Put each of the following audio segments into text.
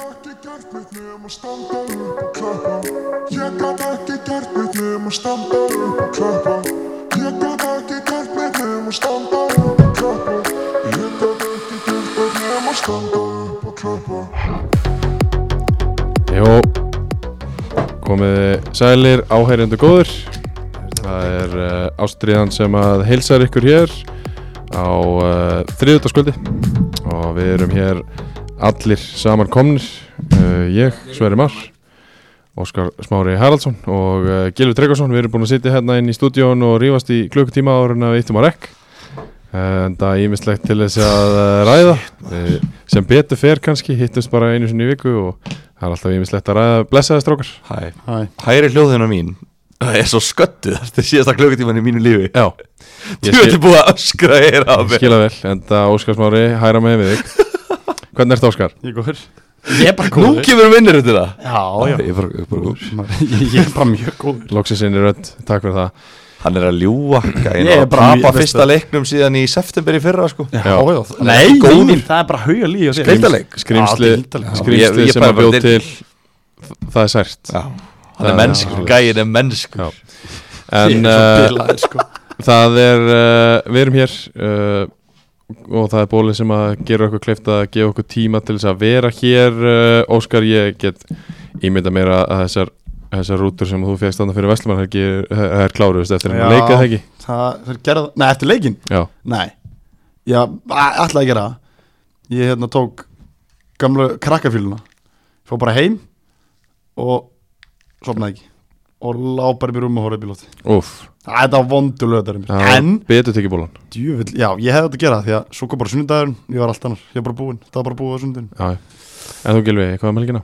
gert mitt nema standa upp og klappa Ég gat ekki gert mitt nema standa upp og klappa Ég gat ekki gert mitt nema standa upp og klappa Ég gat ekki gert mitt nema standa upp og klappa Jó, komið sælir, áheyrendur góður Það er uh, ástriðan sem að heilsar ykkur hér á uh, þriðutaskvöldi og við erum hér allir saman komnir uh, ég, Sverri Mar Óskar Smári Haraldsson og uh, Gilvi Tryggvason, við erum búin að sitja hérna inn í stúdíón og rífast í klukkutíma ára en að við eittum á rekk en það er ímislegt til þess að uh, ræða Eh, sem betur fer kannski, hittumst bara einu sinni í viku og það er alltaf ímislegt að ræða blessaðist okkar Hæ. Hæ, Hæri hljóðina mín Það er svo sköttuð eftir síðasta klukkutíman í mínu lífi Já, Þú ég skil, ertu búið að öskra þér af mér skila vel, en það Óskar Smári hæra með við þig Hvernig ertu Óskar? ég er góður Ég er bara Nú kemur vinnir út í það Já, já Ég er bara, ég er bara, Maður- Ég ég er bara mjög góður Loksins inn í rödd, takk fyrir það Hann er að ljúa Ég Ég er er að bara tapa mjög- fyrsta leiknum síðan í september í fyrra sko já Nei, Góður. góður. Mín, það er bara hauga líf og þér. Skrimtaleik. Skrimsli, Já, þetta er hildaleg. skrimsli Ég- ég sem bara- að bjóð til Það er sært Já. Hann Já, er mennskur, já. gæin er mennskur Já. Ég En er svo uh, bilaður, sko. það er, uh, við erum hér uh, og það er bólið sem að gera okkur kleift að gefa okkur tíma til þess að vera hér uh, Óskar, ég get ímynda mér að að þessar, þessar rútur sem þú fegst þannig fyrir Vestlumann það er kláruðist eftir Já. að leika það ekki Það þeir gerða Nei, eftir leikin Já, Nei Já, alltaf að gera það Ég hérna tók gamlu krakkafíluna Fór bara heim Og sopnaði ekki Og lá bara upp í rúm og horfði upp í lóti úff Það var vondu löðarinn Já, En betur tekið bólan Djúvill, já, ég hefði þetta að gera það, því að svo kom bara sunnudagurinn, ég var allt annar, ég var bara búinn, það var bara búið á sunnudagurinn. Já, já. en þú gilvi, hvað um er melkina?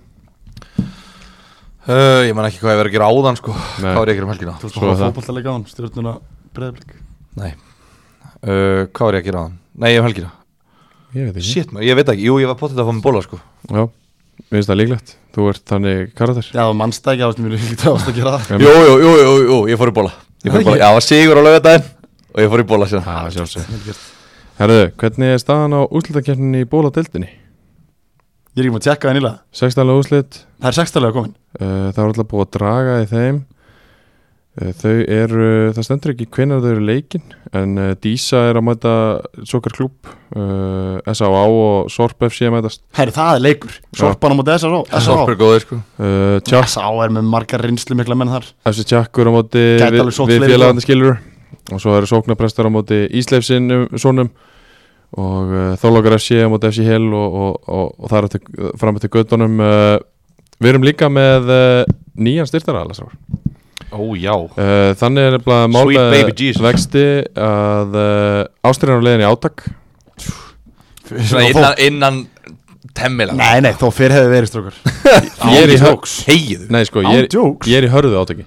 uh, Ég man ekki hvað ég verið að gera áðan sko Nei. Hvað var ég að gera um helgina? Þú veist Svo bara er það. fótballtalega á hann, stjórnuna breyðblik. Nei uh, Hvað var ég að gera áðan? Nei, ég um helgina Mhm. Ég veit Shit maður, ég veit ekki Jú, ég var potið að fá mig bóla sko Já, mér finnst það líklegt Þú ert þannig karatir Já, mannstækja ástu mér, ég ástu að gera það. Nei, Jú, jú, jú, jú, jú, ég fór í bóla Ég fór í bóla, já, það var sigur á laugardaginn Og ég fór í bóla síðan Já, sjálfsög Vel gert. Herðu, hvernig er staðan á úslitakeppninni í bóladeildinni? Ég er ekki maður að tjekka það nýlega, 16. úslit það er sextalega komin. uh, Það er alltaf búið að draga í þeim uh, Þau eru, það stendur ekki hvenær þau eru leikin En uh, Dísa er að mæta Sokar klúb uh, SAA og Sorp FC að mætast Herri, það er leikur, sorpan á móti SRO, Sorp SRO. er góður sko uh, Tjá, SRO er með margar reynslu mikla menn þar. FC Tjakkur á móti Gæti við, alveg sótt við fleiri félagandi skilur og svo eru sóknaprestar á móti Ísleifsinnum sonum og uh, þólokkar FC á móti FC Hell og, og, og, og það er til, fram til göttunum uh, við erum líka með uh, nýjan styrtara alveg uh, Ó, já Eh, þannig er nefnilega mál Sweet með baby Jesus. vexti að uh, ástriðan á leiðin í átak Svona innan, innan temmila Nei, nei, þó fyrr hefði verið strókar. ég er í hö- högs. Hegiðu nei sko, Án ég, er- djóks. ég er í hörðu átaki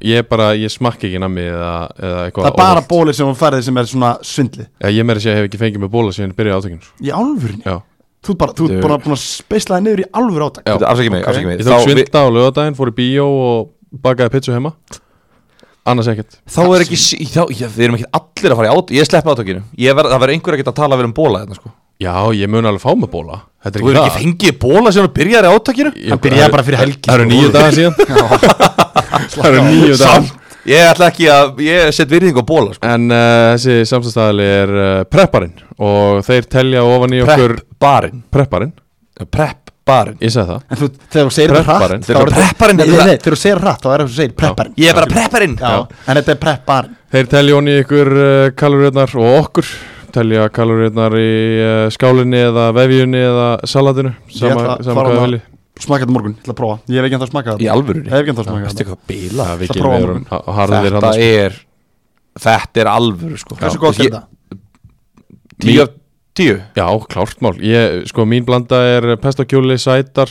ég bara, ég smakka ekki nammi eða, eða eitthvað Það er bara óhollt. bólir sem hún færði sem er svona svindli. Já, ég meira að segja hef ekki fengið með bóla síðan byrja átakinu sko. Í alvörinni. já Þú ert bara, þú ert bara búin að speisla það niður í alvöru átak. Já. Afsækja mig, afsækja mig Ég tók Þá, vi, svindla á lögadaginn, fór í bíó og bakaði pizza heima Annars ekkert þá er ekki sí- þá, já, Við erum ekki allir að fara í át Ég sleppi átökinu Ég verð, Það verður einhver að geta að tala vel um bóla hérna sko Já, ég mun alveg fá með bóla Þetta er Þú ekki verður það ekki fengið bóla sem þú byrjar í átökinu Ég- Hann byrjaði það eru- bara fyrir helgi, Það eru sko. nýju dagar síðan Það eru nýju dagar Samt Ég ætla ekki að Ég set virðing á bóla sko En uh, þessi samstæðstæðali er uh, prepparinn Og þeir telja ofan í okkur Prep barinn Prepparinn, Prep barinn ég segi það En þú, þegar þú segir það Prepparinn. hratt Þeir þá eru er prepparinn, þetta- Nei, þetta- nei, þegar þú segir hratt þá er það sem þú segir prepparinn Ég er bara prepparinn Já, en þetta er prepparinn Þeir telja ofan í ykkur uh, kaloríunar og okkur Telja kaloríunar í uh, skálinni eða vefjunni eða salatinu Sama, ætla að sama hvað fara með- vilji Smakka þetta á morgun, ég ætla að prófa Ég hef ekki ennþá smakað Í þetta alvöru Ég hef ekki ennþá smakað Þetta þetta er eitthvað bila Það ætla að vikið prófa við morgun. erum ha- harðir hérna, sko. hann Þetta er Þetta er alvöru sko Hversu gott er þetta? Tíu af tíu Já, klárt mál. Ég, sko, mín blanda er pestakjóli, sætar,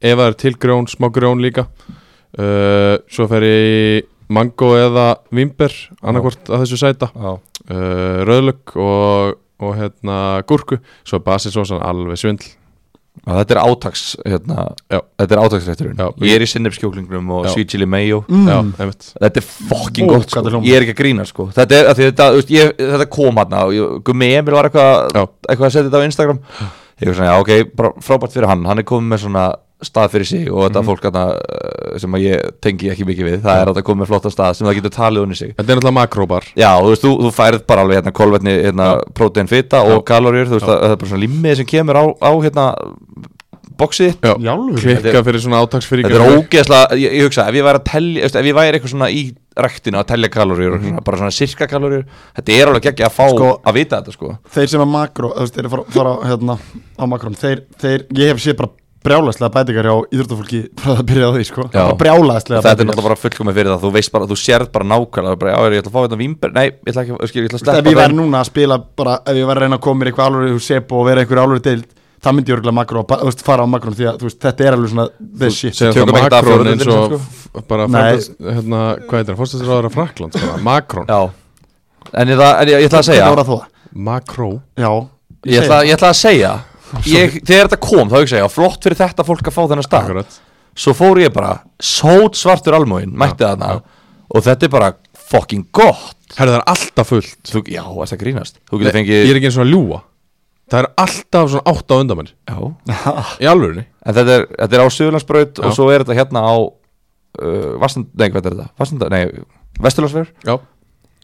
ef það er til grjón, smá grjón líka. Uh, svo fer ég í mango eða vimber, annarkvort að þessu sæta. Já Uh, rauðlögg og, og hérna gúrku, svo basisósan alveg svindl. Já, þetta er átaks hérna, Já. þetta er átaksrætturinn Já. ég er í sinnefskjóklingnum og Já. sweet chili mayo Mm. Já, einmitt. þetta er fucking Ó, gott hvað þetta sko. hljómar. ég er ekki að grína sko. þetta, er, af því þetta, þú veist, ég, þetta kom hann Gummi Emil var eitthvað Já. eitthvað að setja þetta á Instagram ég var svona, já ok, bara frábært fyrir hann hann er komið með svona stað fyrir sig og Mhm. þetta fólk hana, sem að ég tengi ekki mikið við það er að það komið flotta stað sem það getur talið unni sig Þetta er náttúrulega makróbar Já, þú veist, þú, þú færð bara alveg hérna kolvetni, hérna prótein, fita og kaloríur, þú veist, það það er bara svona limmið sem kemur á, á hérna, boxið þitt. Í alvöru? Klikka fyrir svona átaksfyrir Þetta er ógeðslega, ég, ég hugsa, ef ég væri að telja, veist, ef ég væri eitthvað svona í ræktina að telja kaloríur, mm svona, bara svona sirka kaloríur, þetta er alveg ekki að fá Sko- að vita þetta, sko. þeir sem er makró þú veist, þeir fara, fara á, hérna, á makrón þeir, þeir, ég hef séð bara brjálæslega bætingar á íþróttafólki frá það að byrja á því sko. Já. brjálæslega Þetta er náttúrulega bara fullkomið fyrir það, þú veist bara, þú sérð bara nákvæmlega, bara, já, er ég ætla að fá þetta vimber, nei, ég ætla ekki, ég ætla- ég ætla að sleppa ef ég þeim. væri núna að spila bara ef ég væri að reyna að koma mér eitthvað alveg úr sep og vera einhverju alveg deild það myndi ég örgulega makró að ba- þú veist, fara á makrón því að þú veist, þetta er alveg svona this shit Segja Tökum það ekki það makrón fjórðundinn, eins og sko. f- bara Nei. fættast, hérna, hvað heitir það, fórstæðsraðara Frakland, sko, makrón, Já, en ég, ætla- en ég, ég ætla að segja, Þetta voru að þó. makró, já, ég ætla, ég ætla að segja ég, þegar þetta kom þá hugsa ég að flott fyrir þetta fólk að fá þennan stað akkurat, svo fór ég bara sót svartur almúin mætti þarna og þetta er bara fucking gott herðu það er alltaf fullt, þú, já, það er grínast þú Nei, getur ég fengið er ekki eins og að ljúa, það er alltaf svona átt á undan mér, já. í alvörunni, en þetta er, þetta er á Suðurlandsbraut Já. og svo er þetta hérna á uh, Vastand, nei, hvað er þetta? Vastand, nei, Vesturlandsvegur já,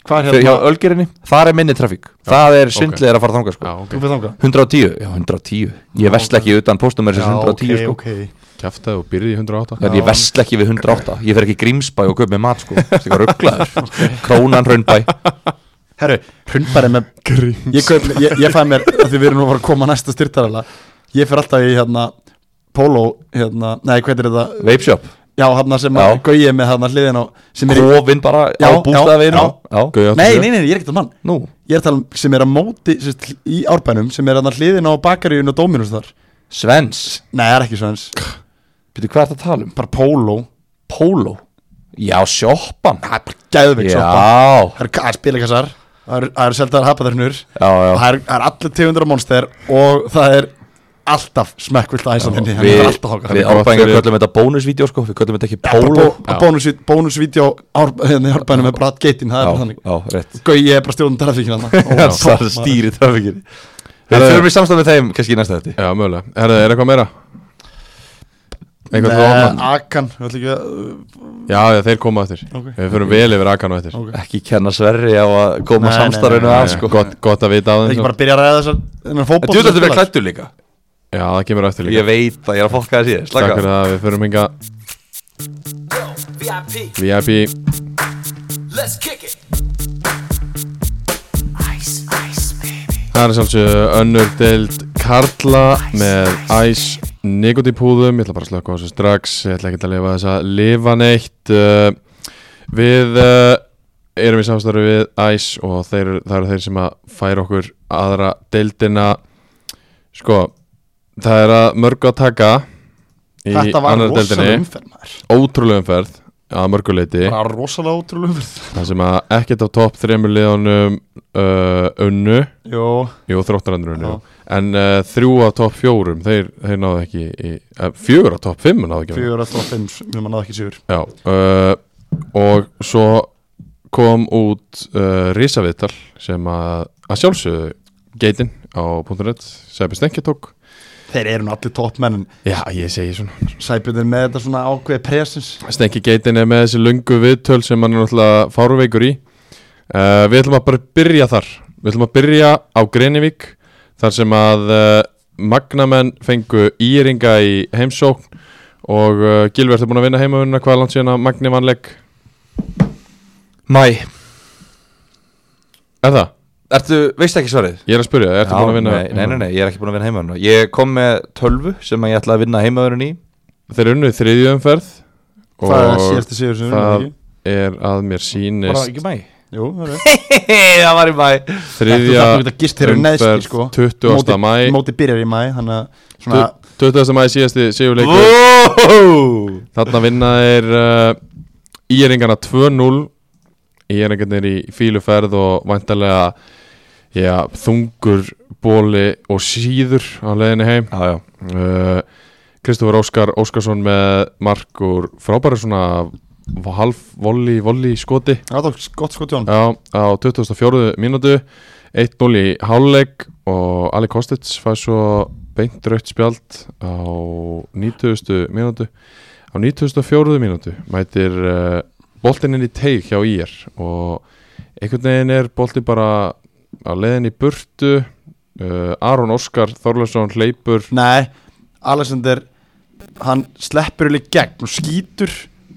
hvað er fyrir hjá hérna, Ölgerinni, þar er minni trafík það er svindlega að fara þangað já, sko ok, þú fyrir þangað 110, já 110 ég vesla ekki utan póstumur sem 110 sko okay. kæftaði og byrjaði í 108, Þegar ég vesla ekki við 108 Ég fer ekki í Grímsbæ og köp með mat sko Þetta er rugglaður Krónan Hrönnbæ Herru, hundbæri með Gríms Ég, kaup, ég, ég fæ mér, af því við erum nú að fara að koma næsta styrtarala Ég fer alltaf í hérna Polo, hérna, nei hvað er þetta Vape shop Já, hérna sem Já. að gauja með hérna hliðin á sem er í, Kofinn bara Já, á bústaðveginu já, já. Gauja nei, 87. nei, nei, ég er ekkert að mann Nú Ég er að tala um sem er að móti sérst, í árbænum sem er hérna hliðin á bakaríun og Dominus þar Svens Nei, það er ekki svona eins Býtu hvað er það að tala um? Bara Polo, Polo Já, shoppan Já gæðveik soppa Já, Það eru ka- spilakassar, það eru- það eru seldaðar hapaðarnur já Það eru er allir tegundur á monster og það er alltaf smekkvilt aðeins að henni Við, þangað. við árbæðingar köllum þetta bónusvídeó sko Við köllum þetta ekki Polo Bó- bónus- Bónusvídeó ár- hérna í árbænum með Brad Gatein það er Já, þannig já, rétt Gau, ég er bara stjórnum trafíkina Það er stýri trafíkir Við þurfum í samstæð með þeim kannski í næsta þetta já, mögulega, herðu, er eitthvað meira? Eitthvað til ofan? Akan, við ætlum ekki að Já, já, þeir koma eftir Ok. Við förum vel yfir akan og eftir Ok. Ekki kenna Sverri á að koma Nei, nei, samstarfinu nei, að Nei, sko gott, gott að vita á Það er þeim ekki svo. bara að byrja að ræða þessar þennan En fótbolta þú sem þetta verið spilar. klættur líka Já, það kemur eftir Ég líka veit það, ég er að fokka það síðan Takk Slaka fyrir það, við förum hinga VIP, VIP let's kick it. Það er sjálfsög önnur deild Karla með æs nikotipúðum, ég ætla bara að slökka á þessu strax ég ætla ekki að lifa þess að lifa neitt uh, Við uh, erum í samstarfi við æs og þeir, það eru þeir sem að færa okkur aðra deildina Sko, það er að mörgu að taka í Þetta var annar rosalega deildinni umferð maður. Ótrúlega umferð að mörguleiti Bara rosalega ótrúlega umferð Það sem að ekkert af topp þremur liðanum uh, unnu Jó, Jú, þróttarandurinn, jú En uh, þrjú af topp fjórum, þeir, þeir náðu ekki í, uh, Fjögur af topp fimm náðu ekki að- fjögur að stóra fimm mjög mann að ekki sigur Já uh, Og svo kom út uh, Rísavital sem að, að sjálfsögðu Geitin á .net Sæbi Stenki tók Þeir eru nú allir toppmennin Já, ég segi svona Sæbjörn er með þetta svona ákveði presens Stenki Geitin er með þessi lungu viðtöl sem hann er náttúrulega fáruveikur í uh, Við ætlum að bara byrja þar Við ætlum að byrja á Grenivík þar sem að uh, magnamenn fengu íringa í heimsókn og uh, Gilvi, ertu búin að vinna heimavunna hvað er langt síðan að Magni vannleik Mæ, Er það? ertu, veistu ekki svarið? Ég er að spyrja, ertu búin að vinna nei, nei, nei, nei, ég er ekki búin að vinna heimaðurinn Ég kom með tölvu sem að ég ætla að vinna heimaðurinn í Þeir unnu í þriðju umferð og Það er síðasti sigur sem við það- erum ekki er að mér Bara sýnist ekki mæ Jú, það er rétt. Það var í mæ Þú þriðja þarft nú ekki að gist þeirra neðst í, sko. 20. Móti- mæ Móti byrjar í mæ, þannig að svona 20. mæ síðasti sigurleikur Vó! Þarna vinna þeir uh, Íringana 2-0 Íringarnir í fíluferð og vantarlega já, þungur bóli og síður á leiðinni heim Já, já uh, Kristofur Óskar Óskarsson með mark úr frábæri svona halv volli, volli skoti Það var gott sko tjón Já, á 24. mínútu 1-0 í háluleik og Ali Kostits fær svo beint rautt spjald á 90. mínútu á 94. mínútu mætir uh, boltinn inn í teig hjá IR og einhvern veginn er boltinn bara að leiðin í burtu uh, Aron Óskar Þorlesson hleypur Nei, Alexander hann sleppur alveg í gegn og skýtur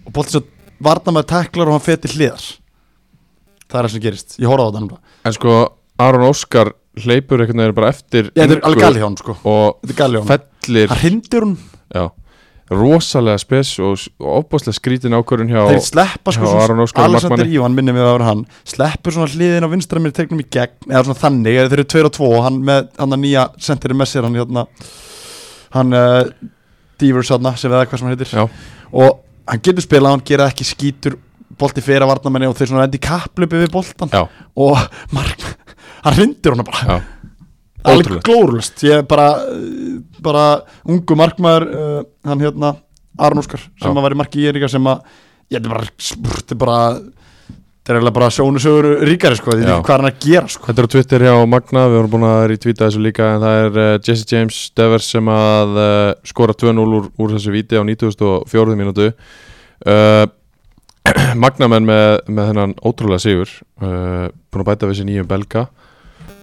og bóttið svo varnamaður teklar og hann fer til hliðar það er það sem gerist, ég horfði á þetta nefnilega. en sko Aron Óskar hleypur einhvern veginn bara eftir Ég, þetta er alveg Ingu galli hjá hann sko og þetta er galli hjá hann, fellir hann hrindir hún já, rosalega spes og, og opbáslega skrítin ákvörun hjá þeir sleppa sko Já, svona- Aron Óskar Alexander markmanni. Ívan minnir mig að vera hann sleppur svona hliðin á vinstra mér tegnum í gegn eða svona þannig, eða þeir eru 2 og 2 hann með hann að nýja sendirinn með sér hann hérna hann uh, Divers hann sem veða hvað sem hann heitir Já. og hann getur spilað, hann gera ekki skítur bolti fyrir að varnamenni og þeir svona endi kapplöpi við boltan Já. og mark, hann rindir hana bara Já. alveg Ótrúlegt. glórulust ég er bara, eh, bara ungu markmaður uh, hann hérna Aron Óskar sem Já. að var í marki í Eiríka sem að ég þetta er bara, spurt, þetta er bara þetta er eiginlega bara sjónusögur ríkari sko, ég veit Já. ekki hvað er hann að gera sko. Þetta er á Twitter hjá Magna, við vorum búin að retweeta þessu líka en það er uh, Jesse James Devers sem að uh, skora 2-0 úr, úr þessu víti á 94. mínútu uh, Magnamenn með, með þennan ótrúlega sigur uh, búin að bæta við sér nýjum belga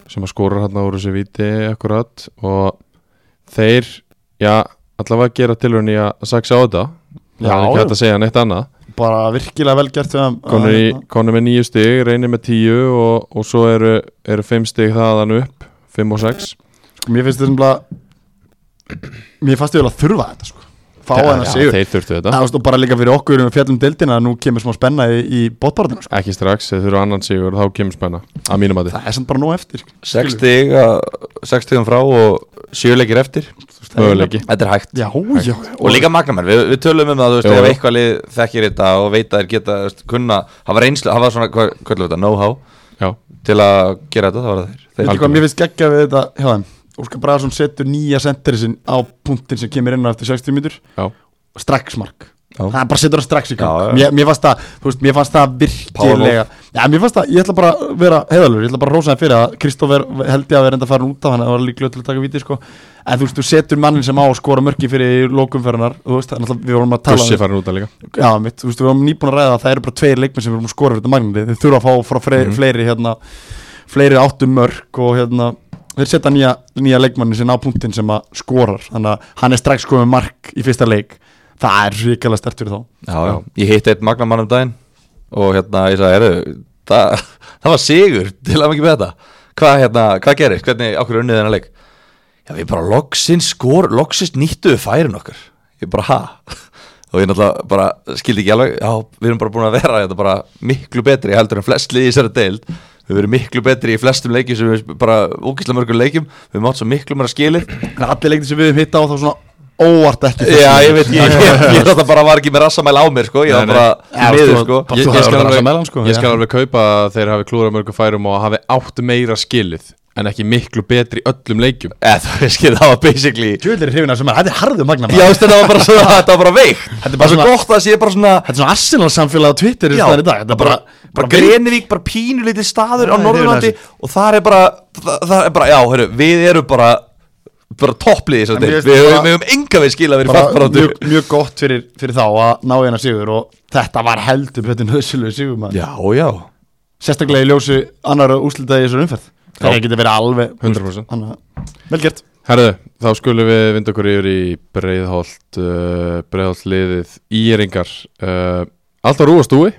sem að skora hann úr þessu víti akkurat og þeir, já, allavega gera tilhörn í að saksa á þetta það Já, er ekki já. hægt að segja neitt annað bara virkilega vel gert þegar- konur, í, að- konur með nýju stig, reynir með tíu og, og svo eru, eru fimm stig þaðan upp, fimm og sex sko, mér finnst þetta bara mér fannst þetta að þurfa þetta sko. fá Þeir- hann að já, sigur Þeir þurftu þetta, Það var stóð bara líka fyrir okkur um fjallum deildina að nú kemur smá spenna í, í bóttbáratinu sko. ekki strax, þeir þurfu annan sigur, þá kemur spenna, að mínum að þið Það er samt bara nóg eftir sko. 6 stig að- sex stigum frá og 7 leikir eftir Möguleiki, Þetta er hægt Já, já og líka magnamenn, við, við tölum um það þú veist, Jú, ef jú. eitthvað lið þekkir þetta og veit að þeir geta, þú veist, kunna hafa reynslu, hafa svona, hvað hvað er þetta, know-how já, til að gera þetta, það var það þeir, þeir Veitir hvað mér finnst geggja við þetta hjá þeim Óskar Braðarsson setur nýja senteri sinn á punktin sem kemur inn á eftir 60 mínútur já og strax mark Já. hann bara setur það strax í gang Já, já. mér, mér, fannst það, þú veist, mér fannst það virkilega Já, mér fannst það, ég ætla bara að vera heiðalur ég ætla bara að rosa það fyrir að Kristóf er, held ég að vera enda farin út af hann það var líklega til að taka viti sko. en þú veist, þú setur mannin sem á að skora mörki fyrir lókumferðinar þú veist, þannig að við vorum að tala um Bussi farin út að líka Já, mitt, þú veist, við erum nýbúin að ræða að það eru bara tveir leikmenn sem við erum að skora fyrir þetta magnandi Þeir þurfa að fá frá fre- fleiri, hérna, fleiri áttum mörg og hérna, þeir setja nýja, nýja leikmanni sinna á punktin sem að skorar Þannig að hann er strax komið mark í fyrsta leik Það er ríkilega stert fyrir þá já, já. ég hitt eitt magnamann um daginn og hérna, ég sagði, heyrðu það, það var sigur til að mikið með þetta hvað hérna, hvað gerist, hvernig okkur unnið þennan leik já, við bara loksins skor, loksins nýttu við færin okkar ég bara, ha og ég náttúrulega bara skildi ekki alveg já, við erum bara búin að vera þetta bara miklu betri heldur en flest liði í þessari deild við erum miklu betri í flestum leikjum sem við bara ógislega mörgum leikjum við mátt svo miklu meira skilir Þannig að allir leikni sem við hefum hitta á þá svona óvart ekki fyrstu Já, leik. ég veit ekki, ég, ég, ég þetta bara var ekki með rassamæl á mér, sko, ég var Nei, nei. bara Já, miður, þú- sko bara Ég, ég þú hefur skal, verið að alveg, meðan, sko, ég já. skal alveg kaupa að þeir hafi klúra mörgu færum og hafi átt meira skilið en ekki miklu betri í öllum leikjum Eða, það veist ekki, það var basically Já, Djöfull er í hrifin af þessum manni, Þetta er harðu magna þú veist, þetta var bara svona, þetta var bara veikt Þetta er Þetta bara var svo svona- gott að sé bara svona Þetta er svona Arsenal samfélag á Twitter í Já, staðar í dag Þetta er bara, bara Grenivík, bara pínulítið staður á Nei, Norðurlandi hrifin Og það er bara, það, það er bara, já, heyrðu, við erum bara bara toppliði En þessar mér deild finnst Við bara- höfum- við höfum enga við skila verið bara, fallbaráttu mjög, mjög gott fyrir, fyrir þá að ná hérna sigur og þetta var heldur betur nöðsynlega sigur maður Já, já Sérstaklega í ljósi annara úslita í þessar umferð Það geti verið alveg 100%. Þannig að- Vel gert Herðu, þá skulum við vinda okkur yfir í breiðholt, uh, breiðholt liðið íringar. Uh, allt á rúast eh? úi,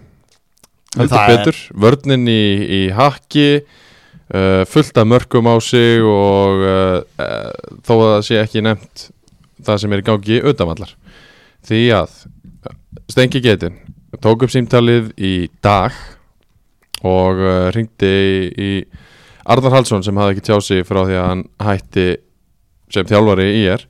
heldur Það er- betur, vörnin í, í hakki, uh, fullt af mörgum á sig og uh, uh, þó að það sé ekki nefnt það sem er í gangi utanvallar. Því að Stengi Getin tók upp símtalið í dag og uh, ringdi í, í Arnar Hallsson sem hafði ekki tjáð sig frá því að hann hætti sem þjálfari í er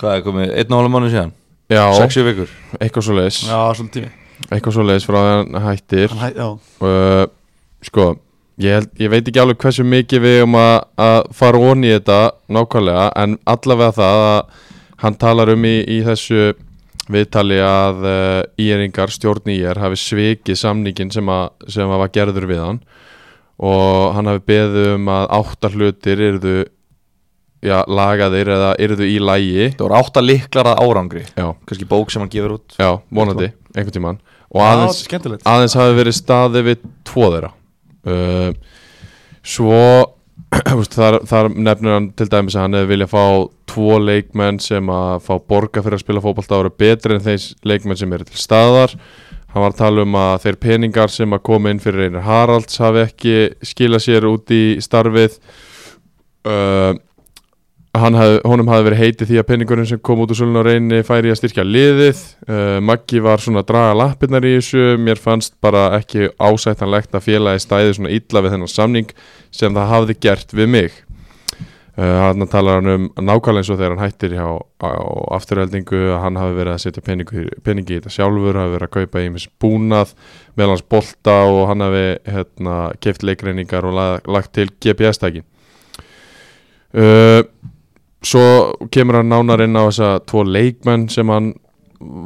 Hvað er komið, einn og hálf mánu síðan? Já, 6-7 vikur eitthvað svo leiðis Já, svona tími eitthvað svo leiðis frá því að hann hættir Hann hæ- Já, uh, sko ég, held, ég veit ekki alveg hversu mikið við um að, að fara ón í þetta nákvæmlega en allavega það að hann talar um í, í þessu viðtali að uh, íringar stjórn ír hafi svikið samningin sem, að, sem að var gerður við hann og hann hafi beðið um að átta hlutir yrðu já, lagaðir eða yrðu í lægi Það voru átta liklar að árangri Já, Kanski bók sem hann gefur út já, vonandi, einhvern tímann Og Já, aðeins, þetta er skemmtilegt. aðeins hafi verið staði við tvo þeirra uh, Svo þú veist, þar, þar nefnir hann til dæmis að hann hefði viljað fá tvo leikmenn sem að fá borga fyrir að spila fótbolta og eru betri en þeir leikmenn sem eru til staðar hann var að tala um að þeir peningar sem að koma inn fyrir Einar Haralds hafi ekki skilað sér út í starfið uh, hann hafði, honum hafi verið heitið því að penningurinn sem kom út úr sölun og reyni færi í að styrkja liðið uh, Maggi var svona að draga lappirnar í þessu mér fannst bara ekki ásættanlegt að félagi stæði svona illa við þennan samning sem það hafði gert við mig uh, hann talar hann um nákvæmlega eins og þegar hann hættir hjá á afturheldingu að hann hafi verið að setja peningu, peningi í þetta sjálfur hafi verið að kaupa ímis búnað meðal hans bolta og hann hafi hérna, keft leikreiningar og lag, lagt til GPS-tækin uh, svo kemur hann nánar inn á þessa tvo leikmenn sem hann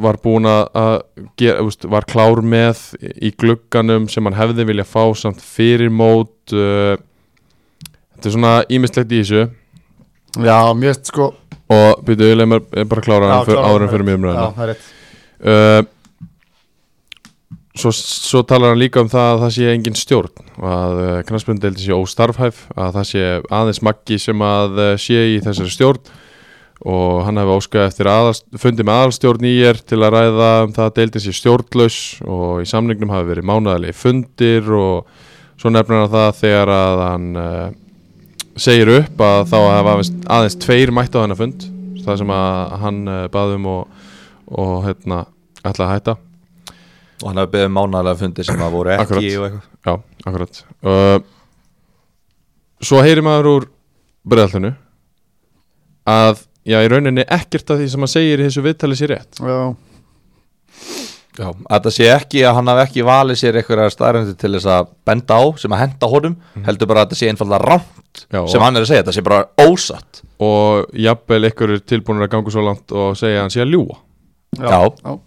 var búin að að gera, úst, var klár með í glugganum sem hann hefði vilja fá samt fyrir mót uh, þetta er svona ímislegt í þessu Já, mér veist sko og byrju auðvitað er bara að klára hann fyr, áður en fyrir mjög Já, umræðina það er rétt uh, svo, svo talar hann líka um það að það sé engin stjórn og að uh, knarspjöndeldi sé óstarfhæf að það sé aðeins maggi sem að uh, sé í þessari stjórn og hann hefði óskað eftir aðast, fundi með aðalstjórn í er til að ræða um það að deildin sé stjórnlaus og í samningnum hafi verið mánaðalegi fundir og svo nefnir hann það þegar að hann uh, segir upp að þá hafa aðeins, aðeins tveir mætt á þennan fund það sem að hann uh, baðum og, og hérna, ætla að hætta Og hann hefði beðið um mánaðlega fundi sem það voru ekki Akkurat. og eitthvað Já, akkurat uh, Svo heyri maður úr breðaltinu að já, í rauninni ekkert af því sem hann segir í þessu viðtali sér rétt Já, Já, að þetta sé ekki að hann hafi ekki valið sér einhverjar staðrændi til þess að benda á sem að henda honum, Mhm. heldur bara að þetta sé einfalda rámt Já, sem og- hann er að segja, þetta sé bara ósatt og jafnvel ykkur er tilbúinur að ganga svo langt og segja að hann sé að ljúa Já.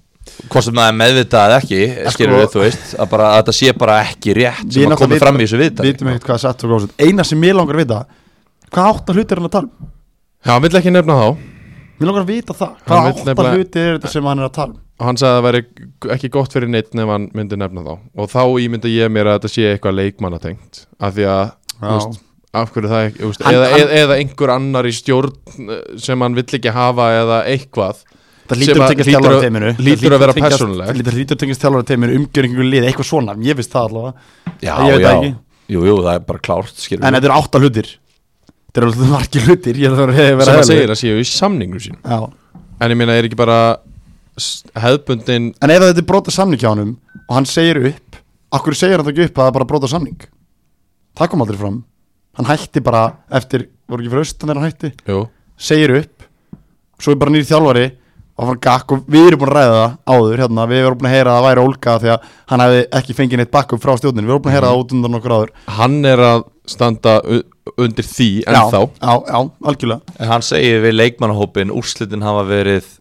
hvort sem það er meðvitað eða ekki, skilur við, sko- þú veist að, bara, að þetta sé bara ekki rétt Við sem að náttúrulega komið fram í þessu viðtal Vitum ekkert hvað er satt og góðsett Eina sem mér langar að vita Hvað átta hluti er hann að tala um? Já, hann vill ekki nefna þá Mér langar að vita það Hann Hvað vill átta nefnilega- hluti er þetta sem hann er að tala um? og hann sagði að það væri ekki gott fyrir neitt ef hann myndi nefna þá og þá ímynda ég mér að þetta sé eitthvað leikmannatengt af því að þú Já. veist, af hverju það ekki, þú veist, Hann- eða, hann- eða, eða einhver annar í stjórn eh, sem hann vill ekki hafa eða eitthvað sem Það lítur að tengjast hlýtur þjálfara að- teiminu hlýtur að vera persónulegt Það lítur að tengjast þjálfara teiminu umgjörningu lið Eitthvað svona, ég veist það allavega Já, Ég veit já, það ekki. jú, jú, það er bara klárt, skilur En við þetta eru átta hlutir Þetta eru alveg margir hlutir Ég er að vera- vera sem hann ærlegur. segir að séu í samningu sín Já. en ég meina er ekki bara s- hefðbundin En ef þetta er brota samning hjá honum Og hann segir upp Akkur segir hann það ekki upp að það er bara brota samning Það kom aldrei fram Hann hætti bara eftir Voru ekki fyrir austan þegar hann hætti jú, Segir upp Svo er bara nýr þjálfari Og fann gakk og við erum búin að ræða það áður hérna Við erum búin að heyra að það væri ólga Því að hann hefði ekki fengið neitt bakkum frá stjórnin Við erum búin að heyra það út undan okkur áður hann er að standa u- undir því ennþá Já, já, já, algjörlega En hann segir við leikmannahópin úrslitin hafa verið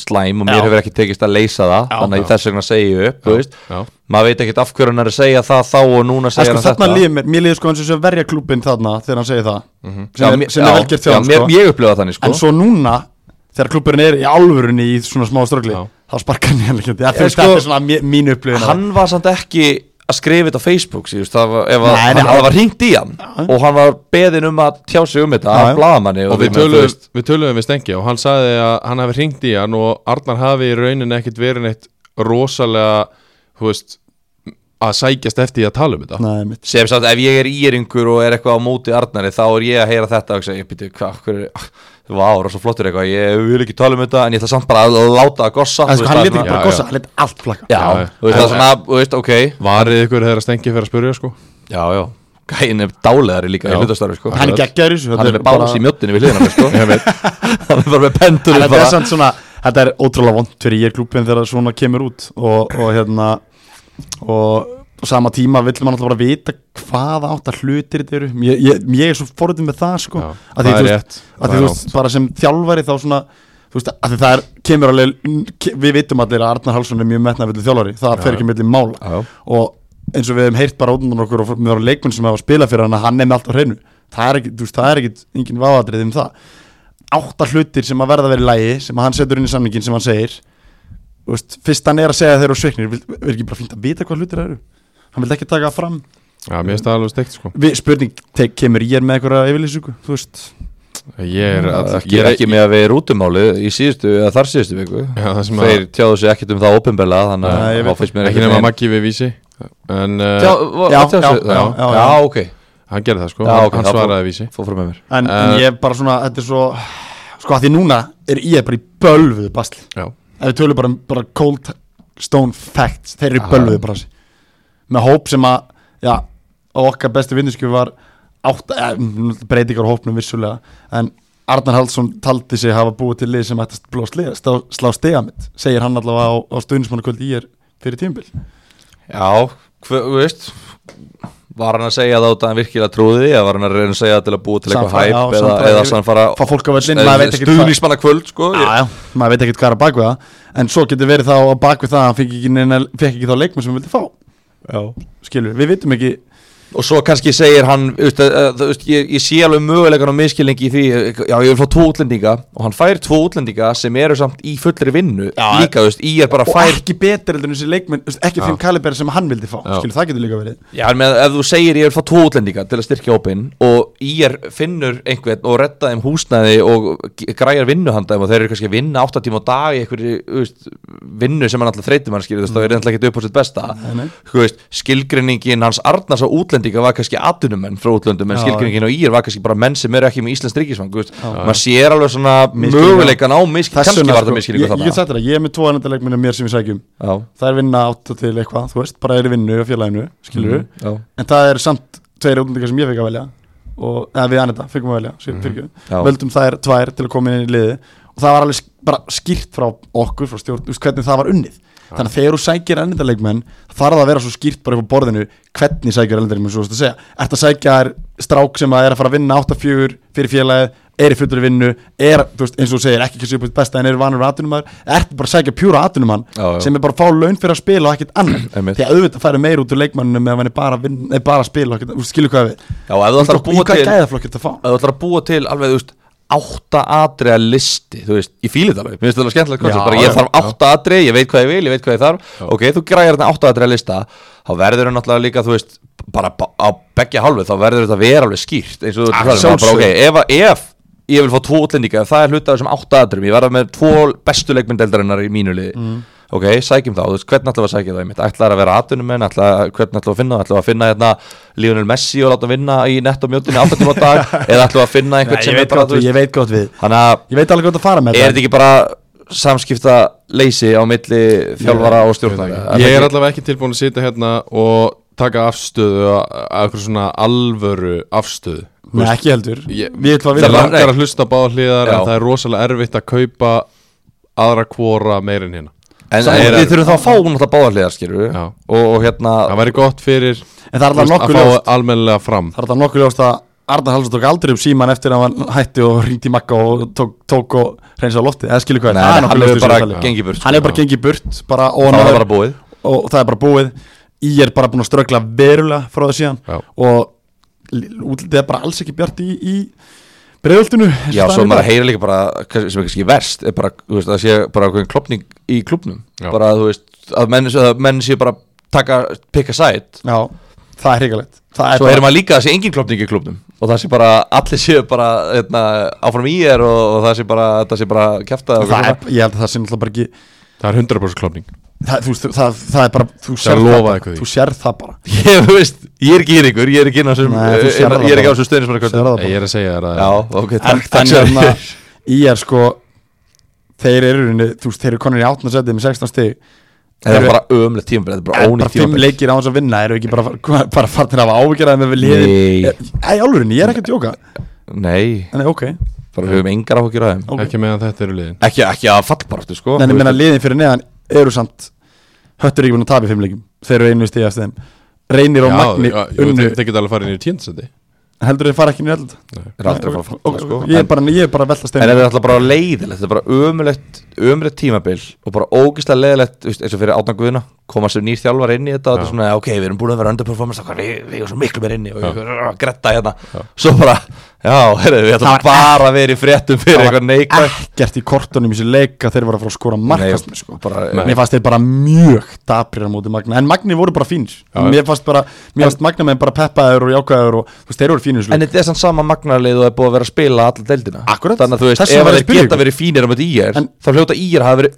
slæm og mér Já. hefur ekki tekist að leysa það þannig Já. að þess vegna segi ég upp, þú veist já. maður veit ekkert af hverju hann er að segja það þá og núna Það segir sko hann þarna þetta líður mér, mér líður sko eins og þess að verja klúbin þarna þegar hann segir það sem, Mhm. Já, er, mér- sem já, er velgert hjá já, hann mér- sko. Ég upplifa það þannig sko En svo núna, þegar klubburinn er í alvörunni í svona smá ströggli Já. Þá sparkar hann hérna ekki Það Ég, er sko, þetta svona mi- mín upplifin hann var samt ekki að skrifa þetta á Facebook síðust, það var, ef Nei, að- nei, hann, hann- það var hringt í hann og hann var beðin um að tjá sig um þetta Já, af já. blaðamanni og við því, menn, þú töluðum, veist, við töluðum við Stengi og hann sagði að hann hafi hringt í hann og Arnar hafi í rauninni ekkit verið neitt rosalega þú veist, að sækjast eftir því að tala um þetta Nei, mitt sem sagt ef ég er íringur og er eitthvað á móti Arnari þá er ég að heyra þetta og hugsa, ég byrju hvað hver, þú var og svo flottur eitthvað ég vil ekki tala um þetta en ég ætla samt bara að láta að gossa En þú sko, veist, hann það leti er ekki bara Já, gossa, já. hann leti allt plakka svona- já, Já, já. þú veist það er En- svona þú veist ok Varið ykkur þegar Stengi fyrir að spyrja sko já já gæin er dálæðari líka Já. í hlutastarfi sko Hann geggjaður í þessu hann er með bás í mjóttinu við hliðina á mér, sko Ég veit. hann er bara með pendur Þetta er samt svona, þetta er ótrúlega vond fyrir ég klubin þegar svona kemur út Og, og hérna Og og sama tíma vill maður alltaf bara vita hvaða átta hlutir þetta eru Ég, ég, ég er svo forðið með það sko Já, Af það þú er veist- rétt, að það því er þú veist, bara sem þjálfari þá svona þú veist, að því það er, kemur alveg ke- við vitum allir að Arnar Hallsson er mjög metnafullur þjálfari, það fer ekki mellum mála Já. og eins og við hefum heyrt bara út undan okkur og við varum leikmenn sem hafa spilað fyrir hann að hann er með allt á hreinu það er ekki, þú veist, það er ekki engin vafadrið um það átta hlutir sem að verða að vera í lægi sem að hann setur inn í samlingin sem hann segir Þú veist, fyrst hann er að segja að þeir eru sveiknir vil, er ekki bara fínt að vita hvað hlutir það eru hann vil ekki taka það fram Já, mér finnst það alveg steikt sko Við, spurning tek, kemur ég með einhverja yfirlýsingu þú veist Ég er, all, Ég er ekki með að við rútumálið í síðustu eða þar síðustu viku Já, það sem að Þeir tjáðu sig ekkert um það opinbella þannig Nei, að ég veit þá finnst mér Ekki nema Maggi við vísi En uh, Tjá, já, já, já, já, já, já. ok hann gerði það sko Já, ok, Hann þá fór- svaraði vísi Fór frá með mér en, Eh. en ég er bara svona, þetta er svo sko að því núna er ég bara í bölvuðu basli Já ef við tölum bara, um- bara cold stone facts þeir eru í bölvuðu brasi með hóp sem að já, okkar bestu vinnuskjöf var átta, ja, breytingar á hópnum vissulega en Arnar Haldsson taldi sig hafa búið til lið sem ætti að blá slega, slá, slá stega mitt segir hann allavega á, á stuðnismannakvöld í er fyrir tímbil Já, hver, þú veist Var hann að segja það út að hann virkilega trúði því, eða var hann að reyna að segja það til að búa til eitthvað Sannfæra- já, hæp eða, sannfæra- eða sannfara fá fólk á Eh, vellin, maður veit ekki stuðnismanna kvöld sko Já, já, maður veit ekkert hvað er að bakvið það En svo getur verið þá að bakvið það að Hann fekk ekki, neina, fekk ekki þá leikmenn sem hann vildi fá já. Skilur, við vitum ekki Og svo kannski segir hann þú veist, eh, þú veist, ég, ég sé alveg mögulegan og miskilning í því Já, ég vil fá tvo útlendinga Og hann fær tvo útlendinga sem eru samt í fullri vinnu Já, Líka, þú veist, í er bara Og fær ekki betur heldur en þessi leikmenn þú veist, Ekki þeim kaliberi sem hann vildi fá Já. Skilur, það getur líka verið Já, en með, ef þú segir ég vil fá tvo útlendinga til að styrkja hópinn og ég finnur einhvern og redda þeim húsnæði og g- græjar vinnuhandaðum og þeir eru kannski að vinna 8 tíma á dag í einhverju þú veist, vinnu sem hann alltaf þreytir mann skilur, mm. það er alltaf ekki upp á sitt besta nei. Þú veist, skilgreiningin hans Arnars á útlendinga var kannski atvinnumenn frá útlöndum en Já, skilgreiningin á ír var kannski bara menn sem eru ekki með Íslands ríkisfang maður sér alveg svona Misskilningur. möguleikan á miskilning kannski vegna, sko, var það miskilningu ég, ég þarna get sagt þér að ég er með tvo ennanda leikmenn af mér sem ég sækjum Já, Það er vinna átt til eitthvað, þú veist, bara er í vinnu og félaginu Skilur, Mm, já, en það er samt Tveir útlendingar sem ég fekk að velja og, eða við annað þetta, fekkum að velja, skilur, mm Mhm, Já. Völdum þær tvær til að koma inn í liði og það var alveg sk- bara skýrt frá okkur frá stjórn, þú veist hvernig það var unnið þannig að þegar þú sækir ennindaleikmenn þarf það að vera svo skýrt bara upp á borðinu hvernig sækir ennindaleikmenn, svo þú veist að segja ert að sækja þær strák sem að er að fara að vinna 8-4 fyrir félagið, er í fullur vinnu er, þú veist, eins og þú segir, ekki kannski upp á sitt besta en er vanur aðtunumar, ert bara að sækja pjúra aðtunumann Já, já. sem er bara að fá laun fyrir að spila og ekkert annar Einmitt. því að auðvitað færi meir út úr leikmanninu með að hann er bara, að vinna, nei, bara að spila og ekkert, þú veist, skilur hvað við já, ef þú ætlar að Í búa hvað til gæðaflokk er þetta að fá? að þú ætlar að búa til alveg, þú veist, átta atriða listi, þú veist, ég fíli þetta alveg, mér finnst þetta alveg skemmtilegt koncept, Já, bara ég já, þarf átta atriði, ég veit hvað ég vil, ég veit hvað ég þarf, ok, þú græjar þetta átta atriða lista, þá verður það náttúrulega líka, þú veist, bara b- á begja hálfu, þá verður þetta að vera alveg skýrt, eins og þú Ah, ert að tala um, bara, ok, sjálfsögðu. ef, að- ef ég vil fá tvo útlendinga, ef það er hluta af þessum átta atriðum, ég verða með tvo bestu leikmyndeldarinnar í mínu liði, Mm. ok, sækjum þá, þú veist, hvernig ætlaðu að sækja það einmitt, ætlaðu að vera atvinnumenn, ætlaðu, hvernig ætlaðu að finna það, ætlaðu að finna hérna Lionel Messi og láta hann vinna í nettomjótinni 8 tíma á dag, eða ætlaðu að finna einhvern Nei, sem ég, er veit bara, gott þú við, ég veist, veit gott við þannig að Ég veit alveg hvað það fara með er þetta ekki bara samskipta leysi á milli þjálfara og stjórnar Ég er allavega ekki tilbúin að sitja hérna og taka afstöðu að eitthvað svona alvöru afstöðu Nei, ekki heldur Ég- Við ætlum Það að vinna var- langar að hlusta á báða hliðar Já. en það er rosalega erfitt að kaupa aðra kvora meir en hérna en Það er- við þurfum þá að fá náttúrulega báðarliðar skilur Já. og, og hérna Það væri gott fyrir En það þú er alltaf veist, nokkuð að ljóst fá almennilega fram Það er alltaf nokkuð ljóst að Arnar Hallsson tók aldrei upp síman eftir að hann hætti og ringdi í makka og tók, tók og reynsa á lofti eða skilur hvað er, Nei, það er hann nokkuð ljóst hefur í bara þessu tali. gengið burt, Hann sko. hefur bara gengið burt bara þá og, er það bara búið og það er bara búið Í er bara búin að ströggla verulega frá það síðan Já. og li- útlitið er bara alls ekki bjart í, í breiðultinu Já, svo maður heyri líka bara, kannski- sem er kannski verst er bara, þú veist, að sé bara einhvern klopning í klubnum, Já. bara, þú veist að menn, að menn sé bara taka, pikka sæt Já, það er hrigalegt Það Svo bara- heyrum maður líka að sé engin klopning í klubnum og það sé bara, allir séu bara hérna, áfram í er og, og það sé bara það sé bara kæfta það er, Ég held að það sé náttúrulega bara ekki Það er 100% klopning það, þú, veist, það, það er bara þú sér lofa eitthvað það, bara, því. þú sér það bara Ég veist, ég er ekki hér ykkur, ég er ekki inn á þessum eh, hérna, Nei, þú sérð það Ég er ekki á bara. þessum sér stöðnismann það Ég bara er að segja þér að Já, ok, en takk, takk þannig sér hérna í er sko þeir eru í rauninni, þú veist, þeir eru konur í 18 setið með 16 stig Það er bara ömlega tímabil, þetta er bara En bara ónýtt 5 tímabil leikir á hans að vinna eru ekki bara, bara, bara farnir af ávíkjaraði með við liðin Nei. Æ, álurinni, ég er ekki að djóka Nei, En ok, bara höfum engar áhugjur af þeim ok ekki meðan þetta eru liðin Ekki, ekki að fallbaráttu, sko En Þú ég meina veist, liðin fyrir neðan eru samt Höttur er ekki búin að tapa í 5 leikum Þeir eru einu stig eftir þeim Reynir og Magni já, jú, unnu þeir, þeir geta alveg farið niður tíndsendi Heldur þeir fara ekki nýja alltaf er aldrei að fara að falla, sko. Ég En- er bara, ég er bara að velta En steinu þetta er alltaf bara leiðilegt, þetta er bara ömulegt, ömulegt tímabil og bara ógislega leiðilegt, þú veist, eins og fyrir átna guðuna, koma sem nýr þjálfar inn í þetta og þetta Já. er svona, ok, við erum búin að vera underperformance okkar, við, við erum svo miklu meir inn í og við erum að gretta hérna svo bara, já, heyrðu, við ætlum bara að vera í fréttum fyrir Það var eitthvað neikvægt ekkert í kortunum í þessu leik að þeir voru að fara að skora markast sko. bara, Nei. Mér fannst þeir bara mjög daprir á móti Magna En Magni voru bara fínir Já, já. Mér fannst bara, mér fannst Magna með bara peppaður og jákaður og þú veist, þeir voru fínir í þessu en leik. þetta er samt sama magnarlið og er búið að vera að spila alla deildina Akkúrat. þannig að þú veist, Þess vegna ef var þeir ég að spyrja geta ykkur. verið fínir á móti í er, En- þá hljóta í er hafa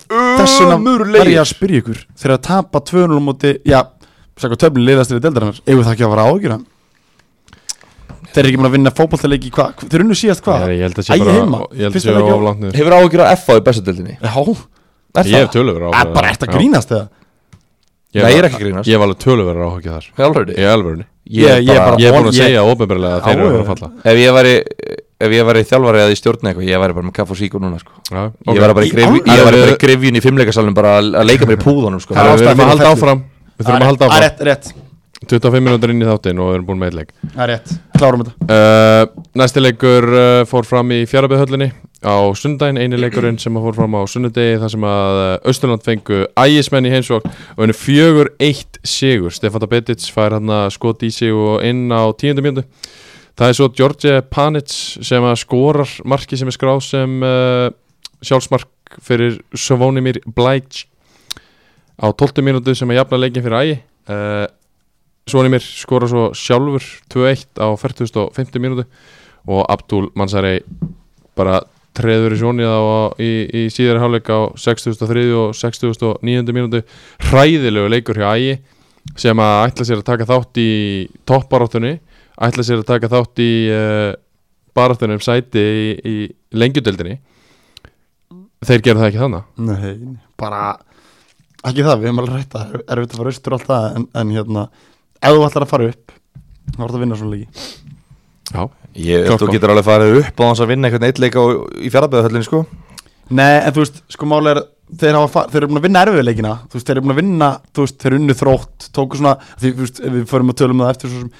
verið Þess vegna var ég ömurlegir að spyrja ykkur Þegar að tapa 200 á móti, já Sækka töflin liðast yfir deildarinnar Egu það ekki að vera ágjur Þeir eru ekki múin að vinna fótballtaleiki í hvað Þeir unnu síðast hvað? Ég held að Æi sé bara heima Ég held að Fyrsta sé leik á- oflant niður hefur áhyggjur á FA í bestu deildinni Já, Er Ég hef það? töluverðar það er áhyggjur Ah, bara eftir að grínast þegar Ég Nei, ég er hef- ekki að grínast. Ég hef alveg töluverðar áhugja þar Already? Í alvörunni Ég- ég er bara- Ég hef búin að Ég- segja ópenbarlega að þeir eru að fara að falla ef ég væri ef ég væri þjálfari eða í stjórn eitthvað ég væri bara með kaff og síku núna sko. Já, ég ok. væri bara í, Í grif, alvöru? ég væri bara í grifjun í fimmleikasalunum bara að að leika mér í púðunum sko. Herra, Við ástæða erum að fyrir halda fellu. áfram Við þurfum að halda áfram Það er Ah, rétt, rétt, 25 minútur inn í þáttinn og við erum búin með eitt leik það er rétt Klárum þetta Uh, næsti leikur uh, fór fram í Fjarafjöðhöllinni á sundaginn, eini leikurinn sem fór fram á sunnudegi þar sem að uh, Östurland fengu ægismenn í heimsókn og henni fjögur eitt sigur, Stefán Tabetic fær hann að skot í sig og inn á tíundu mjöndu það er svo George Panic sem að skorar marki sem er skráð sem uh, sjálfsmark fyrir Svonimir Blæk á 12 mínútu sem að jafna leikin fyrir ægi uh, Svonimir skora svo sjálfur 2-1 á 40.50 mínútu og Abdul Mansari bara treður í sjónið á, í, í síðari hálfleik á 60.3 og 60.9 mínútu hræðilegu leikur hjá ægi sem að ætla sér að taka þátt í topparáttunni, ætla sér að taka þátt í uh, baráttunni um sæti í, í lengjudeldinni þeir gera það ekki þannig Nei, bara ekki það, við höfum alveg rætt að það er erfitt að fara austur og allt það en, en hérna, ef þú ætlar að fara upp þá er það að vinna svona leiki Já, ég, Klokka. þú getur alveg farið upp á þess að vinna einhvern eitt leika á- í fjárabæðahöllinni sko. Nei, en þú veist, sko máli er þeir, hafa, fa- þeir eru búin að vinna erfið leikina þú veist, þeir eru búin að vinna, þú veist, þeir eru unnu þrótt tóku svona, því, þú veist, ef við förum að tölum það eftir svo sem,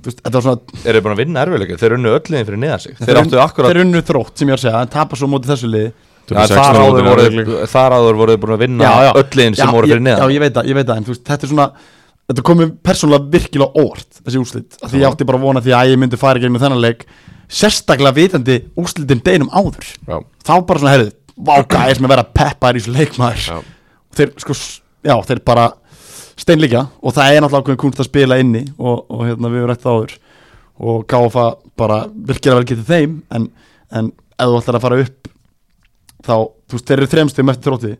þú veist, þetta var svona eru búin að vinna erfiðleika, þeir unnu öll liðin fyrir neðan sig þeir unnu- áttu akkurat þeir unnu þrótt sem ég er að segja, en tapa svo móti þessu liði Ja, þar áður voru- þar áður voruð búin að vinna öll liðin Já, sem voru ég- fyrir neðan Já, ég veit það, ég veit það, en þú veist, þetta er svona Þetta komið persónulega virkilega óvart Þessi úrslit, af því ég átti bara að vona því að ég myndi fara í gegnum þennan leik Sérstaklega vitandi úrslitin deginum áður Já, Þá bara svona, herrið, váka, ég sem að vera peppaðir í þessu leikmaður já Þeir, sko, s- já, þeir bara steinlíka Og það er náttúrulega ákveðin kunst að spila inni Og, og hérna, við erum rætt það áður Og gáfa bara virkilega vel getið þeim En, en ef þú ætlar að fara upp Þá, þú veist, þeir eru þremstum eftir þrótti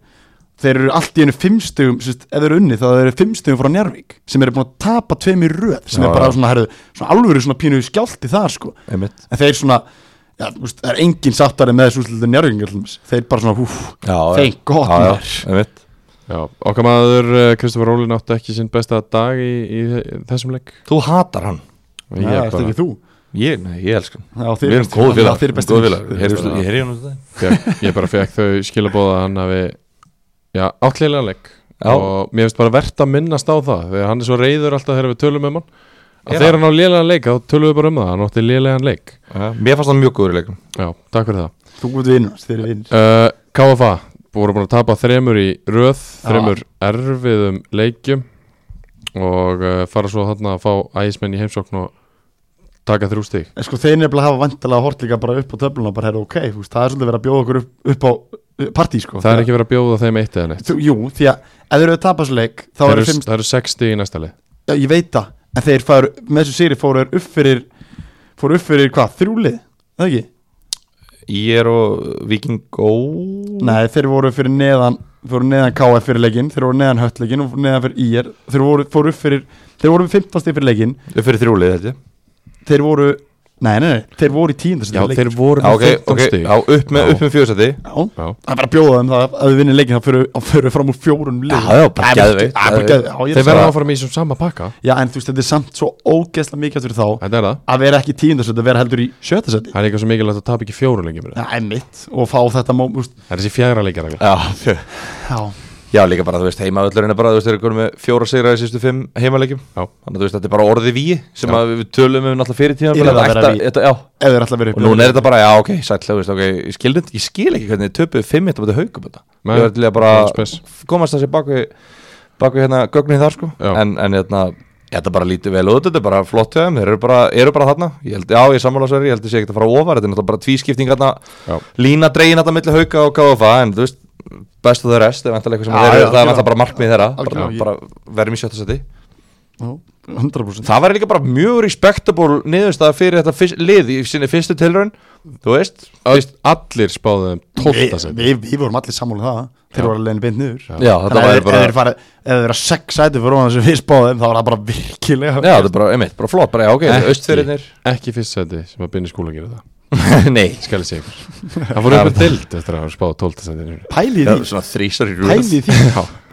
þeir eru allt í einu fimmstugum sérst, ef þeir eru unni þá þeir eru fimmstugum frá Njárvík sem eru búin að tapa tveim í röð sem Já, er bara já. svona, herðu, svona alvöru svona pínu skjálti þar sko Einmitt. en þeir svona, já, þú veist, það er engin sáttari með þessu úslutu Njárvík þeir bara svona, húf, Já, já. þeir gott Já, já, maður. einmitt. Já, okkar maður eh, Kristoffer Rólin átti ekki sinn besta dag í, í þessum leik þú hatar hann Ég Já, þetta er bara ekki þú ég, nei, ég elska hann Já, þeir við erum bestu- góð já, félag þeir eru bestu vinir. ég Já. heyrði hann út af fekk, ég bara fekk þau skilabóða að hann hafi já, átlilega leik Já. og mér finnst bara verðt að minnast á það þegar hann er svo reyður alltaf þegar við tölum um hann að Já. þegar hann á lélegan leik þá tölum við bara um það, hann átti lélegan leik það mér fannst hann mjög góður í leikum já, takk fyrir það Þú ert vinnur, þeir eru vinnur uh, KFA voru búin að tapa þremur í röð þremur erfiðum leikjum og uh, fara svo þarna að fá ægismenn í heimsókn og taka þrjú stig En sko þeir nefnilega hafa vantilega hort líka bara upp á töfluna bara, herru, ok, þú veist, það er svolítið verið að bjóða okkur upp, upp á uh, partí sko það er ekki verið að bjóða þeim eitt eða neitt Þú- Jú, því að ef þeir eru að tapa svo leik þá það eru eru, fimm það eru sex stig í næsta leið Já, ég veit það, en þeir færu, með þessu sýri fóru þeir upp fyrir, fóru upp fyrir hvað, þrjúlið, það ekki? ég er og Viking Ó Nei, þeir voru fyrir neðan, fóru neðan KF fyrir leikinn, þeir voru neðan höllleikinn og fóru neðan fyrir IR, þeir voru, fóru upp fyrir, þeir voru 15 stig fyrir leikinn, Upp fyrir þrjúlið þetta þeir voru, nei, nei, nei, þeir voru í tíundast já, þeir voru Já, með ok, 15 ok, stig já, upp með, Já. upp með fjóðsæti Já, Já. það er bara að bjóða þeim það, ef við vinnum leikinn þá förum- þá fyrir við fram úr fjórun lið. já, bara Það er geðveikt, það er bara geðveikt. geðveikt, já, ég Þeir er verða að áfram í þessum sama pakka Já, en þú veist, þetta er samt svo ógeðslega mikilvægt fyrir þá Þetta er það að vera ekki tíundast, að vera heldur í sjötasæti. Það er líka svo mikilvægt að tapa ekki fjóru lengi mér Það er mitt og fá þetta mó, þú veist, Það er þessi fjæra leikja regla Já, fjö- já, já, líka bara, þú veist, heimavöllurinn er bara, þú veist, þeir eru konum með fjóra sigra í sístu fimm heimaleikjum Já. Þannig að þú veist, þetta er bara orðið víi sem Já. að við tölum um náttúrulega fyrir tíma Yrði að vera vígi. þetta, Já, ef þeir ætla að vera og upp núna er þetta bara, já, ok, sæll, þú veist, ok Ég skil, þetta- ég skil ekki hvernig þið töpuðu fimm eitt á þetta haugum þetta Nei, Ég var til það í að var bara spes. komast þessi bak við bak við hérna gögnin þar sko Já. en, en hérna, þetta bara lítið vel út þetta er bara flott hjá þeim, þeir eru bara, eru bara þarna ég held, já, ég er sammála sér, ég held að sé ekki að fara ofar þetta er náttúrulega bara tvískipting hérna Já. lína dregin þetta milli hauka og KFA en þú veist, best of the rest er vantarlega eitthvað sem Já, þeir eru, það já, er algjörlega. vantarlega bara markmið þeirra bara, Algjörlega. bara verðum í sjötta seti Já, 100% það var líka bara mjög respectable niðurstaða fyrir þetta fyrst, lið í sinni fyrstu tilraun þú veist, Öll, allir spáðu þeim 12. Við sæti vi, vi vorum allir sammálið það Þeir voru alveg leiðin beint niður já, þetta Þannig var að ef- ef þeir fara- ef þeir vera sex sæti fyrir ofan sem við spáðum þá var það bara virkilega Já, þetta er bara, einmitt, bara flott, bara, já, ok, Ekki. austfyrirnir Ekki fyrst sæti sem að byrja skóla að gera það Nei, Skal ég segja ykkur Það fór upp í dild eftir að hafa spáð 12. sæti niður. Pæli í það er því svona þrísar í rúð Pæli í því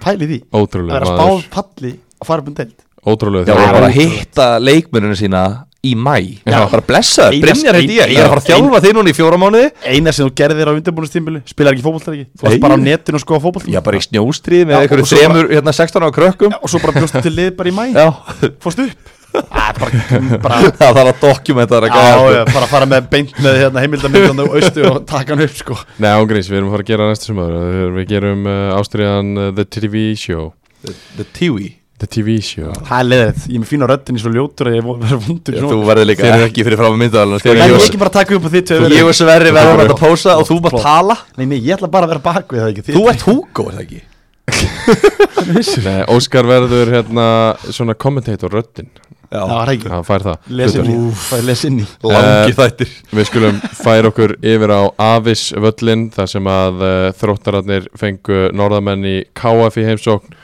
Pæli í því Að Ótrúlega vera maður spáð falli að fara upp um deild Ótrúlega Já, það er bara að þjálfari. hitta leikmenninu sína í mæ Já, Já. bara blessa það, Eina- Brynjar heiti ég Ég er að fara að ein- þjálfa þig núna í fjóra mánuði Eina sem þú gerðir á undirbúinustímbili spilar ekki fótboltar ekki Þú varst Nei. bara á netinu og skoða fótboltar Já, bara í snjóstrið Já, með einhverju og svo bara- þremur, hérna, 16 ára krökkum Og svo bara bjóstu til lið bara í mæ Já, Fórstu upp Það er bara, bara það þarf að dokumenta það Já, já, bara fara með beint með hérna, heimildamindandi og austu og taka hann upp sko Nei, ángreins, við erum að fara að gera næsta sumar Við gerum uh, ástriðan uh, The TV Show The Tiwi The TV Show Það er leðið, ég er með fína röddin í svo ljótur að ég verður vondur Þú svona verður líka Þeir- ekki fyrir fram að myndaðalina sko. Þeir- En Ég ég og- ekki bara taka upp á þitt Ég og Sverri verður að pósa og þú bara Flott. tala Nei, nei, ég ætla bara að vera bak við það ekki Þú ert Hugo, er það ekki? Nei, Óskar verður hérna svona kommentator röddin Já, það er ekki Hann fær það Les inn í, hlutverk. það er les inn í Langi þættir Við skulum færa okkur yfir á Avis völlin þar sem að uh, þróttararnir fengu norðamenn í KF í heimsókn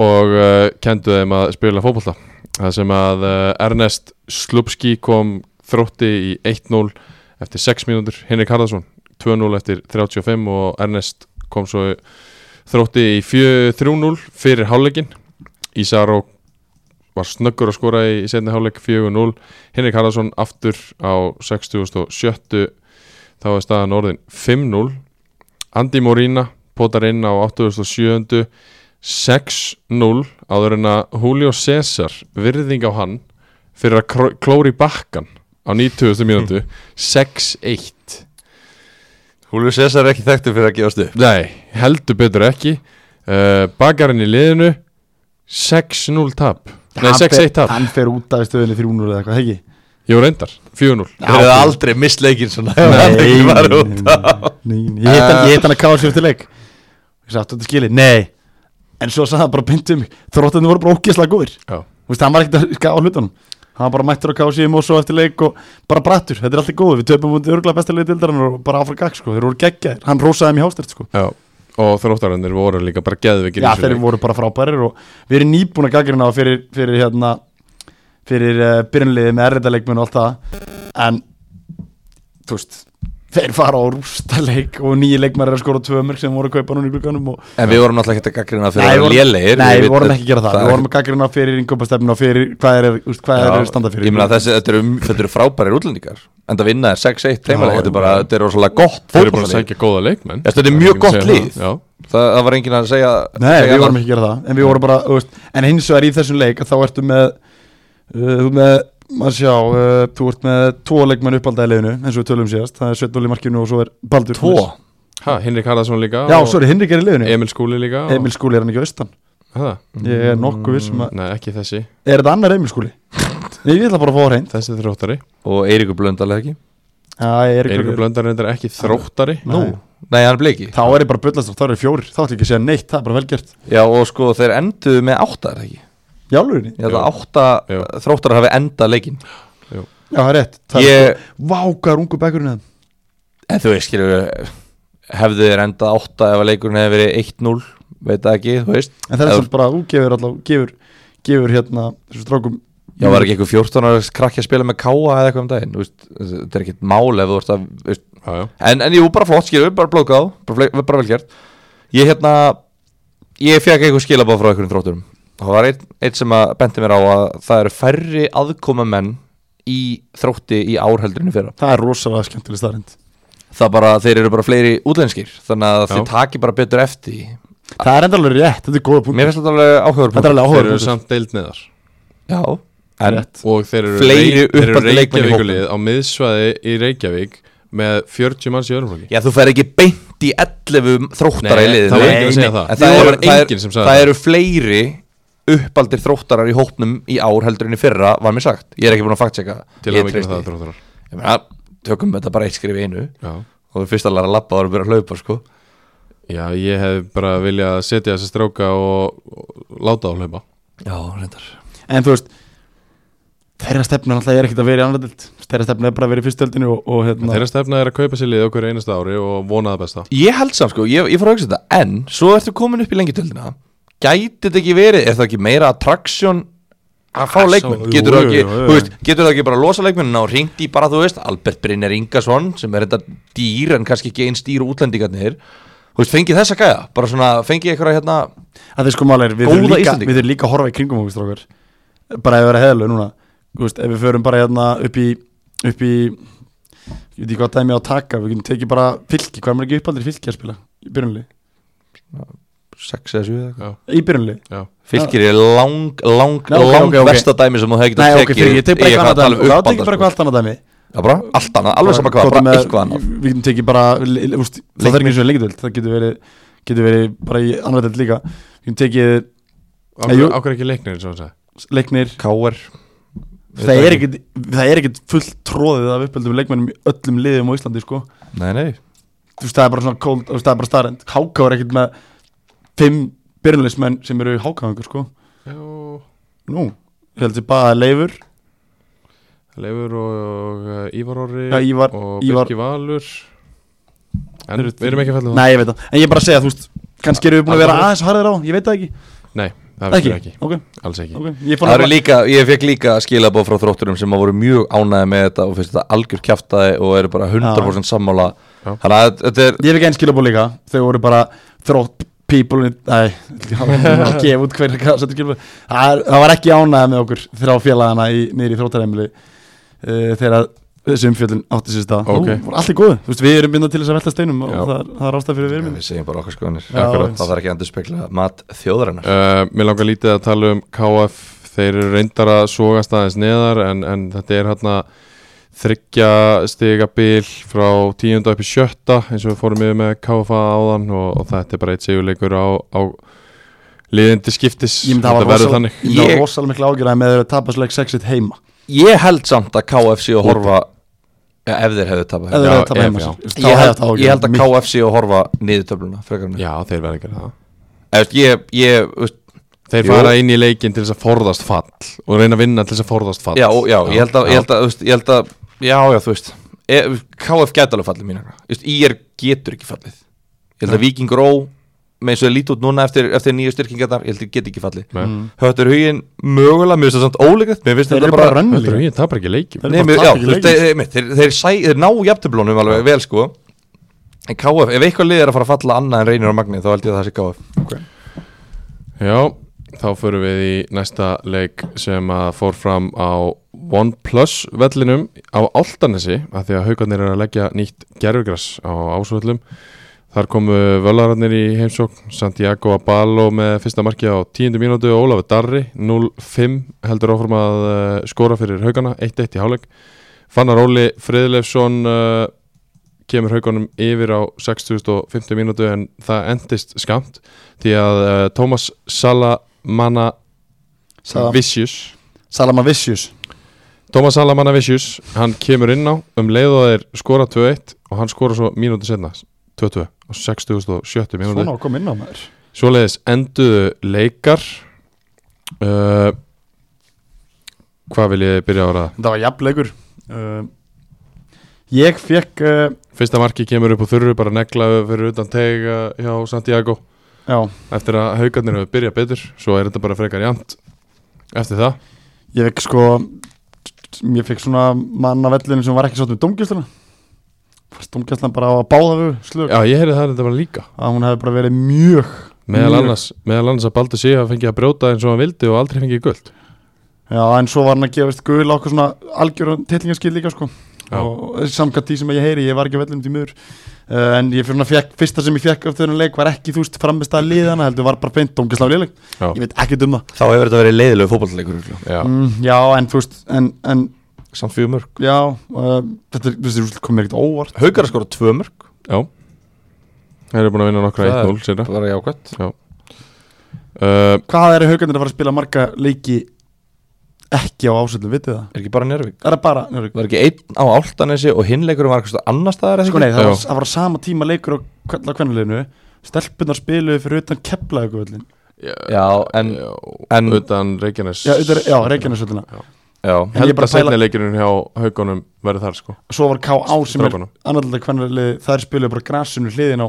og uh, kendu þeim að spila fótbolta þar sem að uh, Ernest Slupski kom þrótti í 1-0 eftir 6 mínútur Henrik Harðarsson 2-0 eftir 35 og Ernest kom svo þrótti í fjö- 3-0 fyrir hálfleikin Ísaró var snöggur að skora í setni hálfleik 4-0 Henrik Harðarsson aftur á 67. þá er staðan orðin 5-0 Andi Morína potar inn á 87. 6-0 áður en að Julio César virðing á hann fyrir að kró- klóra í bakkan á 90. mínútu 6-1 Húlu César er ekki þekktur fyrir að gefast upp Nei, heldur betur ekki uh, Bakarinn í liðinu 6-0 tap Eh, Nei, Hann fer- 6-1 tap Hann fer út af stöðinni 3-0 eða eitthvað, ekki? Jú, reyndar, 4-0 Þeir eru aldrei misleikinn svona Nei, Var út nei, nei, nei. Ég hitt hann, ég hitt hann að káða sér til leik Ég sagði þetta skili, nei En svo sagði hann bara beint um mig Þróttinni voru bara ógeðslega góðir Já. Þú veist, hann var ekkert að skáða hlutunum Hann var bara mættur að káða sér og svo eftir leik og bara brattur, þetta er alltaf góð Við töpum út örgulega besta leik dildarinn og bara áfram gag sko Þeir voru geggjaðir, hann rósaði þeim í hástert sko Já, og þróttararnir voru líka bara geðveikir í Já, þessu þeir leik. voru bara frábærir og við erum nýbúin að gaggrina á fyrir, fyrir hérna fyrir uh, byrjunliðið með erriðaleikmenn og allt það en þú veist, þeir fara á rústaleik og nýji leikmenn er að skora tvö mörg sem voru að kaupa núna í glugganum og En við vorum náttúrulega ekkert að gaggrina fyrir Nei, að við vera vorum- lélegir Nei, Við við vorum vitum- ekki að gera það, við vorum að gaggrina fyrir innkaupastefnina og fyrir hvað er, þú veist, hvað Já, er að standa fyrir Ég meina þessi, þetta eru, þetta eru frábærir útlendingar En það vinna er 6-1 teimalega Já, Þetta er bara, þetta er rosalega gott Þeir eru búin að fótboltalið. sækja góða leikmenn Já, þetta er Það ekki mjög að gott segja lið. það. Já, það, það var enginn að segja Nei, segja við vorum það. ekki að gera það En við vorum bara, þú veist, en hins vegar í þessum leik þá ertu með, uh, þú með maður sjá, uh, þú ert með tvo leikmenn uppaldaði leiðinu, eins og við tölum síðast það er Sveitnóli markinu og svo er Baldur Tvo ha, Henrik Harðarsson líka Já, og sorry, Henrik er í leiðinu Emil Skúli líka og- Emil Skúli er hann ekki á austan Ha, Ég er nokkuð vissum að Nei, ekki þessi, Er þetta annar Emil Skúli? Nei, ég ætla bara að fá á hreint þessi þróttari Og Eiríkur Blöndal eða ekki Já, ég er Eiríkur ekki Blöndar reyndar ekki þróttari Nú. Nei, hann er bleiki Þá er ég bara bullast þá eru fjórir, þá ætla ég ekki að segja neitt, það er bara velgjert Já, og sko þeir enduðu með átta er það ekki Í alvöginni? Ég held Jú. að átta Jú. þróttar hafi enda leikin Já, það er sko- rétt það Ég- er, Vá, hvað er ungu bekkurinn hérna. það? En þú veist, skilur Hefðu þeir endað átta ef að leikurinn hefði verið 1-0 Veit það ekki, þú veist En það er Ef- svolítið bara, þú gefur alltaf, gefur, gefur hérna, þessu strákum Já, var ekki einhver 14 ára krakki að spila með káa eða eitthvað um daginn, þú veist, þetta er ekkert mál ef þú ert að, þú veist, Já, já, en, en jú, bara flott, skilur, bara blókað, bara, fle- bara velgjert. Ég hérna, ég fekk einhver skilabáð frá einhverjum þrótturum. Það var einn ein sem að benti mér á að það eru færri aðkoma menn í þrótti í árheldurinu fyrra. Það er rosalega skemmtileg staðrind Það bara, þeir eru bara fleiri útlenskir, þannig að Já. þið taki bara betur eftir. því. Það er enda alveg rétt, þetta er góða punkt Mér finnst þetta alveg áhugaður. Þetta er alveg þeir eru áhugaður punktur. samt deild neðar Já, en Rétt. Og þeir eru, Fleiri þeir eru uppaldi leikmenn í Reykjavíkulið á miðsvæði í Reykjavík með 40 manns í öðrumflokki Já, þú fer ekki beint í 11 þróttara Nei, í liðið það var þú- enginn að segja Nei, það. en það, Jú, það er, var það, enginn sem er, sagði það það. eru fleiri uppaldir þróttarar í hópnum í ár heldur en í fyrra var mér sagt ég er ekki búin að faktseka Til að mikið með það þróttarar ég meina, tökum þetta bara eitt skrif í einu Já. og fyrst að læra að lappa og að byrja að hlaupa sko. Já, ég hef bara viljað setja þessi stráka og, og láta á hlaupa já, reyndar En þú veist Þeirra stefnu alltaf er ekkert að vera í annaðild Þeirra stefnu er bara að vera í fyrstöldinu og, og hérna Þeirra stefna er að kaupa sér lið okkur einasta ári og vona það besta ég held samt sko, ég, ég fór að hugsa þetta en svo ertu komin upp í lengjutöldina gæti þetta ekki verið, er það ekki meira attraction að fá Ah, leikmenn svo- getur jú, það ekki, jú, jú, þú jú. veist, getur það ekki bara að losa leikmenn og hringt í bara, þú veist, Albert Brynjar Ingason sem er þetta dýr en kannski ekki einn stýr útlendingarnir, þú veist, fengið þessa gæja bara svona, fengið eitthvað hérna að þeir sko málir, við Góða þurfum líka, Íslendinga. við þurfum líka að horfa í kringum okkur strókar bara ef við erum heðalega núna Þú veist, ef við förum bara hérna upp í upp í, ég veit ekki hvað dæmi á að taka við getum tekið bara fylki, hvað er maður ekki uppaldir í fylki að spila í byrjunli, sex eða 7 eða eitthvað í byrjunli Já, fylgir er lang, lang, Nei, ok, lang ok, ok. besta dæmi sem þú hefði Nei, getað ok, fyrir, ég tek bara Ég er eitthvað að tala annað um dæmi Já, tek uppalda, sko. bara eitthvað allt annað dæmi Já, bara allt annað, alveg sama hvað, Hvort bara með- eitthvað annað Við getum tekið bara, li- li- úst, það er ekki eins og lengitöld það getur verið, getur verið bara í annar dælt líka við getum tekið Nei, jú. ákveð ekki leiknir eins og hann sagði leiknir K.R. það er, ekkit, það er ekkit fullt tróðið af uppöldum leikmennum í öllum liðum á Íslandi sko. Nei, nei þú veist það er bara svona cold, þú veist það er bara starrend Háká er ekkit með fimm byrjunleismenn sem eru hákáðingur sko. Já, nú, ég held sér bara Leifur Leifur og, og uh, Ívar Orri Já, Ívar- og Ívar- Birki Valur En við erum ekki að falla það nei ég veit það, en ég er bara að segja þú veist kannski eru við búin að vera Alveg. aðeins harðir á ég veit það ekki, Nei, það finnst ekki, ekki. ok, alls ekki ok ég fór Það eru nefnilega- líka, ég fekk líka skilabóð frá þrótturum sem að voru mjög ánæði með þetta og finnst þetta algjör kjaftaði og eru bara 100% sammála Já. Þannig að þetta er, ég fikk einn skilabóð líka þau voru bara þrótt people in- nei, ég var að gefa út hverja hvað settur skilabóð það er- það var ekki ánæða með okkur þrjá félagana í, niður í þróttaræmili uh, þegar þessi umfjöldin átti sér stað Ok. Þú, voru allt í góðu, þú veist við erum byrjað til þess að velta steinum og Já. það, er- það er ástæð fyrir við erum við segjum bara okkar skoðanir Já, Akkurat. eins. Það þarf ekki að endur spekla mat þjóðarinnar uh, Mér langar lítið að tala um KF Þeir eru reyndar að sogast aðeins neðar en, en þetta er hérna þryggja stiga bil frá tíunda upp í sjötta eins og við fórum yfir með KF áðan og, og þetta er bara eitt sigurleikur á, á liðindi skiptis Ég myndi hafa Þetta verður rosal- þannig ég myndi Ég- hafa rosalega mikla ágjörðaði með að þeir tapast leik 6-1 heima Ég held samt að KFC og horfa ja, ef þeir hefðu tapað eða Já, þeir hefðu tapast ef, heima já. Þú veist, þá ég, hefði held, þetta áhyggjur. ég held að Mikið- KFC og horfa niður töfluna frekar en- Já, þeir verður að gera það Eða, veist, Ég, ég, veist, Þeir Jú. fara inn í leikin til þess að forðast fall og reyna að vinna til þess að forðast fall já, og- já, ég held að, ég held að, veist, ég held að já, já, þú veist e, KF gæti alveg fallið mín IR getur ekki fallið ég held að Vikingur Ó með eins og það lítið út núna eftir, eftir nýju styrkingarnar ég held að geti ekki fallið Nei. Höttur huginn mögulega, mér finnst það samt óleiklegt mér finnst Mm. Þeir þetta eru bara bara Þetta er rönnulík huginn, tapar ekki leikin Þeir Nei, eru mér, bara já, tapir í þú veist, leiknum. þeir, þeir, þeir, þeir, sæ, þeir ná jafntöflunum alveg vel sko en KF, ef eitthvað lið er að fara að falla annað en reynir og magni þá held ég að það sé KF Já, þá förum við í næsta leik sem að fór fram á OnePlus vellinum á Altanesi að því að haugarnir eru að leggja nýtt gerfugras á ásvöllum Þar komu völararnir í heimsókn Santiago Abalo með fyrsta marki á 10. mínútu og Ólafur Darri 0-5 heldur áfram að eh, skora fyrir haugana 1-1 í háleik Fannar Óli Friðleifsson uh, kemur haugunum yfir á 6050 mínútu en það endist skamt því að uh, Thomas Salamanna Sala- Vicious Salama Vicious Thomas Salamanna Vicious, hann kemur inn á um leið og þeir skora 2-1 og hann skora svo mínútu setna 2-2 á 6070 mínútu svona að koma inn á maður Svoleiðis enduðu leikar uh, Hvað vil ég byrja á að ræða? þetta var jafnleikur Uh, ég fekk uh, Fyrsta marki kemur upp úr þurru bara neglaðu fyrir utan tega hjá Santiago já, eftir að haugarnir hefur byrjað betur svo er þetta bara frekar jæmt eftir það ég fekk sko ég fekk svona mann af vellinu sem var ekki um sátt með domgjastlana domgjastlan bara á að báða við slög Já, ég heyrði það þetta bara líka að hún hefði bara verið mjög meðal Mjög. annars, meðal annars að Baldur síðan fengi að brjóta eins og hann vildi og aldrei fengi guld já, en svo var hann að gefa gul á okkur svona algjörðan tillingarskil líka sko Já. og samkvæmt því sem ég heyri, ég var ekki á vellinum til mjögur uh, en ég fyrir svona fekk, fyrsta sem ég fekk af þennan leik var ekki þú veist framist að liðana heldur var bara beint domgjastlan léleg Já. ég veit ekki um það þá hefur þetta verið leiðilegu fótballleikur Já, mm, já, en þú veist, en, en samt fjögur mörg Já, uh, þetta er- þessi rúst kom mér ekkert á óvart Haukar að skora tvö mörg já Þeir eru búin að vinna nokkra Það er- 1-0 síðan bara jákvæmt Já uh, Hvað eru haugarnir að fara að spila marga leiki ekki á ásöldu, vitið það? Er ekki bara Njörvík? Er það bara, njörg, Var ekki einn á Áltanesi og hinleikur var eitthvað annar staðar eða sko nei, ekki? það var, Já. það var á sama tíma leikur á kvella kvennuleginu Stelpunar spiluðu fyrir utan keflaðugvöldin Já, en, já, en utan Reykjanes Já, utan- já Reykjanesvöldina já, En ég held bara að setna pæla- leikirinn hjá haugunum verði þar sko Svo var K.A. sem er Strákunum. annarlega kvennulegi Þær spiluðu bara grasinu hliðin á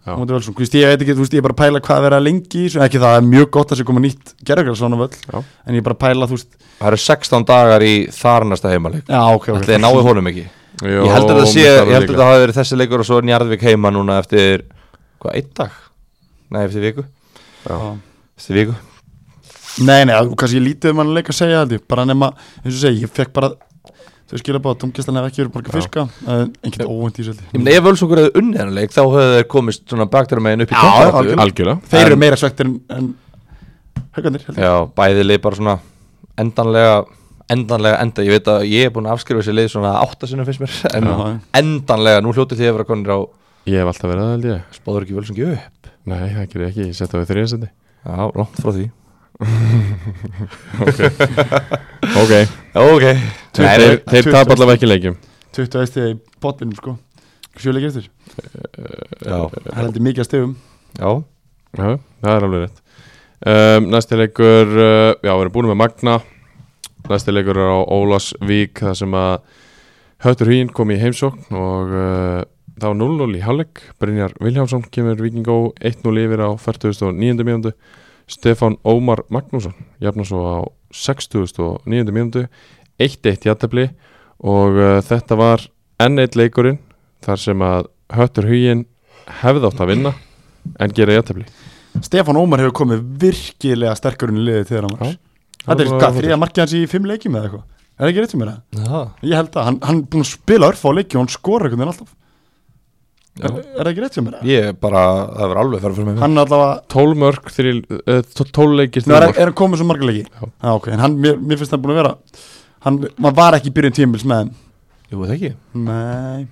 Já. Móti Völsum, Þú veist, ég veit ekki, þú veist, ég er bara að pæla hvað að vera lengi í þessu. Ekki það, það er mjög gott að sé koma nýtt gerðargræslána völl Já. En ég er bara að pæla, þú veist það eru 16 dagar í þarnasta heimaleik Já, ok, ok Ætli þið náðu honum ekki Jó, Ég held að það sé, mér ég þarf held að líka. það hafi verið þessi leikur og svo er Njarðvík heima núna eftir, hvað, einn dag? Nei, eftir viku, Já. eftir viku Nei, nei, og kannski ég lítið um hann leik að segja held ég bara nema, eins og segi, ég fekk bara þau skilja bara að tómkistan hef ekki verið marga fiska en ekkert óvænt í þessu held Ég meina, ef Völsungur hefði unnið hann leik þá hefðu þeir komist svona baktur meginn upp í Já, toppbaráttu. algjörlega. algjörlega ég Þeir eru meira svektir en, en haugandir held ég Já, bæði leið bara svona endanlega endanlega enda, ég veit að ég er búin að afskrifa þessi leið svona áttasinnu finnst mér en Já. endanlega, nú hljótið því að vera konir á Ég hef alltaf verið það held ég spáður ekki völsungi upp Nei, það gerir ég ekki, ég setja við þriðasendi Já, langt frá því Ok, Ok, þeir, Nei, þeir, þeir- þeir tap 20. allavega ekki leikjum 21 stegi í potvinum sko sjöleikir eftir, já, það er heldur mikið að stegum já, Já, það er alveg rétt um, Næsti leikur, uh, já, við erum búin með Magna Næsti leikur er á Ólasvík þar sem að Höttur Hýn kom í heimsókn og uh, það var 0-0 í hálfleik Brynjar Viljámsson kemur Víkingó 1-0 yfir á 49. mínútu Stefan Ómar Magnússon jafna svo á 69. mínútu 1-1 jættabli og uh, þetta var enn eitt leikurinn þar sem að Höttur Hýn hefði átt að vinna en gera jættabli Stefán Ómar hefur komið virkilega sterkurinn í liðið til Já. þeirra margs Þetta Já, er hvað, það þriða markið hans í fimm leikjum eða eitthvað Er það ekki rétt um mér það? já. Ég held að hann, hann er búin að spila örf á leiki og hann skora einhvern veginn alltaf Er, er það ekki rétt um mér það? Ég er bara, það verður alveg farið fyrir mig Hann er allavega 12 mörg, 12 eh, leikir Nú, 3 er, mörg er hann komið svo marga leiki? Já. Já, ok, en hann, mér, mér finnst hann búin að vera hann, maður var ekki í byrjun tímbils með hann Jú, það ekki Nei,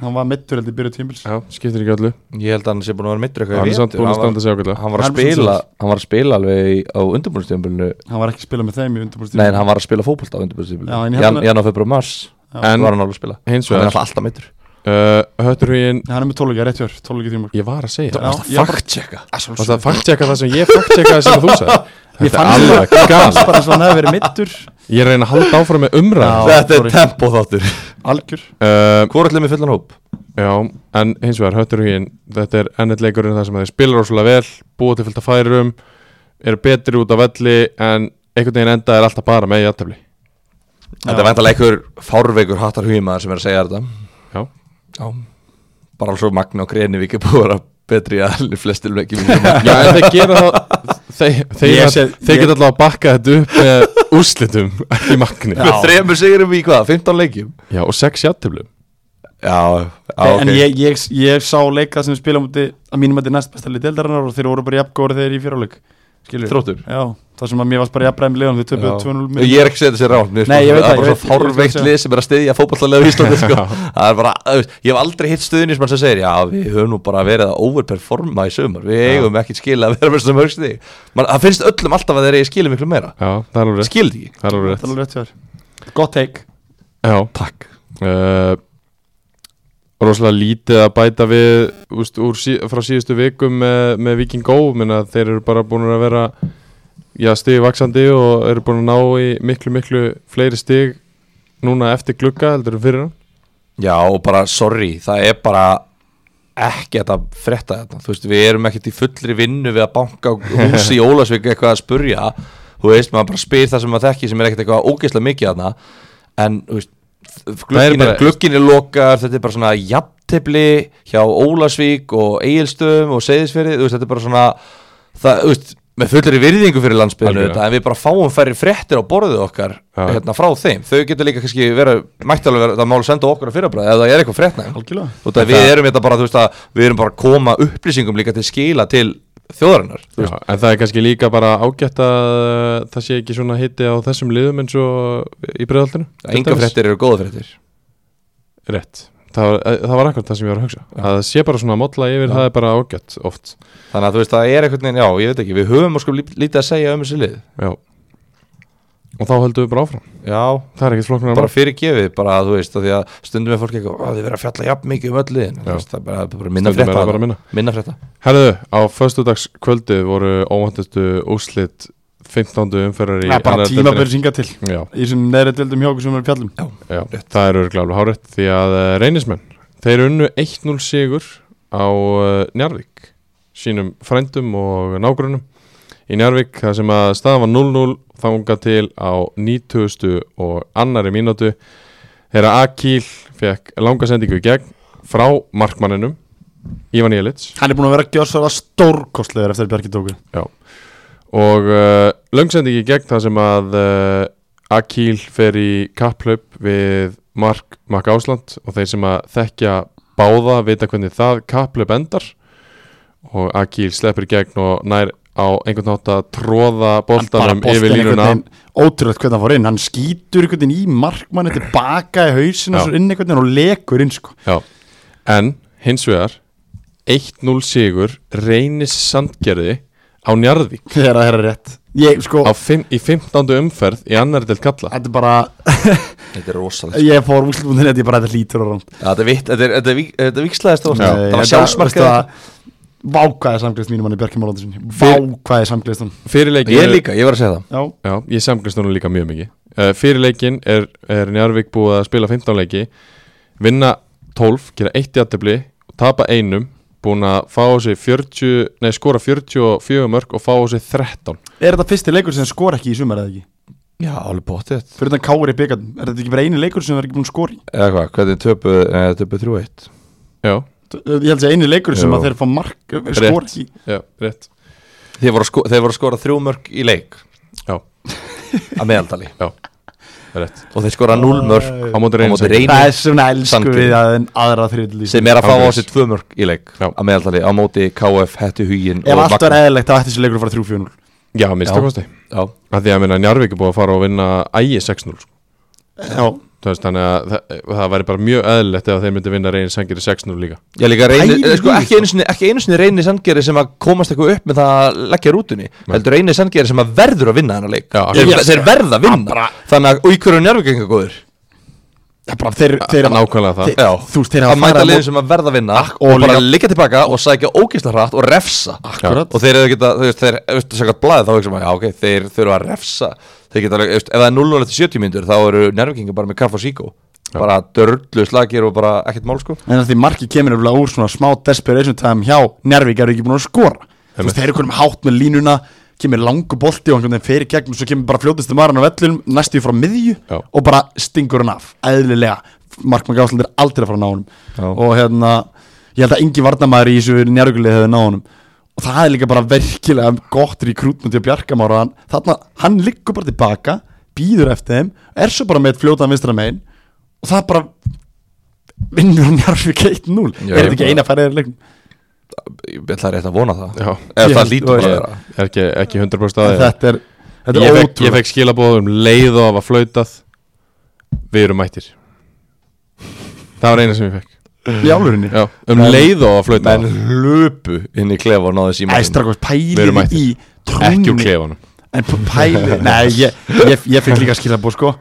hann var mittur heldur í byrjun tímbils Já, skiptir ekki öllu Ég held að hann sé búin að vera meittur eitthvað Hann í er samt vetur. búin að Hann var- standa sig ákveðlega Hann var að Hann er búinn að spila, standa hann var að spila alveg í- á undirbúinstjömbulinu Hann var ekki að spila með þeim í undirbúinst Nei, en hann var að spila fótbolta á undirbúinstjömbulinu Já, Jan, en ég held Jan, að- Jan og Februar Mars En var hann alveg að spila hins Hann er vegar alltaf alltaf meittur uh, Hötturhugin, Hann er með tóluleika, rétt hjör, tóluleika þrjumörk ég var að segja það Já, ég, bara, checka Og það fakttjekka það sem ég fakttjekkaði sem þú sagði ég Þetta er fannst alveg gal bara eins og hann hefði verið mittur Ég reyna að halda áfram með umræð Já. Þetta er sorry. tempo þáttur Algjör uh, Hvor ætlum við fullan hóp? Já, en hins vegar Hötturhugin Þetta er ennett leikurinn þar sem þeir spilar óslega vel Búa til fylgta færum Eru betri út af velli En einhvern veginn enda er alltaf bara með jættafli Þetta er vantalega einhver fárveikur hattar hugimaður sem er að segja þetta Já, Já Bara alveg svo Magna og Grenivík er búið að vera betri í allir flestil ekki Já, en þeir gera það Þeir, þeir, Ég sé- þeir ég- geta alltaf að bakka þetta upp með úrslitum í magni Já, Með þremur sigurum í hvað? 15 leikjum? og sex játtöflum Já, já En ég, ég, ég sá leika sem við spila múti að mínum þetta er næst besta lið deildarinnar og þeir voru bara jafngóri þeir í fjáráleik Skilur Þróttur Já, það sem að mér varst bara jafnbræðum liðan við töpuðu 2-0 Já. með- Ég er ekki að segja þessi rátt Mér Nei, finnst ég veit það er það, ég bara veit- svo fárveikt ég veit lið sem er að styðja fótballlega í Íslandi sko. Það er bara, þú veist, Ég hef aldrei hitt stuðni sem sem segir Já, við höfum nú bara verið að overperforma í sömur Við eigum ekki skil að vera með þessum högsti Man, Það finnst öllum alltaf að þeir eigi skilið miklu meira Já, það er alveg rétt Skilið ekki Það er alveg Þetta rétt er alveg rétt hjá þér Gott take Já, Takk uh, Róslega lítið að bæta við úst, úr, sí, frá síðustu vikum með, með Viking Go menna, þeir eru bara búin að vera já, stig vaksandi og eru búin að ná í miklu, miklu fleiri stig núna eftir glugga heldur en fyrir hann Já, og bara, sorry, það er bara ekkert að frétta þetta þú veist, við erum ekkert í fullri vinnu við að banka á húsi í Ólasvík eitthvað að spurja, þú veist, maður bara spyr það sem maður þekki sem er ekkert eitthvað ógeðslega mikið þarna, en, þú veist Það er glukkin er, bara- glukkin er lokar, þetta er bara svona jafntefli hjá Ólasvík og Egilstöðum og Seyðisfyrði, þú veist, þetta er bara svona það, þú veist, með fullri virðingu fyrir landsbyrðinu Algjörlega. þetta, en við bara fáum færri fréttir á borðið okkar Já. hérna frá þeim, þau getur líka kannski verið, mætti alveg vera, það mál senda okkur að fyrirbræða ef það er eitthvað frétnæg Algjörlega Þú veist að við erum þetta bara, þú veist að við erum bara að koma upplýsingum líka til skila til þjóðarinnar Já, þú veist. en það er kannski líka bara ágætt að uh, það sé ekki svona hitti á þessum liðum eins og í breðaldinu Enga fréttir eru góða fréttir Rétt, það var, eh, það var akkurat það sem ég var að hugsa að það sé bara svona að molla yfir, það er bara ágætt oft Þannig að þú veist, það er einhvern veginn, já, ég veit ekki Við höfum sko lít- lítið að segja um þessi lið já. og þá höldum við bara áfram Já, það er ekkert flokknar bara fyrir gefið, bara þú veist af Því að stundum er fólk eitthvað, "Ó, þið verða að fjalla jafn mikið um öll liðin Þú Já. veist, Það er bara, bara minna Stundum er frétta það bara þarna. minna. Minna frétta Herðu, á föstudagskvöldi voru óvæntustu úslit 15. umferðar í Það er bara annarri deildinni. tímabæri synga til Já, Í sem neðri deildum hjá okkur sem við fjallum já, það er örgulega alveg hárétt því að eh, reynismenn, þeir unnu 1-0 sigur á eh, Njarðvík sínum frændum og nágrunum í Njarðvík þar sem að staðan var 0-0 þanga til á 90. og annari mínútu þegar Akil fekk langa sendingu í gegn frá markmanninum Ivan Jelits Hann er búin að vera gjörsala stórkostlegar eftir að Bjarki tóku og uh, löngsending í gegn það sem að uh, Akil fer í kapplaup við Mark, Mark Ásland og þeir sem að þekkja báða vita hvernig það kapplaup endar og Akil sleppur í gegn og nær á einhvern nátt að tróða boltanum um yfir línuna Ótrúlegt hvernig hann fór inn Hann skýtur einhvern veginn í markmanni tilbaka í hausin Já. og svo inn einhvern veginn og lekur inn sko Já. en hins vegar 1-0 sigur reynis sandgerði á Njarðvík Þegar það er rétt Ég sko á fimm, í 15. umferð í annar del kalla Þetta er bara Þetta er rosalega Ég fór útlbúndinni Þetta er bara þetta lítur og rámt Já, Þetta er vitt, þetta er- þetta er vík- þetta er vikslaðist Nei, Það var þetta- sjálfsmarkað veistu það, Vákvæði samgleðst mínum manni Bjarki Málóndarsinni Vákvæði samgleðst hann fyrirleikin Ég líka, ég var að segja það Já Já, ég samkvæmst núna líka mjög mikið uh, Fyrir leikinn er, er Njarvík búið að spila 15 leiki Vinna 12, gera 1 jættibli Tapa einum Búin að fá á sig 40 Nei, skora 44 mörg og fá á sig 13 Er þetta fyrsti leikur sem skor ekki í sumar eða ekki? Já, alveg bóttið Fyrir þannig kári byggarn Er þetta ekki bara eini leikur sem það er ekki búin að skori? Eða hvað, hvernig töpu, eh, töpu 3-1 Já, Ég held að segja eini leikur sem Jú. að þeir fá mark Skor ekki já, rétt Þeir voru að sko- þeir voru að skora þrjú mörg í leik Já, Að meðaldali já, rétt Og þeir skora 0 Á mörg móti Á reynis móti Reyni. Það er svona elsku Sandgerði. við að en aðra þriðli sem er að fá á Ángríns. sig tvö mörg í leik Já. að meðaltali á móti KF, Hættu Hugin Ef og allt var Magna. eðlilegt þá ætti þessi leikur að fara 3-4-0 Já, mista kosti Já, Af Því að minna Njarvík er búið að fara og vinna ægi 6-0 sko. Já, Þú veist, Þannig að það, það væri bara mjög eðlilegt ef þeir myndi vinna reynis sangir 6-0 líka ég líka reyni, Ægir eh, sko, Huginn, ekki, einu sinni, ekki einu sinni reyni sandgeri sem að komast eitthvað upp með það að leggja rútunni heldur reyni sandgeri sem að verður að vinna þennan leik Já, þeir, akkurat. þeir verða að vinna þannig að og í hverju njárvíkengar góður það er bara þeir, þeir nákvæmlega það. þeir- Já. Þú veist, þeir að hafa mæta farið liðin sem að verða að vinna Ak- og og bara líka- liggja tilbaka og sækja ógeðslega hrætt og refsa Akkurat. og þeir eru geta, þú veist, þeir þú veist, sækja blaðið þá ekki sem að, já ok, þeir þurfa að refsa þeir geta, alveg, þú veist, ef það er 0-0 eftir 70 mínútur þá eru njárvíkengar bara með karf og síkó bara dörrlu slagir og bara ekkert mál sko En að því marki kemur nefnilega úr svona smá desperation time hjá Njarvík eru ekki búin að skora Þú veist, þeir eru konum hátt með línuna kemur langu bolti og einhvern veginn fyrir gegnum svo kemur bara fljótustu maðurinn á vellunum næstu í frá miðju Já. og bara stingur hann af eðlilega, Markmann Gásland er aldrei að fara að ná Já. honum og hérna ég held að engi varnamæður í þessu njárvíkulið hefði ná honum og það er líka bara virkilega gott rekrútment til Bjarkamára hann, þarna, hann liggur bara tilbaka býður eftir þeim, er svo bara með fljótaðan vinstra megin og það bara vinnur Njarvík 1-0 Já, er ég þetta ekki bara- eina færið leiknum ég ætla rétt að vona það Já. ef Ég það held- lítur bara að ég- vera Er ekki, ekki 100% en aðeins þetta er, ég þetta er fekk, ég ótrúlega fekk skilabóð um leið og að var flautað Við erum mættir Það var eina sem ég fekk í álurinni Já, Um leið og að flauta menn hlupu inn í klefa og náðu síma æstrakos Við erum pælið mættir. í Ekki úr trúnni klefanum en p- pælið nei, ég, ég, ég fekk líka skilabóð sko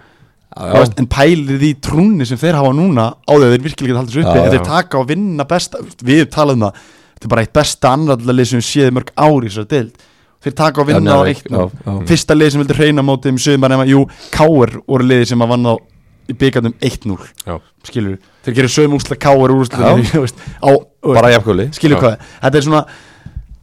Þú veist, en pælið í trúnni sem þeir hafa núna á því að þeir virkilega geta haldið þessu uppi Já, ef þeir já. taka og vinna besta við talaðum það, þetta er bara eitt besta annarlega lið sem við séð í mörg ári í þessari deild þeir taka og vinna á Njarðvík, eitt núll. já, já. fyrsta lið sem vildi hreina mótið um sögumar nema, jú, Káur voru liðið sem að vann á í byggandum 1-0 Já, skilur þeir gerir sögum úsla káar úr úsla Já. á, bara jafnkvöli skilur Já. hvað þetta er svona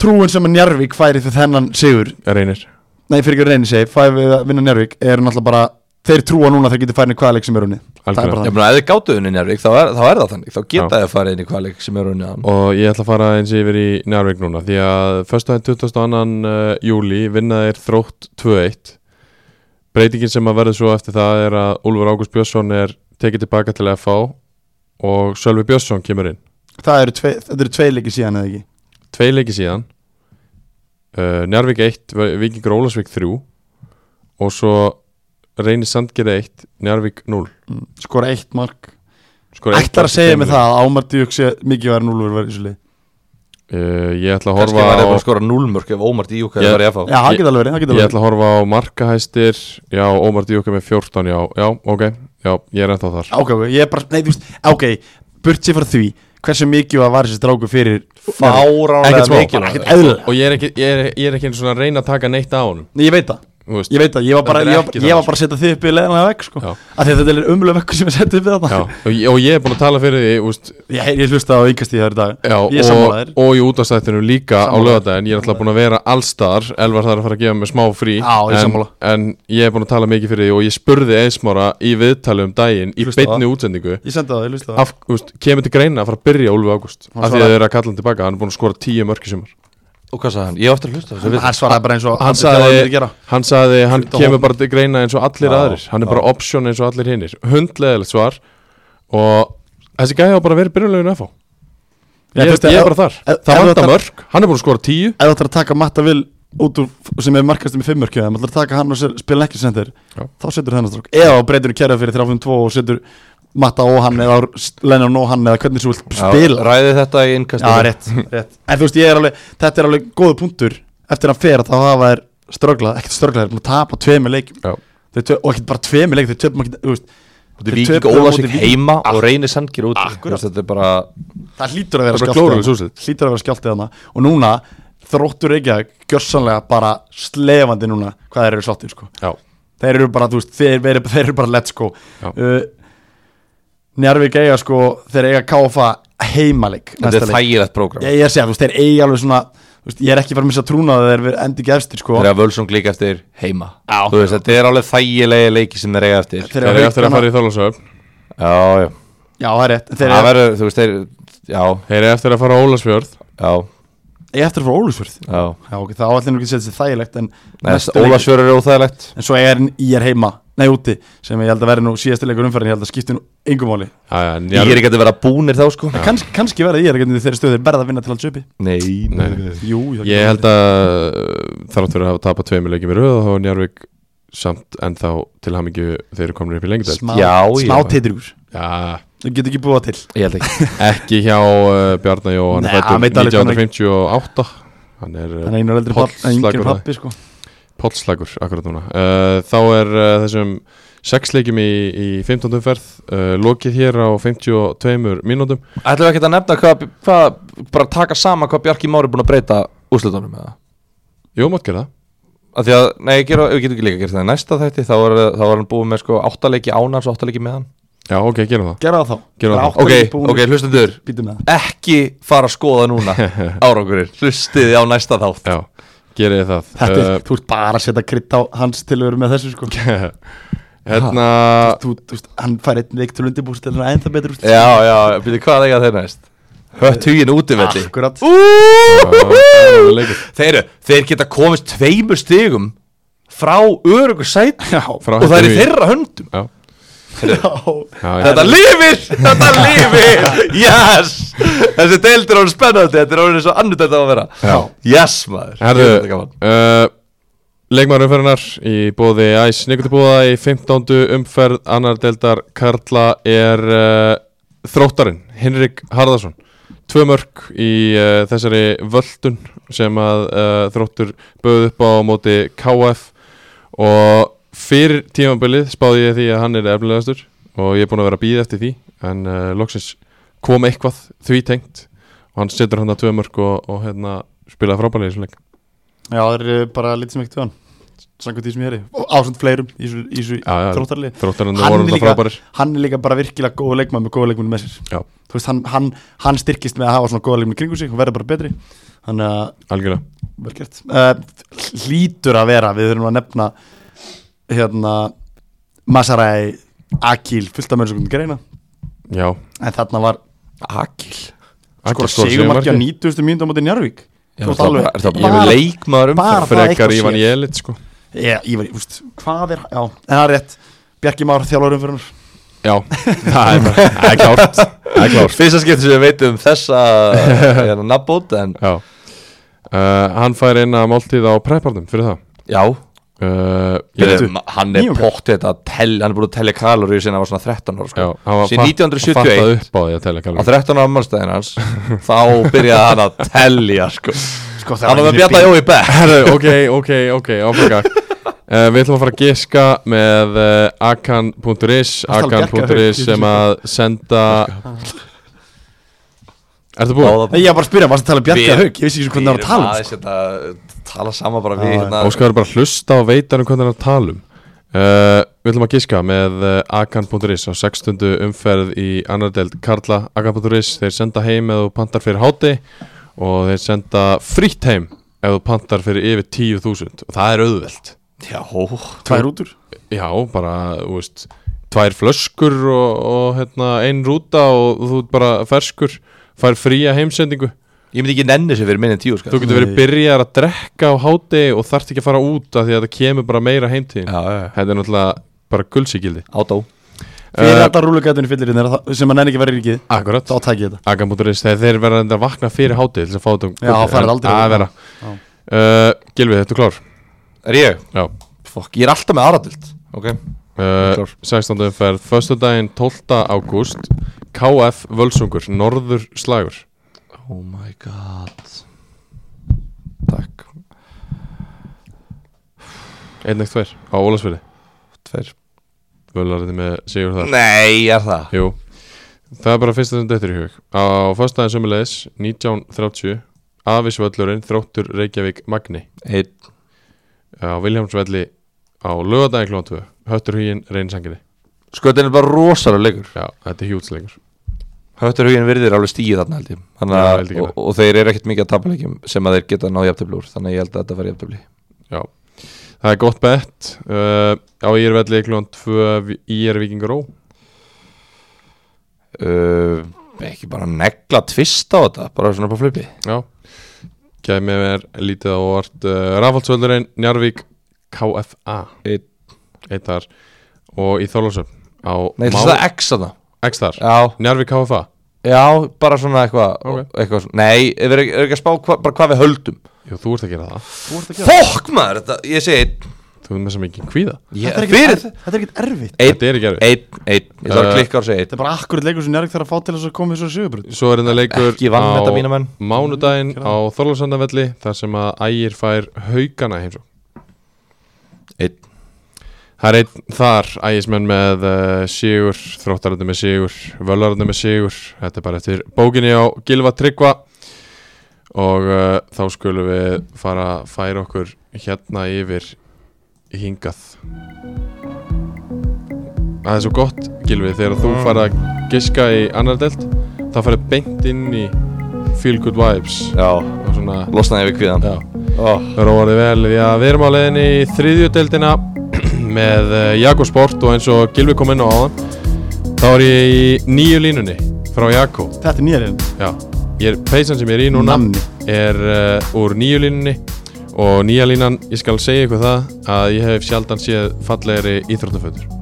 trúin sem að Njarvík færi fyrir þennan sigur reynir nei fyrir ekki að reyni segi færi við að vinna Njarvík er náttúrulega bara þeir trúa núna að þeir getur færi hvaða leik sem er unni það er Algjörlega. bara ég það meina, ef þið gátu unni njárvík þá er, þá er það þannig þá geta Já. þið að fara inn í kvalik sem er unni hann Og ég ætla að fara eins yfir í Njárvík núna Því að Föstaðin 22. uh, júli vinna þeir þrótt 2-1 Breytingin sem að verður svo eftir það er að Úlfur Ágúst Björnsson er tekið tilbaka til FH og Sölvi Björnsson kemur inn það eru tvei, þetta eru tvei leiki síðan eða ekki tvei leiki síðan uh, Njarvík 1, Víkingur Ólasvík 3 og svo Reyni Sandgerði 1, Njarvík 0 skora eitt mark Skoraði eitt Ætlar mark í tveimur að segja mig leikjum. það að Ámar Díuk sé mikið verið en Úlfur verið í þessu lið Uh, ég ætla að Kannski horfa var það á bara að skora núlmörk ef Ómar Díuk Ég- hefði farið í FH Já, það Ég- geta alveg verið, það geta Ég alveg ætla að horfa á markahæstir Já, Ómar Díoka með 14 Já, já, ok, já, ég er ennþá þar verið Ok, ok, ég er bara, nei, þú veist, ok Burt sér frá því, hversu mikið var þessi stráku fyrir Fáránlega Ekkert smá, mikilvægt. bara ekkert eðlilega. Og ég er ekki, ég er, ég er ekki einu svona að reyna að taka neitt á honum Nei, ég veit það Þú veist, Ég veit það, ég var bara, Þetta er ég var, ekki ég var þannig, bara að setja þið upp í leðanlega vekk sko. Já. Af því að þetta er umlega vekkur sem er sett upp við já, þetta og, ég- og ég er búin að tala fyrir því úst, Ég, ég hlusta á yngast í það í dag já, Ég er og, sammálaður og í útastættinu líka Sammála. á lögadaginn Ég er alltaf búin að vera allstar Elvar þarf að fara að gefa mig smá frí Já, ég er en, sammála. en ég er búin að tala mikið fyrir því Og ég spurði Eismára í viðtali um daginn Í Hlusta á beinni útsendingu Ég sendi það, ég hlusta á það af, úst, Kemur til greina að fara að byrja Úlfi Ágúst Hann Af því að svaraði. þau eru að kalla hann tilbaka Hann er búin að skora 10 mörk í sumar Og hvað sagði hann? Ég á eftir að hlusta þessu viðtal. Hann svaraði bara eins og hann það var að sagði, gera. hann sagði hann Fullt á kemur hópnum. bara til greina eins og allir Já, aðrir hann er já. bara option eins og allir hinnir hundleðilegt svar og þessi gæði var bara verið byrjulegin FH Já, ég, þú veist, ég ef- er bara þar, ef- ef það þú vantar ætlar- mörg hann er búin að skora tíu Ef þú ætlar að taka Matta Vil út úr sem er markastum í fimmörkja Það ætlar að taka hann og se- spila ekki sem þeir Já. Þá setur þennan strák Eða breytur í kæra fyrir 3-5-2 og setur Matta og hann eða Lennon og hann eða hvernig svo vilt Já, spila Ræði þetta í innkast Já, rétt, rétt En þú veist, ég er alveg, þetta er alveg góðu punktur Eftir að fer að þá hafa þær ströglað Ekkert ströglað, þeir eru búin að tapa tveimur leikjum Já. Þeir tö- Og ekkert bara tveimur leikjum, þeir töpum ekkert, þú veist Þetta þeir er Víking töpuðu á móti Ólasík Víking. heima og reynir sangir út Akkurat. Þetta er bara Það hlýtur að vera Það er bara skjálftið glórulaus þarna. úrslit. Hlýtur að vera skjálftið hana Og núna, þróttur ekki að gjörsanlega bara slefandi núna Hvað þeir eru sáttir, sko já, Þeir eru bara, þú veist, þeir, þeir, þeir eru bara let's go Já. uh, Njarvík eiga, sko, þeir eiga káfa heimalik Þetta er þægilegt prógram Ég, ég er að segja, þú veist, þeir eiga alveg svona þú veist, Ég er ekki fara að missa trúna að þeir verið endi ekki efstir sko. Þegar Völsung líka eftir heima Þú veist, Þetta er alveg þægilegi leiki sem þeir eiga eftir Þeir- þeir eru Já, eftir að fara í Þorlásöfn já Já, það er rétt En Þeir Það eiga verður, þú veist, þeir Já, þeir eru eftir að fara á Ólasfjörð já, eiga eftir að fara Ólusfjörð já Já, ok, það áallir nú ekki að setja sér þægilegt En, næsti leikur- Ólasjör eru óþægilegt en svo er ég er heima, nei úti Sem ég held að vera nú síðasti leikur umferðin Ég held að skipti nú yngum máli Já, já, en Ég ég- er ekki að vera búnir þá sko En Kanns, Kannski verða ég er ekki þeirri stöður Verða að vinna til alls uppi Nei, Nei, nei. Jú, það ég getur held að eh, þarf að vera að tapa tveimur leikjum í röð og þá er Njarvík samt ennþá til hamingju þeir eru komin upp í verið. lengdelt smá, Já, já. smá titrjúr já, Það getur ekki búið til Ég held ekki ekki hjá uh, Bjarnar Jó hann Nei, er hann veit fættur alveg hvað 1958 hann hann er- er, uh, Þannig að einu eldri papp, Pollslagur engin það. pappi sko. Pollslagur akkurat núna uh, Þá er uh, þessum sex leikjum í, í 15. umferð uh, lokið hér á 52 mínútum Ætlum við ekki að nefna hvað, hvað Bara taka saman hvað Bjarki Már er búin að breyta úrslutunum eða Jú, mátt gera það Af því að, nei, ég gera, við getum ekki líka gert það í næsta þætti, þá er, þá er hann búið með sko áttaleiki ánars og áttaleiki með hann. Já, ok, gerum það Gerða það þá Gerðu það. Ok, ok, hlustendur, Býtum með það ekki fara að skoða núna árangurinn, hlustiði á næsta þátt. Já, gerið þið það Þetta er, þú ert bara að setja krydd á hans tilveru með þessu sko uh, Hérna þú, þú veist, hann fær einn leik til undirbúst til hann er ennþá betur úst Já, já, býttu, hvað eiga þeir næst? Hött hugin útivelli. Akkurat Já, Úúúú! leikur. Þeir, þeir geta komist tveimur stigum frá örugur sæt Já, Frá og það er í Hött Hugin. þeirra höndum. Já, já já, Þetta lifir, þetta lifir, yes! Þessi deildir er orðin spennandi, þetta er orðin svo annut þetta á að vera. Já. Yes, maður. Ég veit þetta Herðu, gaman. uh, leikmaður umferðinar í bóði Æs Nikotubúða í 15. umferð annar deildar Karla er uh, þróttarinn Henrik Harðarsson Tvö mörg í uh, þessari völdun sem að uh, þróttur bauð upp á móti KF og fyrir tímabilið spáði ég því að hann er efnilegastur og ég er búin að vera að býða eftir því en uh, loksins kom eitthvað því tengt og hann setur hann að tvö mörg og, og hérna spilaði frábælega í þessum leik það er eh, bara lítið sem ekkert við hann Sankur því sem ég er í Og Ásand fleirum í þessu- í þessu Já, já. þróttarlið Þróttarinn Hann voru er þetta líka- frábærir Hann er líka bara virkilega góð leikmann með góð leikmann með sér Já. Þú veist, hann, hann, hann styrkist með að hafa svona góð leikmann í kringu sig og verða bara betri Þannig að Algjörlega vel gert uh, hlýtur að vera, við þurfum að nefna hérna Masarai, Akil, fullt af mörg sem komum greina, Já en þarna var Akil skora segumarki á 90. mínúti á móti Njarvík Er Þú ert það alveg- bara- er það bara bara- leikmaður um bara- það? það eitthvað Frekar sé. Ívan Jelit sko ég, ég var, úst, hvað er, já, en það er rétt Bjarki Már, þjálfurum fyrir hann Já Það er bara Það er klárt Það er klárt Fyrsta skipti sem við veitum um þessa hérna, nafnbót en Já uh, Hann fær inn að máltíð á prepparnum fyrir það já, uh, ég, Ég, Bíddu, hann er nýjungar? pott þetta að tell, hann er búin að tellja kaloríu sinna var svona 13 ára já, sko. hann var síðan fatt- hann 1971 fattaði upp á því að tella á kalori 13 ára málstæðin hans þá byrjaði hann að tellja sko. Sko, það hann var var með bjalla jói bekk Herru, ok, ok, ok, áfengak Uh, við ætlum að fara að giska með uh, akan.is alveg bjargahaug, akan.is sem að senda Ertu búinn? Báða- Nei, ég var bara að spyrja, varst að tala um Bjarka Við- Haug Ég vissi ekki hvernig það var að tala um, Við sko. erum aðeins hérna, tala sama bara við Já, hérna, Óskar er bara að hlusta og veita hann um hvernig hann er að tala um uh, Við ætlum að giska með uh, akan.is á 6. umferð í annar deild Karla akan.is þeir senda heim ef þú pantar fyrir háti og þeir senda frítt heim ef þú pantar fyrir yfir 10.000 og það er auðvelt Já, Tvær útur Já, bara, þú veist tvær flöskur og, og hérna, ein rúta og þú ert bara ferskur fær fría heimsendingu ég myndi ekki nenni sér fyrir minni en tíu sko. þú getur verið byrjar að drekka á háti og þarft ekki að fara út af því að það kemur bara meira heimtíðin Já, já, já. þetta er náttúrulega bara guldsíkildi Átó Uh, Fyrir alla rúlugætunni fyllir hérna sem að nenni ekki verið ríkið Akkurat Þá tæk ég þetta Agan.is þegar þeir verða að vakna fyrir háti til þess að fá þetta um Já, kvöldið. fara En- aldrei að vera Já. uh, Gilvið, þetta er klár Er ég? Já Fokk, ég er alltaf með aðradöld Ok Uh, Klár. 16. umferð, föstudaginn 12. ágúst KF Völsungur, norður slagur Oh my god Takk, 1-1-2 á Ólasfjörði tveir Völarði með sigur þar Nei, er það Jú, það er bara fyrsta sem dættur í hug Á föstudaginn sömulegis 1930 Afisvöllurinn þróttur Reykjavík Magni Einn Á Viljámsvelli á lögadaginn klón 2 Höttur huginn reynsanginni Skötin er bara rosalega leikur Já, þetta er hjútsleikur Höttur hugin virðir alveg stíð þarna held ég Þannig Já, að, held ég og, og þeir eru ekkert mikið að tapa leikum sem að þeir geta náð jafntöfli úr Þannig að ég held að þetta fari jafntöfli Já, það er gott bett uh, Á Írvelli klón 2 Ír Víkingur Ó uh, Ekki bara negla tvist á þetta Bara svona på flipi Já, kemur mér lítið á orð uh, Rafaldsvöllurinn, Njarvík KFA Einn Eitt þar og í Þorlásöfn á Nei, þetta er X að það X þar Já, Njarvík KFA Já, bara svona eitthvað Ok. eitthva, Nei, er ekki, er ekki að spá hva, bara hvað við höldum Jú, þú ert að gera það Fokk maður, þetta, ég segi einn Þú ert með sem ekki kvíða Þetta er Ég- ekkert Fyrir erf- þetta er ekkert erfitt Einn, Þetta er ekki erfið einn, einn Ég þarf að Uh, klikka og segja Þetta einn er bara akkurat leikur sem Njárvík þarf að fá til þess að koma þessu sögubröð Svo er þetta leikur Ekki vann þetta, mína menn. Mánudaginn á Þorlásöndavelli Þar sem að ægir fær haugana heimsó Einn Það er einn þar ægismenn með uh, sigur, þróttarandi með sigur, völarandi með sigur, þetta er bara eftir bókinni á Gilva Tryggva og uh, þá skulum við fara að færa okkur hérna yfir hingað. Það er svo gott Gilvi þegar þú fara að giska í annar delt, þá farið beint inn í Feel Good Vibes Já, og svona, losnaði við kviðan já. oh. Róðið vel, já við erum á leiðinni í þriðju deildina með Jakko Sport og eins og Gilvi kom inn á áðan þá er ég í nýju línunni frá Jakko Þetta er nýjarinn já, ég er, peysan sem ég er í núna Nammi. er uh, úr nýju línunni og nýja línan, ég skal segja ykkur það að ég hef sjaldan séð fallegri íþróttafötur uh,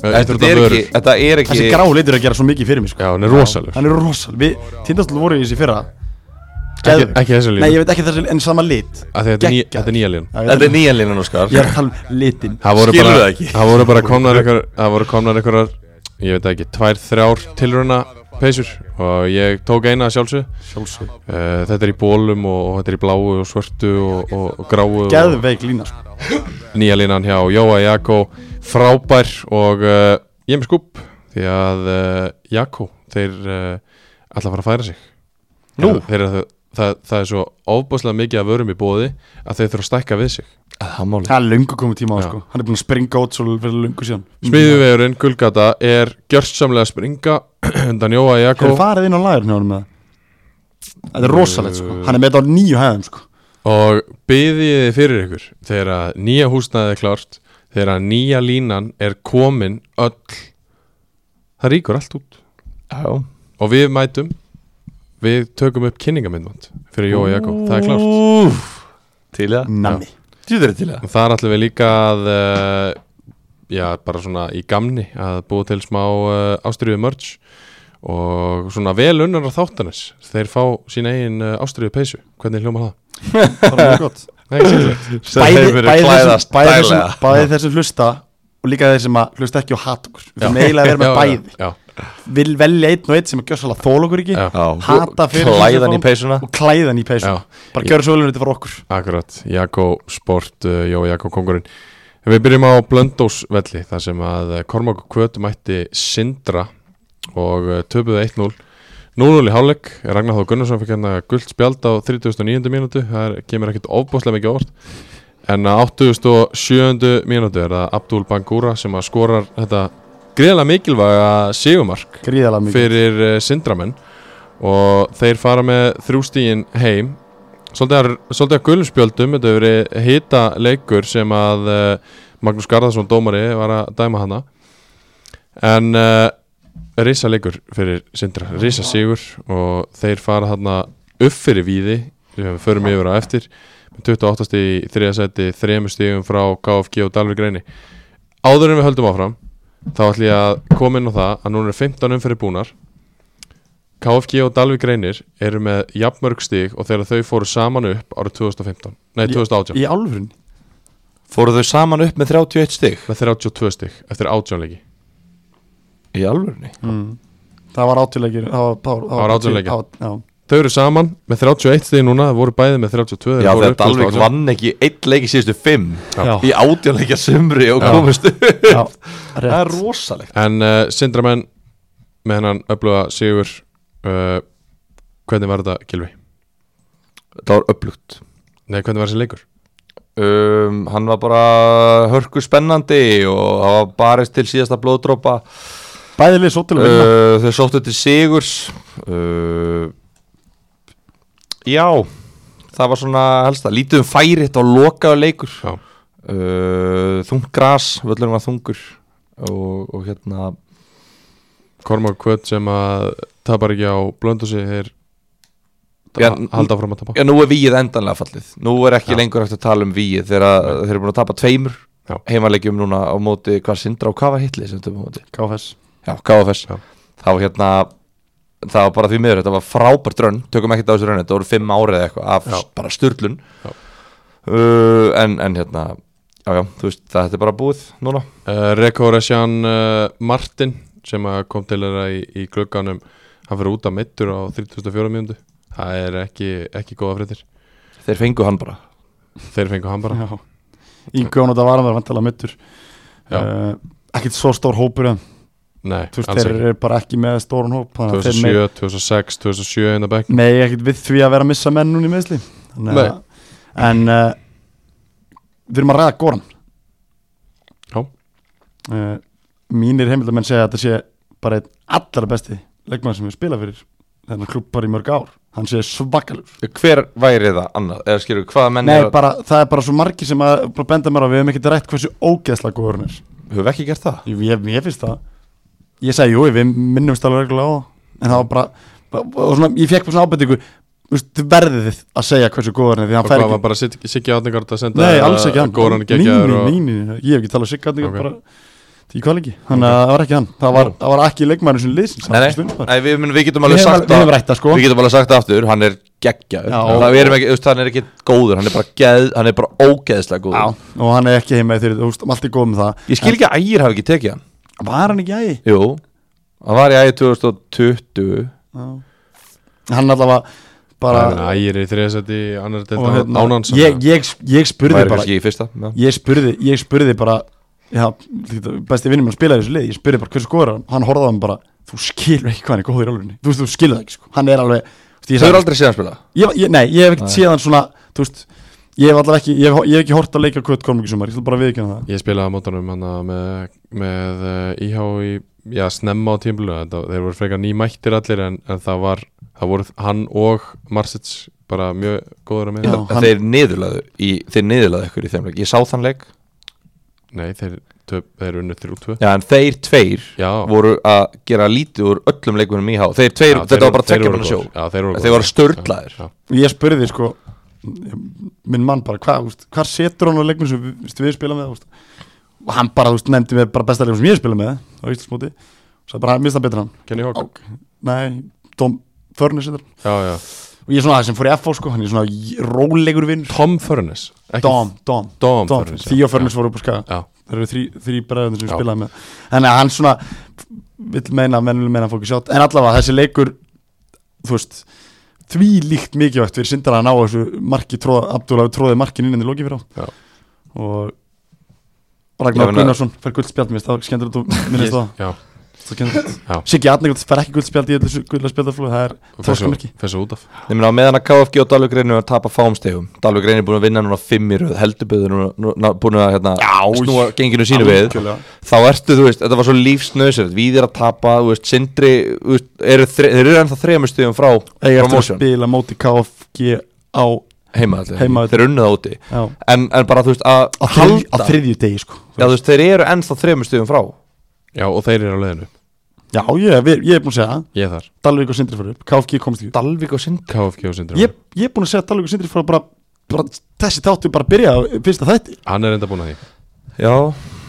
Þetta er íþróttaförur ekki, þetta er ekki Þessi grá litur er að gera svo mikið fyrir mig sko já, hún er rosalur Hann er rosal Við tindastul voru í þessi fyrra ekki, Geðveik. ekki þessu Nei, ég línu, veit ekki þessi en sama lit af því að þetta er ný- Geggjaður. þetta er nýja línan Já, Þetta er nýjan línan, Óskar Ég er að tala um litin Það voru Skilur bara, það ekki. það voru bara komnar einhver, það voru komnar einhverjar, ég veit það ekki, tvær, þrjár tilruna peysur og ég tók eina að sjálfsög. Sjálfsög þetta er í bólum og, og þetta er í bláu og svörtu og, og, og gráu og Geðveik lína sko nýja línan hjá Jóa Jakko, frábær og uh, ég er með skúp því að uh, Jakko, þeir uh, ætla að fara að færa sig. Nú? Þeir, eru að- það, það er svo ofbúslega mikið af vörum í bóði að þeir þurfa að stækka við sig. Ah, Það máli Það er löngu komið tíma á Já. sko Hann er búin að springa út svo fyrir löngu síðan Smiðuvegurinn, Gullgata, er gjörsamlega að springa undan Jóa Jakko Hefur farið inn á lagur hjá hann með það Þetta er rosalegt sko Hann er með þetta á nýju hæðum sko og byðiði fyrir ykkur þegar að nýja húsnaðið er klárt þegar að nýja línan er komin öll það ríkur allt út Já, og við mætum við tökum upp kynningamindvand fyrir Jóa Jakko, það er klárt Úf, Til í það Nami Þú þeir til í það og þar ætlum við líka að uh, já, bara svona í gamni að búa til smá uh, ástriðu merch og svona vel unnar þáttanis þeir fá sína eigin uh, ástriðu peysu, eh, hvernig hljóma það? Það er mjög gott Sem þeir verið klæðast bæði, þeir daglega. sem, bæði þeir sem hlusta og líka þeir sem að hlusta ekki og hata okkur við erum eiginlega að vera með bæði já, vil velja einn og einn sem að gjössalega þóla okkur ekki Já. hata fyrir þessu Klæðan í form peysuna og klæðan í peysu Já. bara gjör svo velum þetta fyrir okkur Akkurat, Jakko Sport, uh, Jó Jakko Kongurinn Við byrjum á Blöndósvelli þar sem að uh, Kormáku Kvöt mætti Sindra og uh, töpuðu 1-0 0-0 í hálfleik, Ragnar Þóð Gunnarsson fikk hérna gullt spjald á 39. mínútu það er- kemur ekkit ofbáslega mikið óvart en á 87. mínútu er það Abdul Bangura sem að skorar þetta greiðlega mikilvæga sigumark gríðalega mikið fyrir uh, sindramenn og þeir fara með þrjústígin heim svolítið að, svolítið að gulum spjöldum þetta hefur verið hita leikur sem að uh, Magnús Garðarsson dómari var að dæma hana en uh, risa leikur fyrir sindra, risa sigur og þeir fara hana upp fyrir víði sem við förum yfir á eftir með 28 stig í þriða seti, þremur stigum frá KFG og Dalvik reyni áður en við höldum áfram þá ætlum ég að koma inn á það að núna er 15 umferði búnar KFG og Dalvik Reynir eru með jafnmörg stig og þegar þau fóru saman upp árið 2015, nei 2018 í álfurinn Fóru þau saman upp með 31 stig með 32 stig eftir 18 leiki Í alvörni það var átjuleikir það var, það var, Það var átján leikir. það var- já. þau eru saman með 31 stig núna, þau voru bæði með 32 þau Já fóru þegar upp Dalvik 2018. vann ekki eitt leik í síðustu fimm Já. Í átjónleikja sumri og Já. komist upp Já, Það rétt. er rosalegt en uh, Sindramenn með hennan öfluga sigur uh, hvernig var þetta Gilvi? Það var upplugt Nei, hvernig var þessi leikur? um, hann var bara hörku spennandi og hann var barist til síðasta blóðdrópa bæði lið svo til að Eh, uh, vinna þau sóttu til Sigurs uh, já það var svona helsta, lítið um færi þetta var lokaðu leikur Já. uh, þung gras, völlurinn var þungur og, og hérna Kormák Kvöt sem að tapar ekki á blöndusig þeir Já, halda fram að tapa já, nú er víið endanlega fallið nú er ekki Já. lengur eftir að tala um víið þegar þeir eru búin að tapa tveimur Já. heimaleikjum núna á móti hvað sindra og hvað var hitlið sem þau móti KFS Já, KFS Já. Það var hérna Það var bara því miður, þetta var frábært raun Tökum ekkert á þessu raun, þetta voru fimm árið eða eitthvað Af Já. bara styrlun Já. uh, en, en hérna Já, já, þú veist, þetta er bara búið núna Uh, Rekoresjan uh, Martin sem að kom til þeirra í, í glugganum hann fyrir út að mittur á 34 mjöndu það er ekki, ekki góða fréttir Þeir fengu hann bara þeir fengu hann bara Já. Ingu án þetta var að vera vantilega mittur Já. uh, ekkert svo stór hópur en Nei, þú veist alls þeir ekki eru bara ekki með stórun hóp þannig að þeir 2007, 2006, 2007 inn að bekk megi ekkert við því að vera að missa menn núna í meðsli Nei. en uh, við erum að ræða Goran Já. uh, mínir heimildamenn segja að þetta sé bara einn allra besti leikmann sem við spila fyrir þennan klubb bara í mörg ár hann sé svakalur Hver væri það annað? Eða skilur, hvaða menn Nei, er bara, það er bara svo margi sem að bara benda mér á, við hefum ekkert rætt hversu ógeðslega góður hann er Höfum við ekki gert það? Jú, ég, ég finnst það Ég sagði, jú, við minnumst alveg reglulega á það En það var bara, bara og svona, Ég fekk bara svona ábendingu þú veist, Þið verðið þið að segja hversu góður hann er Því hann og fær hvað var ekki, bara Sig- Siggi Átningard að senda nei, alls ekki hann Góran Nei, geggjaður og nei, nei, nei, ég hef ekki talað sikka hann Ok. okay. bara, Því hvað leiki, þannig að það var ekki hann Það var, það var ekki leikmæður sem liðsins Nei, hann nei, stundar. nei við, mun- við getum Við alveg hefum sagt alveg- við hefum það rætt það sko Við getum alveg sagt það aftur, hann er geggjaður Já. Það er ekki, þú veist, hann er ekki góður Hann er bara, geð, hann er bara ógeðslega góður Já, og hann er ekki heima í þeirri, þú veist, um allt er góð með það Ég skil ekki að ægir hafi ekki tekið hann En Var hann ekki ægi? Jú, hann var í ægir 2020 Hann allavega bara ægir í þriðasætti annar og delta hérna, ánans ég, ég, ég spurði væri bara kannski í fyrsta já. ég spurði, ég spurði bara já, líka, besti vinnum að spila í þessu lið ég spurði bara hversu góður er hann, hann horfði á hann bara þú skilur ekki hvað hann er góður í alveg þú veist, þú skilur það ekki, sko. hann er alveg þú veist, ég Þau eru sagði- aldrei síðan spila ég, ég, nei, ég hef ekkert séð hann svona þú veist, ég hef allavega ekki ég hef, ég hef ekki hort að leika kvöt komum ekki sumar, ég ætla bara að viðkjöna það Ég spilaði á mótanum hann eh, með, með uh, IH í, já, snemma á tímbilu þeir voru frekar nýmættir allir en, en það var, það voru hann og Marsits bara mjög góður að Já, minna En hann- Þeir niðurlaðu í, Þeir niðurlaðu ykkur í þeim leik Ég sá þann leik Nei, þeir, töp, þeir unnu 3-2 Já, en þeir tveir Já, voru að gera lítið úr öllum leikunum í há Þeir já, tveir, þetta var bara þeir tvekja voru manna sjó góðir. Já, þeir voru, Þeir góðir. voru sturlaðir. Já, já. ég spurði sko minn mann bara, hvað, þú veist, hvað setur hann á leikminn sem við, þú veist, við spila með þú veist? og hann bara, þú veist, nefndi mér bara besta leikminn sem ég spila með á Íslandsmóti og sagði bara, mista betur en hann Kenny Hawk Ok. nei, Dom Förnus Já, já, og ég er svona það sem fór í FH sko hann er svona j- rólegur vinn Tom Furness ekki- Dom, Dom, Dom Furness, já. Því og Furness voru upp á skaga Já, það eru þrý, þrý bræðunir sem Já. spilaði með þannig að hann svona vill meina, menn vil meina að fólki sjátt en allavega þessi leikur þú veist, því líkt mikilvægt fyrir sindar að ná þessu marki tróð, Abdullah tróði markin inn en þið lókið Já. fyrir á og Ég Ragnar meina- Gunnarsson fær guldspjald mér, það er skemmtilegt að þú minnist það. já það er skemmtilegt. Já. Siggi Arnegjótt fær ekki guldspjald í þessu guldspjaldaflóð, það er þróskamerki Fessu út af Ég meina á meðan að KFG og Dalvik reynir að tapa fáumstegum Dalvik reynir búin að vinna núna fimm í röð helduböður núna búin að hérna, snúa genginu sínu við Algjörlega. þá ertu, þú veist, þetta var svo lífsnöðsir við er að tapa, þú veist, sindri þú veist, eru þre, þeir eru ennþá þremur stegum frá eiga eftir að promotion, spila móti KFG á heima, allir. Heima allir. þeir unnu það úti Já. en, en bara, þú veist, að á þriðju, á þriðju degi sko já, þú veist, þeir eru ennþá þremur stegum frá Já, og þeir eru á leiðinu Já, ég, við- ég er búin að segja það Ég er þar Dalvik og Sindri fyrir upp, KFG komst ekki Dalvik og sindri KFG og Sindri ég, ég er búin að segja að Dalvik og Sindri fyrir bara, bara þessi þáttu bara að byrja á fyrsta þætti Hann er enda búin að því já,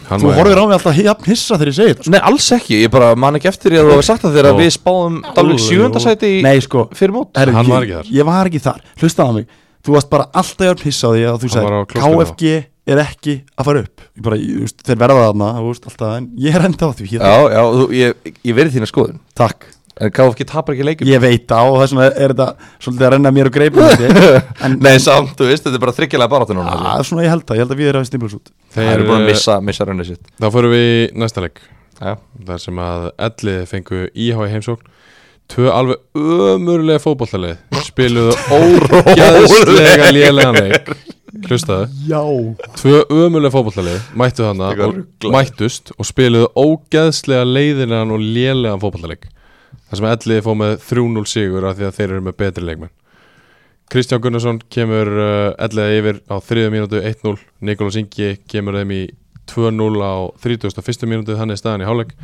Hann Þú var- horfir á mig alltaf jafn hissa þegar ég segi þetta nei, alls ekki, ég bara man ekki eftir því að þú hefði sagt það þegar Ó. við spáðum Dalvik Ó, sjöundasæti í Nei, sko, fyrir mót herri, Hann ég- var ekki þar. Ég var ekki þar, hlustaðu á mig Þú varst bara alltaf jafn hissa á því að þú Hann var á segir klósettinu KFG er ekki að fara upp ég bara, ég, þú veist, Þeir verða þarna, þú veist, alltaf En ég er enda á því, ég, já, já, þú, ég, ég verið þína skoðun takk En KFG tapar ekki leikum Ég veit á, og þess vegna er þetta svolítið að renna mér og greipum En Nei, samt, þú veist, þetta er bara þryggjalega baráttu núna það er svona ég held það, ég held að við erum að stimpla út Það Þeir eru búin að missa, missa rauninu sitt Þá förum við í næsta leik Já, þar sem að ellið fengu íhá í heimsókn tvö alveg ömurlega fótbollalið spiluðu ógæðslega lélegan leik hlustaðu, Já tvö ömurlega fótbollalið mættu hana Eitthvað og ruglað. mættust og spiluðu ógæðslega leiðinan og lélegan fótballaleik þar sem ellið fóð með 3-0 sigur af því að þeir eru með betri leikmenn Kristján Gunnarsson kemur uh, ellið yfir á 3. mínútu 1-0 Nikolás Ingi kemur þeim í 2-0 á 31. mínútu þannig er staðan í hálfleik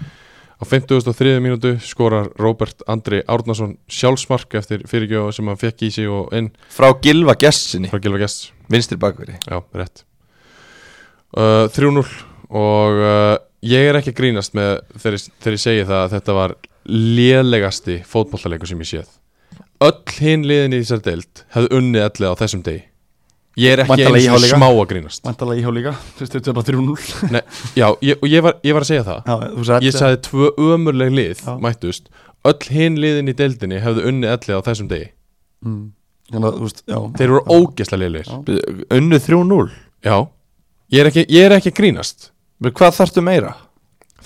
Á 53. mínútu skorar Robert Andri Árnason sjálfsmark eftir fyrirgjóð sem hann fekk í sig og inn frá Gilva Gessinni, frá Gilva Gess. vinstri bakveri Já, rétt. Uh, 3-0 og uh, ég er ekki að grínast með þegar, ég- þegar ég segi það að þetta var lélegasti fótbollaleikur sem ég séð. Öll hinn liðin í þessar deild hefði unnið allir á þessum degi. Ég er ekki Væntanlega eins og IH líka? smá að grínast. Vantalega íhá líka, þú veist, þetta er bara 3-0 Nei, já, ég, og ég var, ég var að segja það. Já, þú sagði ég sagði tvö ömurleg lið Já. mættust öll hinn liðin í deildinni hefðu unnið ellið á þessum degi mm. Þannig að, þú veist, já þeir voru ógeðslega liðlir Já. Unnu 3-0 já, ég er, ekki, ég er ekki að grínast Men Hvað þarftu meira?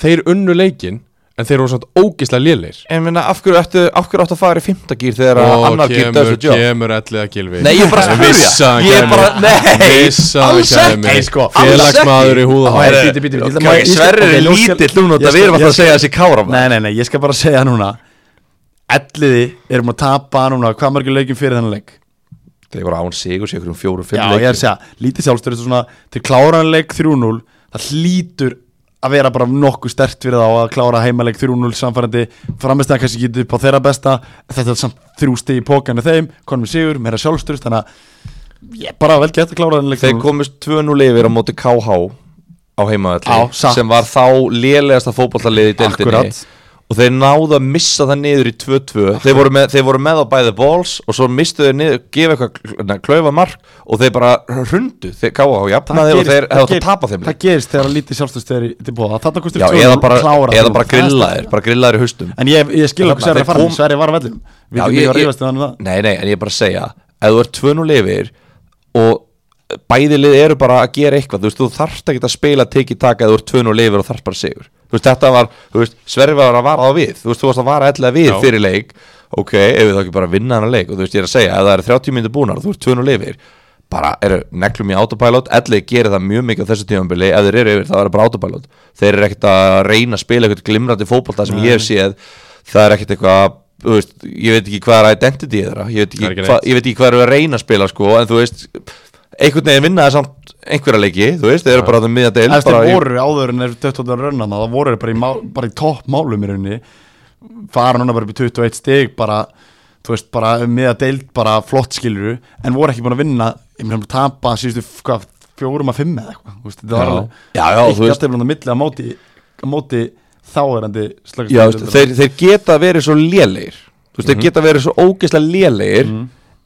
þeir unnu leikin en þeir voru samt ógeðslega liðlir En minna, af hverju áttu, af hverju áttu að fara í fymtagýr þegar að og annar gýr kemur, döðs og jobb? kemur ellið að gilvi Nei, ég er bara að spyrja. Ég er bara- nei, alls ekki, sko, alls félagsmaður í húð og hár Bíddu, bíddu, bíddu, Ok, má ég- ég skal- Sverrir ok, er ég skal- lítill núna ég Það við erum skal- alltaf að ég segja þessi kára Nei, nei, nei, ég skal bara segja núna Elliði erum að tapa núna Hvað margir leikum fyrir þennan leik? Þeir voru án sigur, sigur um fjórum, Já, fimm ég er að segja, lítið sjálfstöður Svona, til kláran leik 3-0 Það hlýtur að vera bara nokkuð stert fyrir þá að klára heimaleik 3-0 samfærandi, framistæðan kannski ekki upp á þeirra besta, þetta er samt þrjú stig í pókanu þeim, konum við sigur, meira sjálfstöður þannig að ég er bara vel gett að klára þennan leik Þeir 3-0. komust 2-0 yfir á móti KH á Já, heimaðalli satt. sem var þá lélegasta fótballarlið í deildinni Akkurat. og þeir náðu að missa það niður í 2-2 þeir, voru með- þeir voru með á bæði balls og svo mistu þeir niður, gefa eitthvað kl- na, klaufa mark og þeir bara hrundu þeir KH jafnaði og þeir hefðu átt að tapa þeim það leik. gerist þegar lítið sjálfstöðstöður tilbúða þarna kostur Já, eða bara, eða bara grillaðir grillaðir bara grillaðir í haustum en ég, ég skil Þarna, okkur Sverri þeir fara kom- kom... Sverri var að vellum við Já, erum ég- ekki að ég- rífast um þannig það Nei, nei, en ég er bara að segja ef þú ert 2-0 yfir og bæði lið eru bara að gera eitthvað þú veist, þú þarft ekki að spila tiki taka ef þú ert 2-0 yfir og þarft bara sigur þú veist, þetta var, þú veist, Sverri var að vara á við þú veist, þú varst að vara ætla við Já. fyrir leik ok, ef við þá ekki bara að vinna hann leik og þú veist, ég er að segja, ef það eru 30 minnir búnar og þú ert 2-0 yfir bara eru neglum í autopilot ellir gerir það mjög mikið á þessu tímanbili ef þeir eru yfir það er bara autopilot þeir eru ekkert að reyna að spila eitthvað glimrandi fótbolta sem ég hef séð það er ekkert eitthvað þú veist, ég veit ekki hvað er identity þeirra ég veit Það er ekki, ekki hva, neitt. ég veit ekki hvað eru að reyna að spila sko, en þú veist, einhvern veginn vinna það samt einhverja leiki, þú veist, þeir eru bara að miða deil Ef bara þeir í- voru áður en þeir 28 rönna það voru þeir bara í, má, bara í topp málum í rauninni fara núna bara upp í 21 stig bara, þú veist, bara með að deild bara flott skiluru, en voru ekki búin að vinna ég meðan tapa síðustu f- hvað, fjórum að fimm eða eitthvað, þú veist, þetta var Já. alveg Já, já, þú ekki veist- alltaf að milli á móti, á móti þáverandi slagast Mhm. Já, veist, þeir, þeir geta verið svo lélegir þú veist, þeir geta verið svo ógeðslega lélegir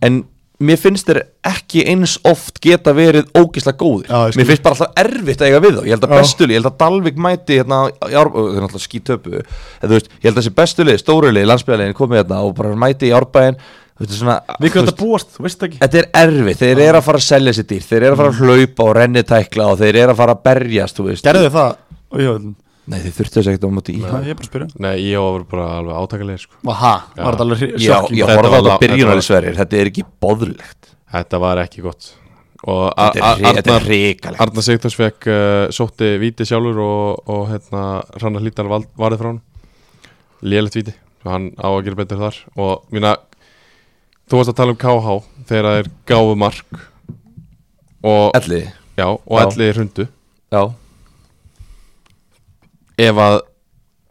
en mér finnst þeir ekki eins oft geta verið ógisla góðir Já, ég skil. mér finnst bara alltaf erfitt að eiga við þá ég held að Já. bestuli, ég held að Dalvik mæti hérna, á- í Ár- og þeir náttúrulega skítöpu en þú veist, ég held að þessi bestuli, stóruli, landsbyrjarlegin komið hérna og bara mæti í árbæðin þú veist, svona, þú Við hvernig veist, þetta búast, þú veist ekki Þetta er erfitt, þeir eru að fara að selja sér dýr Þeir eru að fara Mhm. að hlaupa og rennitækla og þeir eru að fara að berjast, þú veist Gerðu þið það? Og ég öllum Nei, þeir þurftu þess ekkert á móti í Já, ég er bara að spyrja Nei, ég var bara alveg átakalegir sko. Aha, var þetta alveg hri- Já, sjokking? ég Þetta var horfði á þetta lá- byrjunari þetta sverir Þetta er ekki boðlegt Þetta var ekki gott Og A- Þetta er A- hri- þetta er Arnar, hrikalegt Arnar Sigtors fekk uh, sótti víti sjálfur og, og hérna Rannar Lítar vald- varði frá hann Lélegt víti og hann á að gera betur þar og mína þú varst að tala um KH þegar þeir gáfu mark og, Elli, já, og Já. allir hrundu já ef að,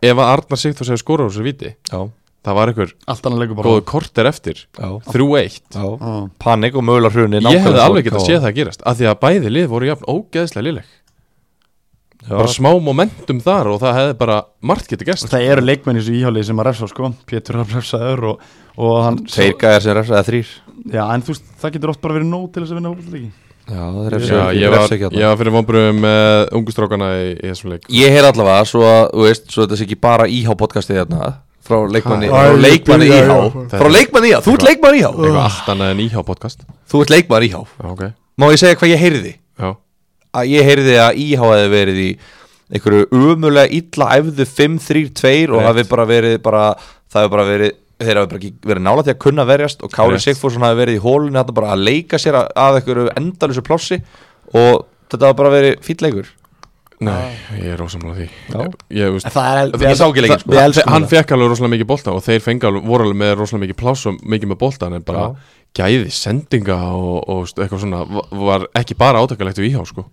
ef að Arnar Sigtors hefur skorað úr þessu víti Já, það var einhver Allt annað leikur bara góðu korter eftir já, 3-1 já. Á. Panik og mögulega hruni Ég hefði alveg getað séð það gerast af því að bæði lið voru jafn ógeðslega liðleg bara smá momentum þar og það hefði bara margt getið Og gerst Það eru leikmenn í þessu íhjálið sem að refsa sko Pétur að refsaður og, og hann Tveir gæjar sem refsa, eða þrýr Já, en þú veist, það getur oft bara verið nóg til þess að vinna hópaðleiki Já, Já, þeir refsa ég þeir var, refsa ekki hérna. ég þarna var fyrir vonbröðum með ungu strákana í, í þessum leik Ég heyr allavega, svo að, þú veist, svo þetta sé ekki bara íhá podcastið þarna Frá leikmanni, Æ, frá leikmanni byrja, íhá já. Frá leikmanni íhá, þú ert leikmanni íhá eitthvað allt annað en íhjá podcast Þú ert leikmanni íhá Já, ok, Má ég segja hvað ég heyrði? já, Að ég heyrði að IH hefði verið í einhverju umulega illa æfðu 5-3-2 og Rétt. hafi bara verið bara, það hefði bara verið þeir hafi bara ekki verið nála til að kunna verjast og Kári Rétt. Sigfússon hafi verið í hólunni þarna bara að leika sér að, að einhverju endalösu plássi og þetta hafi bara verið fýll leikur nei, ég er ósamlega því Já. Ég, ég veist, Það er, Ég sá ekki leikinn, sko. Við elskum hann það fekk alveg rosalega mikið bolta og þeir fengi alveg, voru alveg með rosalega mikið pláss og mikið með bolta en bara gæði sendinga og, og veist, eitthvað svona va- var ekki bara átakalegt við íhjá sko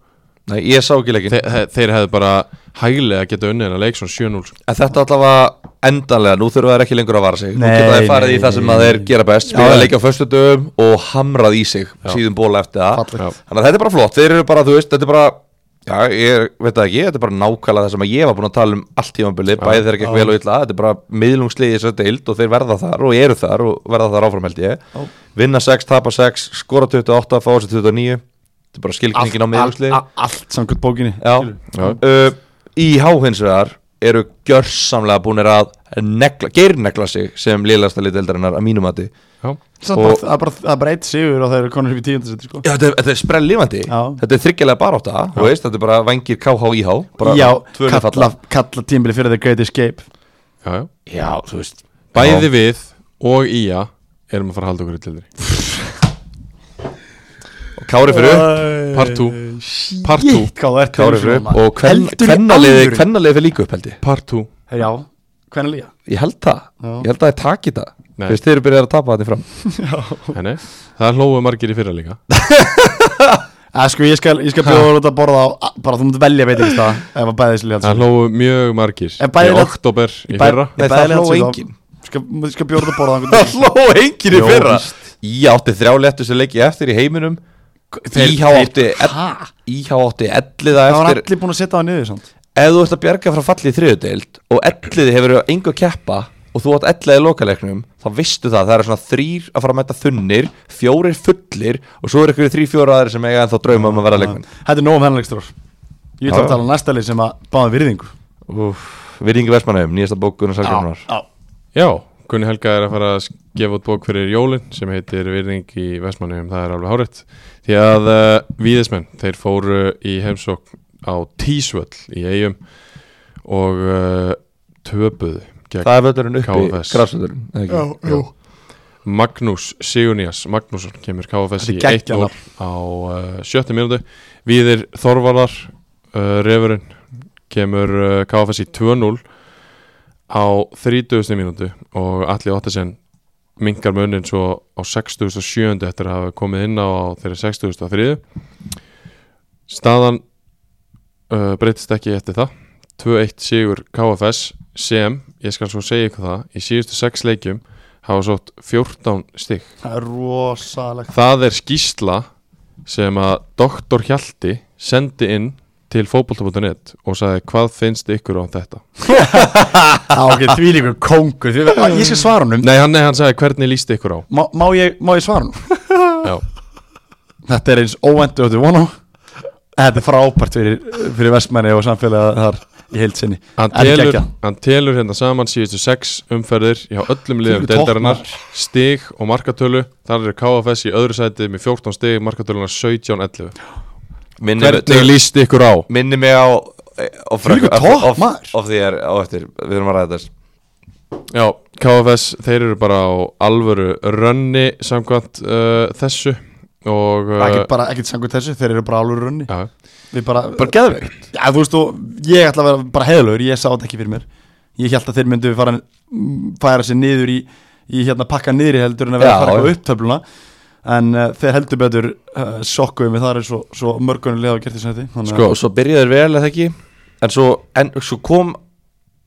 Nei, ég sá ekki leikin Þe, he- Þeir hefði bara hæglega geta unnið en að leik svona 7-0 sko. En þetta allavega endanlega, nú þurfa þeir ekki lengur að vara sig Nú Nei, geta þeir farið í nei, það sem að nei. þeir gera best Spila leik á föstudöfum og hamrað í sig síðan bóla eftir það Fallegt. Já. Þannig að þetta er bara flott, þeir eru bara, þú veist, þetta er bara Já, ég veit það ekki, þetta er bara nákvæmlega það sem að ég var búin að tala um allt tímabilið Bæði þeir ekki vel og illa, þetta er bara miðlungsliði þess að deild og þeir verða þar og eru þar og verða þar áfram held ég Já. Vinna 6, tapa 6, skora 28, fá þessi 29 Þetta er bara skilkningin á Allt, miðlungsliði allt, allt samkvæmt bókinni Já. skilur. Já. uh, Íhá hins vegar eru gjörsamlega búinir að negla, geirnegla sig sem lélasta liðdeldarinnar að mínum mati Já, Samt bara- Og- Það er bara, það er bara eitt sigur og það eru konur upp í tíundasetti sko Já, þetta er, þetta er sprell lífandi Já. Þetta er þryggjalega barátta, þú veist, þetta er bara vangir KH íhá bara Já, tvö lið kalla, falla. kalla tímbili fyrir The Great Escape já, já Já, þú veist Bæði Já. við og Ía erum að fara að halda okkur í tildri Og Kári fyrir upp, Part 2 Part Jitt, 2 hvað þú ert Kári fyrir fyrir upp maður. og kven- Heldur í kvennaliði alvöru? kvennaliði fyrir líka upp held ég Part 2 Já, hvernig líka? Ég held það, Já. ég held að það er takið það Nei. Þú veist, þeir eru byrjað að tapa þetta fram Henni Það hlóðu margir í fyrra líka Að sko, ég skal, ég skal bjóða út að borða á Bara þú mútt velja veit ekki það Ef að bæði þessi líka Það hlóðu mjög margir En bæði Í það- oktober í fyrra Nei, það hló enginn. Skal, skal bjóða út að borða á einhvern Það hló enginn í Jó, fyrra víst. Ég átti þrjá lettu sem leiki eftir í heiminum Íhá átti Hæ? Íhá átti elliða Það var eftir allir búin að setja það niður samt Ef þú ert að bjarga frá falli í þriðudeild og elliði hefur engu að keppa og þú átt elliði í lokaleiknum þá vistu það, það eru svona þrýr að fara að mæta þunnir fjórir fullir og svo eru ykkur þrý fjóra aðri sem eiga en þá drauma um að vera leikmenn Þetta er nóg um hennilegstur Ég ætla Já. að tala um næsta lið sem að báða virðingu Úff, Virðingi Vestmannheim, nýjasta bókun og sælgjarnar Já Gunni Helga er að fara að gefa út bók fyrir jólin sem heitir Virðing í Vestmannum Það er alveg hárétt Því að uh, víðismenn Þeir fóru í heimsókn á Tísvöll í eigum og uh, töpuðu gegn Það er völdurinn uppi, KFS. græsvöldurinn eða ekki? jú Magnús Sigurnías Magnússon kemur KFS í Þetta 1-0 er geggjað á uh, sjötti mínúti Víðir Þorvarar uh, refurinn kemur uh, KFS í 2-0 á 30. mínútu og Alli Ottesen minkar munnin svo á 67. eftir að hafa komið inn á þeirra 63. Staðan uh, breytist ekki eftir það 2-1 sigur KFS sem, ég skal svo segja ykkur það í síðustu 6 leikjum hafa sótt 14 stygg Það er rosalegt það er skýsla sem að doktor Hjalti sendi inn til fótbolta.net og sagði hvað finnst ykkur á þetta Já, ok, því líka kongu því, Ég skal svara honum Nei, hann, nei, hann sagði hvernig líst ykkur á má, má, ég, má ég svara honum? Já, Þetta er eins óvendu og þetta vona Þetta er frábært fyrir, fyrir vestmenni og samfélagið þar í heild sinni hann En telur, geggjað. hann telur hérna saman síðustu sex umferðir hjá öllum liðum Þvílíkur topp, deildarinnar maður. stig og markatölu þar eru KFS í öðru sæti með 14 stig markatölunar 17-11 Minni mig- Hvernig líst ykkur á? Minni mig á Of, Þvílíkur of- topp, of- maður. of því er á eftir Við erum að ræða þess Já, KFS, þeir eru bara á alvöru rönni samkvæmt uh, þessu og uh, Ekkert bara, ekkert sangu þessu, þeir eru bara alveg runni já, Við bara, Bara geðveikt já þú veist og ég ætla að vera bara heðalögur, ég sá þetta ekki fyrir mér Ég held að þeir myndu fara, færa sér niður í, í hérna pakka niður í heldur en að vera að Já, fara já. eitthvað upptöfluna En uh, þeir heldur betur uh, sokkuðum við þar er svo, svo mörgunulega að gert þessu hætti þannig að- Sko, svo byrjaði þeir vel eða ekki En svo, en, svo kom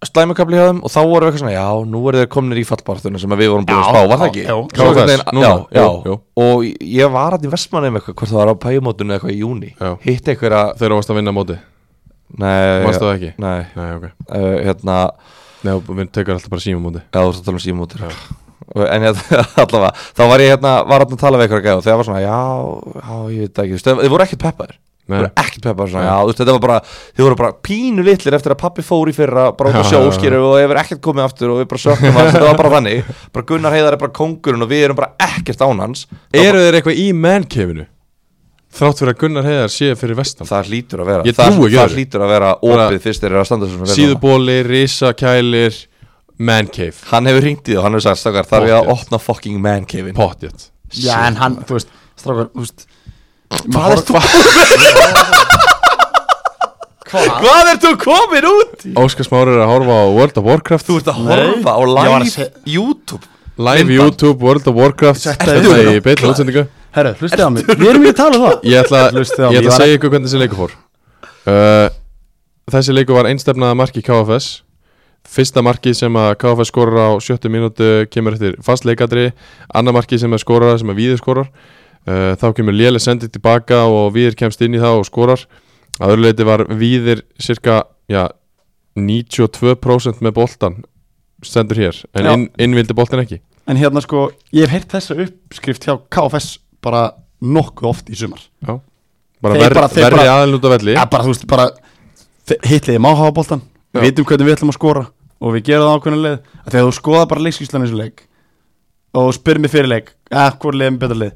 slæmakabli hjá þeim og þá voru við eitthvað svona já, nú eru þeir komnir í fallbaráttunni sem að við vorum búin að Já, spá, var það já, ekki? já. Svo KFS, einhvern veginn- núna, já, já, jú, jú. og ég var að í Vestmanni með eitthvað, hvort það var á pæjumótunni eða eitthvað í júni Já. hitt eitthvað að, þeir eru að vinna á móti nei, Varst það ekki? nei, Nei, ok uh, hérna Nei, við tekur alltaf bara síma á móti Já, þú ert að tala um símótur En ég, allavega, þá var ég hérna var hérna að tala við eitthvað gæða og þegar var svona já, já, ég veit það ekki, þú veist, þau voru ekkert peppaðir þau Nei. voru ekkert peppaðir svona, já, þú veist, þetta var bara þau voru bara pínu litlir eftir að pappi fór í fyrra bara út á Já, já, já. sjóskýru og hefur ekkert komið aftur og við bara sökkum hans, þetta var bara þannig bara Gunnar Heiðar er bara kongurinn og við erum bara ekkert án hans Eru þeir eitthvað í mennkefinu? Þrátt fyrir að Gunnar Heiðar sé fyrir vestan það hlýtur að vera Ég það, trúi ekki það öðru. hlýtur að vera Bara- opið fyrst þeir eru að standa svona vel saman. Síðubóli, risakælir, mancave hann hefur ringt í það og hann hefur sagt, stakar, þarf ég að Pottþétt. opna fucking man cave Pottjött Já, en hann, þú veist, strákar, þú veist Hvað ert þú Hvað ert þú komin út? Óskar Smári er að horfa á World of Warcraft Þú ert að Nei. horfa á Ég var að live se- YouTube Live YouTube, World of Warcraft Þetta Þetta er- í beinni útsendingu Herru, hlustið á mig, við erum ekki að tala um það Ég ætla, Hlustið á ég ætla mig, ég að var segja ykkur hvernig þessi leikur fór uh, Þessi leikur var einstefnaða marki KFS Fyrsta marki sem að KFS skorar á sjöttu mínútu kemur eftir fast leikadri Anna marki sem er skorar sem að Víður skorar uh, Þá kemur Léle sendið tilbaka og Víður kemst inn í það og skorar Að öðru leiti var Víður cirka já, 92% með boltan stendur hér en Já. inn, innvildi boltan ekki En hérna sko, ég hef heyrt þessa uppskrift hjá KFS bara nokkuð oft í sumar já. Bara, Þeir ver, bara- þeir verri bara- aðeins út af velli Já, bara þú veist, bara hitliði má hafa boltan Já. Við vitum hvernig við ætlum að skora og við gerum það ákveðna leið að Þegar þú skoða bara leikskíslan eins og leik og spyrir mig fyrir leik eh, hvort leiðum betur leið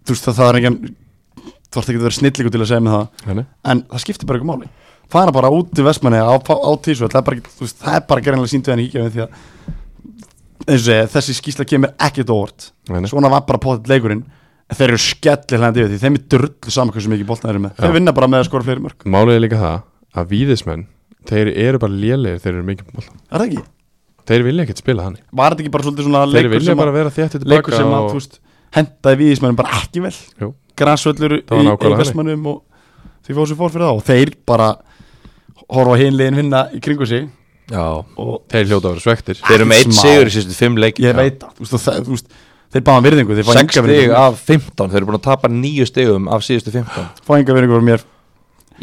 Þú veist, það, það er engin þú ætti ekki að vera snillíku til að segja mig það Nei, nei. en það skiptir bara ekki máli fara bara út í vestmanni á, á, á tísu það er bara, ekki- þú veist, það er bara gerðanlega síndu en ekki því að eins og segja, þessi skýsla kemur ekkert á óvart Nei, nei. svona var bara potið leikurinn En þeir eru skellir hlændi yfir því þeim er drullu saman hversu mikið boltan eru með þeir Já. vinna bara með að skora fleiri mörg Málið er líka það að víðismenn þeir eru bara lélegir, þeir eru mikið með boltan er það ekki? þeir vilja ekkert spila þannig var þetta ekki bara svolítið svona þeir leikur vilja sem bara að, vera þéttið leikur tilbaka sem að og... þú veist, hendaði viðismennum bara ekki vel Jú. græsvöllur í, Það var nákvæmlega í þannig. vestmannum og því fóðu sér fór fyrir það og þeir bara horfa hinlegin vinna í kringu sig Já og þeir hljóta að vera svektir Þeir eru með eitt Smá. sigur í síðustu fimm leik ég veit það, þú veist, og það, þú veist þeir báðan virðingu, þeir fá Sex enga stig virðingu af 15 Þeir eru búin að tapa nýju stigum af síðustu 15 fá enga virðingu fyrir mér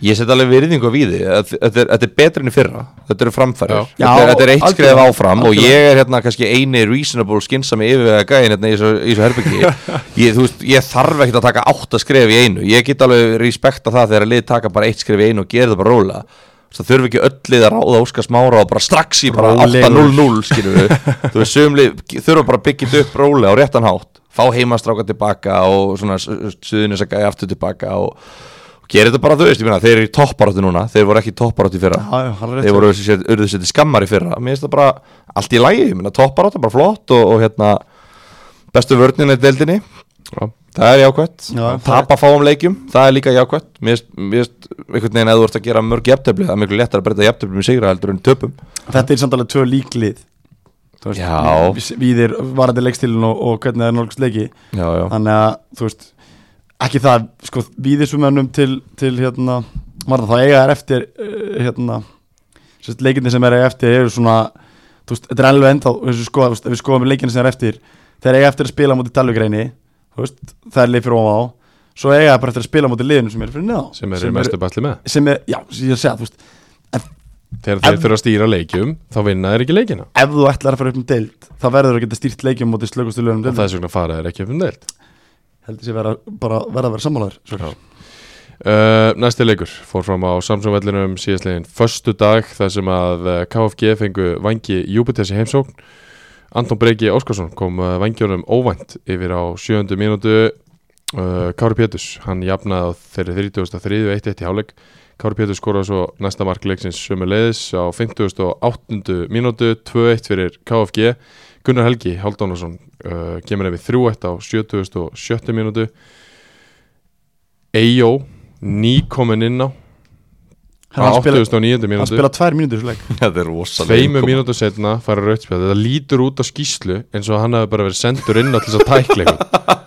Ég set alveg virðingu við því Þetta er, þetta er betra enn í fyrra Þetta eru framfærir Já. þetta, er- Já, þetta er eitt algjörlega, skref áfram Og algjörlega. ég er hérna kannski eini reasonable Skinsami yfirvega gæðin hérna í þessu í þessu herbyggi ég, þú veist, ég þarf ekkert að taka átta skref í einu Ég get alveg respekta það þegar að lið taka bara eitt skref í einu Og gera það bara róla Það þurfi ekki öll lið að ráða Óskar Smára og bara strax í bara Rólegur. 8-0-0 skilur við Þú veist, sömli þurfa bara að byggja þetta upp rólega á réttan hátt Fá heimastráka tilbaka og svona suðunis að gæja aftur tilbaka og, og gera þetta bara þú veist, ég meina, þeir eru í topparáttu núna Þeir voru ekki í topparáttu í fyrra Já, já, hann er rétt Þeir voru sér, urðu sér til skammar í fyrra Mér finnst það bara allt í lagi, ég meina topparáttu bara flott og, og hérna bestu vörnin er deildinni Já. Það er jákvæmt, Já, það- tapa fáum leikjum, það er líka jákvæmt Mér finnst- mér finnst einhvern veginn að þú ert að gera mörg jafntefli Það er miklu léttar að breyta jafntefli með sigra heldur en töpum þetta er samt alveg tvö líklið Þú veist, Já. við- við er varandi leikstilin og, og hvernig það er nálgst leiki Já, já þannig að þú veist ekki það, sko, við þessum mönnum til, til hérna, var það þá eiga er eftir eh, hérna sérst, leikinni sem er eiga eftir eru svona þú veist, þetta er alveg ennþá, þessu sko, þú veist, ef við skoðum leikinni sem er eftir, þeir eiga eftir að spila mútið talvegreini, þú veist, það er leið fyrir ofan á svo eiga það bara eftir að spila á móti liðinu sem er fyrir neðan sem er mestu batli með sem er, já, sem ég er að segja, þú veist þegar þeir Ef- þurfa að stýra leikjum þá vinna þeir ekki leikina ef þú ætlar að fara upp um deild þá verður þú að geta stýrt leikjum móti slökustu lögum og deild það er svona fara þeir ekki upp um deild heldur sér vera, bara verða að vera sammálaður Já. Uh, næsti leikur fór fram á Samsung vellinum síðastlegin förstu dag þar sem að eh, KFG fengu vangi Júpiters í heimsókn Anton Breki Óskarsson kom eh, vangjónum óvænt yfir á sjöndu mínútu uh, Kári Péturs hann jafnaði á þeirri 33. 1-1 í háleik Kári Péturs skoraði svo næsta mark leiksins sömu leiðis á 58. mínútu 2-1 fyrir KFG Gunnar Helgi Haldánarsson uh, kemur ef við 3-1 á 77. mínútu Eyjó nýkomin inn á á hann spila, 89. hann mínútu spila tvær mínútur í þessu leik Þetta er rosalega tveimur mínútu setna fara rauðspjall þetta lítur út á skýslu eins og hann hafi bara verið sendur inn á til þess að tækla ykkur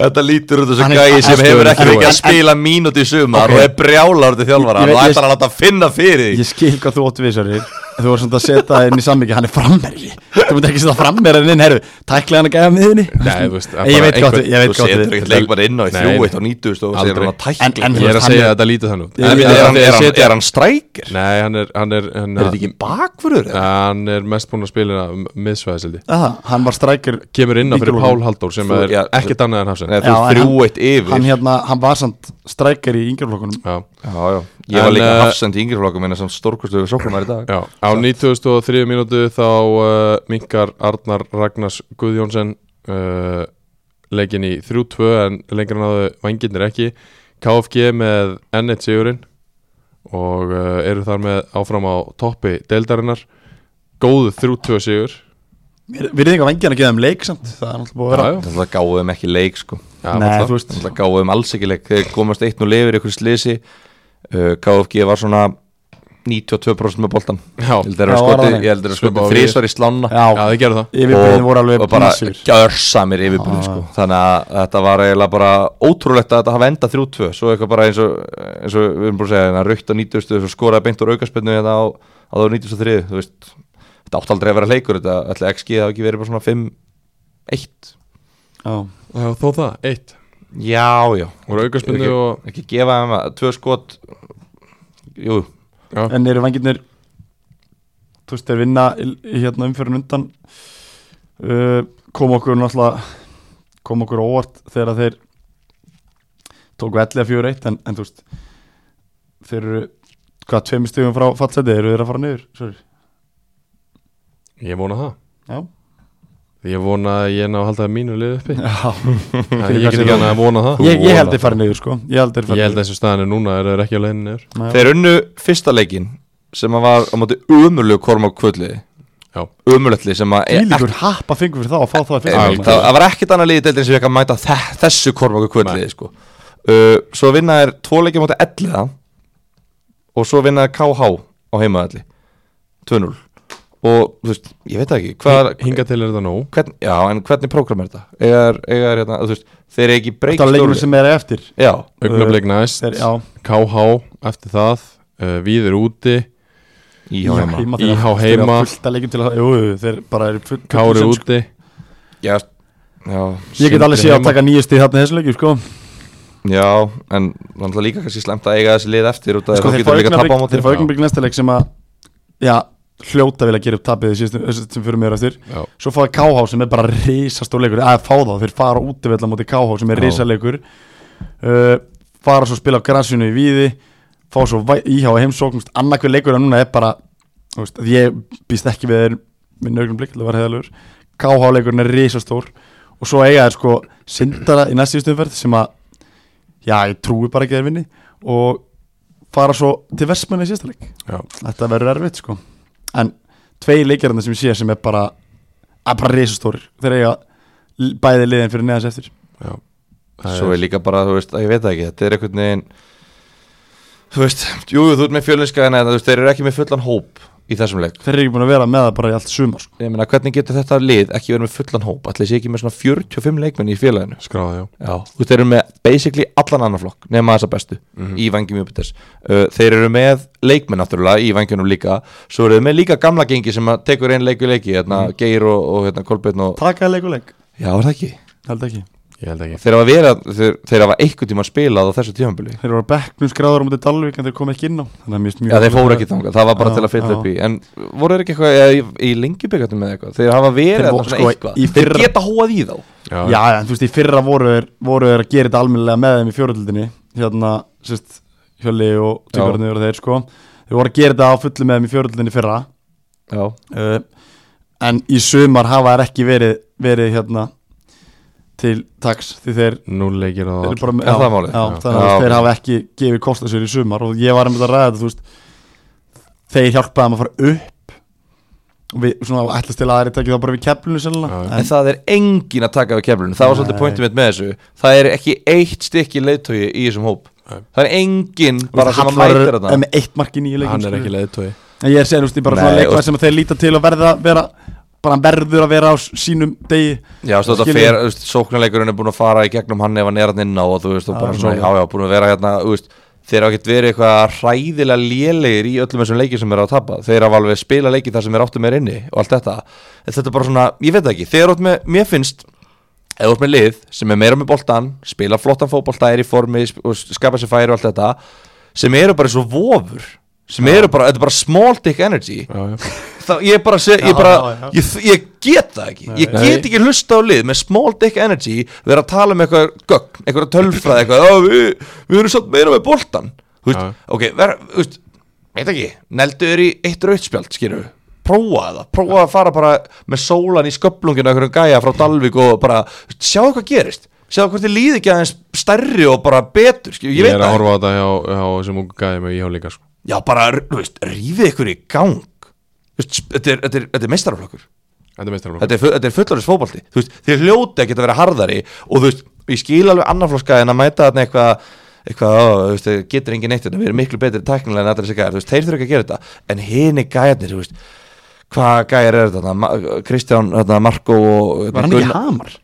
Þetta lítur út þessu Hann er- gæi sem hann- hefur hann- ekki hann- fengið að hann- spila mínúti í sumar Ok. og er brjálar til þjálfara Ég- ég og veit- ætlar að láta finna fyrir því ég skil hvað þú óttu við þessari þú voru svona að setja það inn í sammingi hann er frammerji þú mútti ekki setja frammerjan inn herru tækla hann að gæða miðinni Nei, þú veist, að ég bara veit gott einhvern- ég Þú veit gott setur ekkert leikmann inn á í Nei. þrjú eitt á nýtust og segir Aldrei. hann að tækla En- en- ég er að hann segja er- að þetta lítur þann út Ég- En ég- við- Er hann- þeir er hann- setja- er hann strækir? nei hann er hann er, hann, Er þetta ekki bakvörður? eða? hann er mest búinn að spila miðsvæðisildi Aha, hann var strækjur kemur inn á fyrir Víkurlóni. Pál Halldór sem Þú- er já, ekkert annað en hafsend Nei, Já, Þú en þrjú hann- eitt yfir hann, hérna, hann var samt strækjur í yngjörflokkunum já Já, já, ég var En, líka eh, hafsend í yngri flokkum en þessum stórkustu við sóknum í dag Já, á 2003 mínútu þá uh, minkar Arnar Ragnars Guðjónsson uh, leikin í 3-2 en lengra náðu vanginir ekki KFG með N1 sigurinn og uh, eru þar með áfram á toppi deildarinnar góðu 3-2 sigur við erum enga vengið að gefa þeim leik samt það er alltaf búið að vera já, já, Þetta gáðum ekki leik sko já, Nei, náttúrulega. þú veist Þetta gáðum alls ekki leik Þeir komast eitt nú lifir ykkur slisi uh, KFG var svona 92% með boltan Já. Ég held þeir eru Já, var skotið- það ég held þeir eru Svipað skotið og við. þrísvar í slána já, þið gerðu það yfirbreyðin voru alveg Ah. og bara písur. gjörsamir yfirbyrðin sko. þannig að þetta var eiginlega bara ótrúlegt að þetta hafa endað 3-2 svo eitthvað bara eins og, eins og við erum búin að segja hérna, raukt á 90 svo skoraði beint úr aukarspennu hérna á, á þá 93 þú veist, þetta átt aldrei að vera leikur þetta ætli XG hafa ekki verið bara svona 5-1 Já. já, þó það, eitt já, já, voru aukarspunni ekki, og ekki gefa þeim að tvö skot jú, já, en eru vengirnir þú veist þeir vinna í, í hérna umfyrir undan uh, kom okkur náttúrulega kom okkur á óvart þegar þeir tóku 11 að 4 1 en, en þú veist þeir eru hvað tveimur stífum frá fallseti eru þeir að fara niður Sorry. ég vona það já, ég vona að ég ná að halda mínu lið uppi já. Það er- ég get ekki annað að vona það Ég, ég held þeir fara niður sko ég held þeir Ég fara held að þessu staðinu núna er þeir ekki á leiðinu niður niður þeir unnu fyrsta leikin sem að var á móti umurlegu kormák kvöldliði Já. umurlegli sem að Ílíkur happa fingur fyrir þá að fá þá að Einmitt, fyrsta Það það var ekkert annað liðið deildin sem ég ekki að mæta þe þessu kormaku kvöldliði sko. uh, Svo vinna er tvo leikja móti 11 og svo vinna er KH á heimaðalli 2-0 og þú veist, ég veit það ekki hvað, Hinga til er þetta nóg hvern, Já, en hvernig prógram er þetta? Egar, egar, hérna, þú veist, þeir eru ekki breykt Þetta er leikur sem er eftir Já, Augnablik næst, þeir, Eh, Já, KH eftir það uh, Við er úti, í Já, heima þeirra. IH Þeir heima. hafa fullt að leikjum til að, jú, jú, þeir bara eru fullt Kári úti Já, já, Ég get alveg síðan heima. að taka nýju stíð þarna í þessu leikjum, sko já, en náttúrulega líka kannski slemt að eiga þessi lið eftir út af Sko, þú þeir fá getur líka að tapa á augnablik- móti þeir fá augnablik næsta leik sem að, já, hljóta vilja gera upp tapið síðustu, þessu sem fyrir mér eftir Já. Svo fá það KH sem er bara risastór leikur, að fá þá, þeir fara út af móti KH sem er Já. risaleikur uh, Fara svo að spila á gransinu í víði, fá svo væ- IH í heimsóknust, annarkveð leikur en núna er bara, þú veist, að ég býst ekki við þeir minn augnablik, til að vera heðalur KH leikurinn er risastór og svo eiga þeir sko sindara í næst síðustu umferð sem að já, ég trúi bara ekki að þeir vinni og fara svo til vestmanni í síðasta leik Já. þetta verður erfitt sko en tvei leikjarinn sem ég sé sem er bara er bara risastórir þeir eiga l- bæði liðin fyrir neðans eftir Já. Það Svo er líka bara, þú veist, að ég veit það ekki, þetta er einhvern veginn Þú veist, jú, jú, þú ert með fjölinska en þú veist, þeir eru ekki með fullan hóp í þessum leik þeir eru ekki búin að vera með það bara í allt suma sko. Ég meina, hvernig getur þetta lið ekki verið með fullan hóp Ætli sé ekki með svona 45 leikmenn í félaginu skráði, já Já Þú veist, þeir eru með basically allan annan flokk nema þessa bestu í vangjum Júpiters uh, Þeir eru með leikmenn náttúrulega í vangjunum líka Svo eru þeir með líka gamla gengi sem að tekur einn leik í leiki hérna, Geir og, og hérna, Kolbeinn og takaði leik og leik, Mhm. Já, er það ekki? held ekki Ég held ekki Þeir hafa verið, þeir, þeir hafa einhvern tíma spilað á þessu tímanbili Þeir voru á bekknum skráður á móti Dalvík en þeir kom ekki inn á Þannig að mér finnst mjög Já, þeir fóru ekki þangað, það var bara Já, til að fylla já. upp í En voru þeir ekki eitthvað eða, í, í lengjubyggatum eða eitthvað Þeir hafa verið Þeir þeir voru- svona sko, eitthvað í fyrra- Þeir geta hóað í þá Já, Já, en þú veist, í fyrra voru þeir, voru þeir að gera þetta almennilega með þeim í fjóröldinni Hérna, sérst, Hjölli og Týparnir og þeir sko Þeir voru að gera þetta á fullu með þeim í fjóröldinni fyrra Já, uh, En í sumar hafa þeir ekki verið, verið hérna til taks Því þeir núl leikir á Þeir eru bara með, er það málið? Já, Já. þannig að Já, þú veist, þeir ok. hafa ekki gefið kosta sér í sumar og ég var einmitt að ræða þetta, þú veist þeir hjálpaði þeim að fara upp og við svona ætlast til að þeir tekið þá bara við keflinu sennilega Já, já. en, en, það er engin að taka við keflunum Það var svolítið Nei. pointið mitt með þessu Það er ekki eitt stykki leiðtogi í þessum hóp Nei. Það er engin bara sem að Hallvarður mætir er þarna með eitt mark í nýju leikum Hann er ekki leiðtói En ég er segið, þú veist, ég bara Nei, svona og- leikvað sem að þeir líta til að verða vera, bara hann verður að vera á s- sínum degi Já, þú veist, þetta Skilur. fer, þú veist, sóknarleikurinn er búin að fara í gegnum hann ef hann er hann inn á og þú veist, og bara Já, svona, já, já, búin að vera hérna, þú veist, þeir hafa ekkert verið eitthvað hræðilega lélegir í öllum þessum leikir sem eru að tapa, þeir hafa alveg spila leiki þar sem er áttum er inni og allt þetta, en þetta er bara svona, ég veit það ekki, þeir eru með, mér finnst, eða þú ert með lið sem er meira með boltan, spila flottan fótbolta, er í formi sp- og skapa sér færi og allt þetta, sem eru bara svo vofur, sem eru bara, þetta er bara small dick energy, Já, já þá ég bara, seg, ég, Já, bara já, já. Ég, ég get það ekki ég Nei. get ekki hlusta á lið með small dick energy vera að tala um eitthvað gögn, eitthvað tölfræð eitthvað, "Já, við, við erum samt meira með boltan Þú veist, Já. ok, vera, þú veist veit ekki, neldu er í eitt rautspjald skilur við, prófa það, prófa að fara bara með sólan í sköplunginu eitthvað gæja frá Dalvik og bara þú veist, sjáðu hvað gerist, sjáðu hvort þið líði ekki aðeins stærri og bara betur skilur, Ég ég, veit er að það horfa á þetta hjá, hjá sem ungu gæði með íhá líka sko. já, bara, þú veist, rífið ykkur í gang Þú veist, þetta er, þetta er, þetta er meistaraflokkur Þetta er meistaraflokk þetta er, fu- þetta er fullarins fótbolti þú veist, þeir hljóti að geta verið harðari og þú veist, ég skil alveg annarflokka en að mæta þarna eitthvað eitthvað, ó, þú veist, þeir getur engin neitt þetta, við erum miklu betri tæknilega en allir þessi gæjar, þú veist, þeir þurfa ekki að gera þetta en hini gæjarnir, þú veist hvað gæjar er þetta, Ma Kristján þarna, Marko og hérna, Var hann ekki hamar?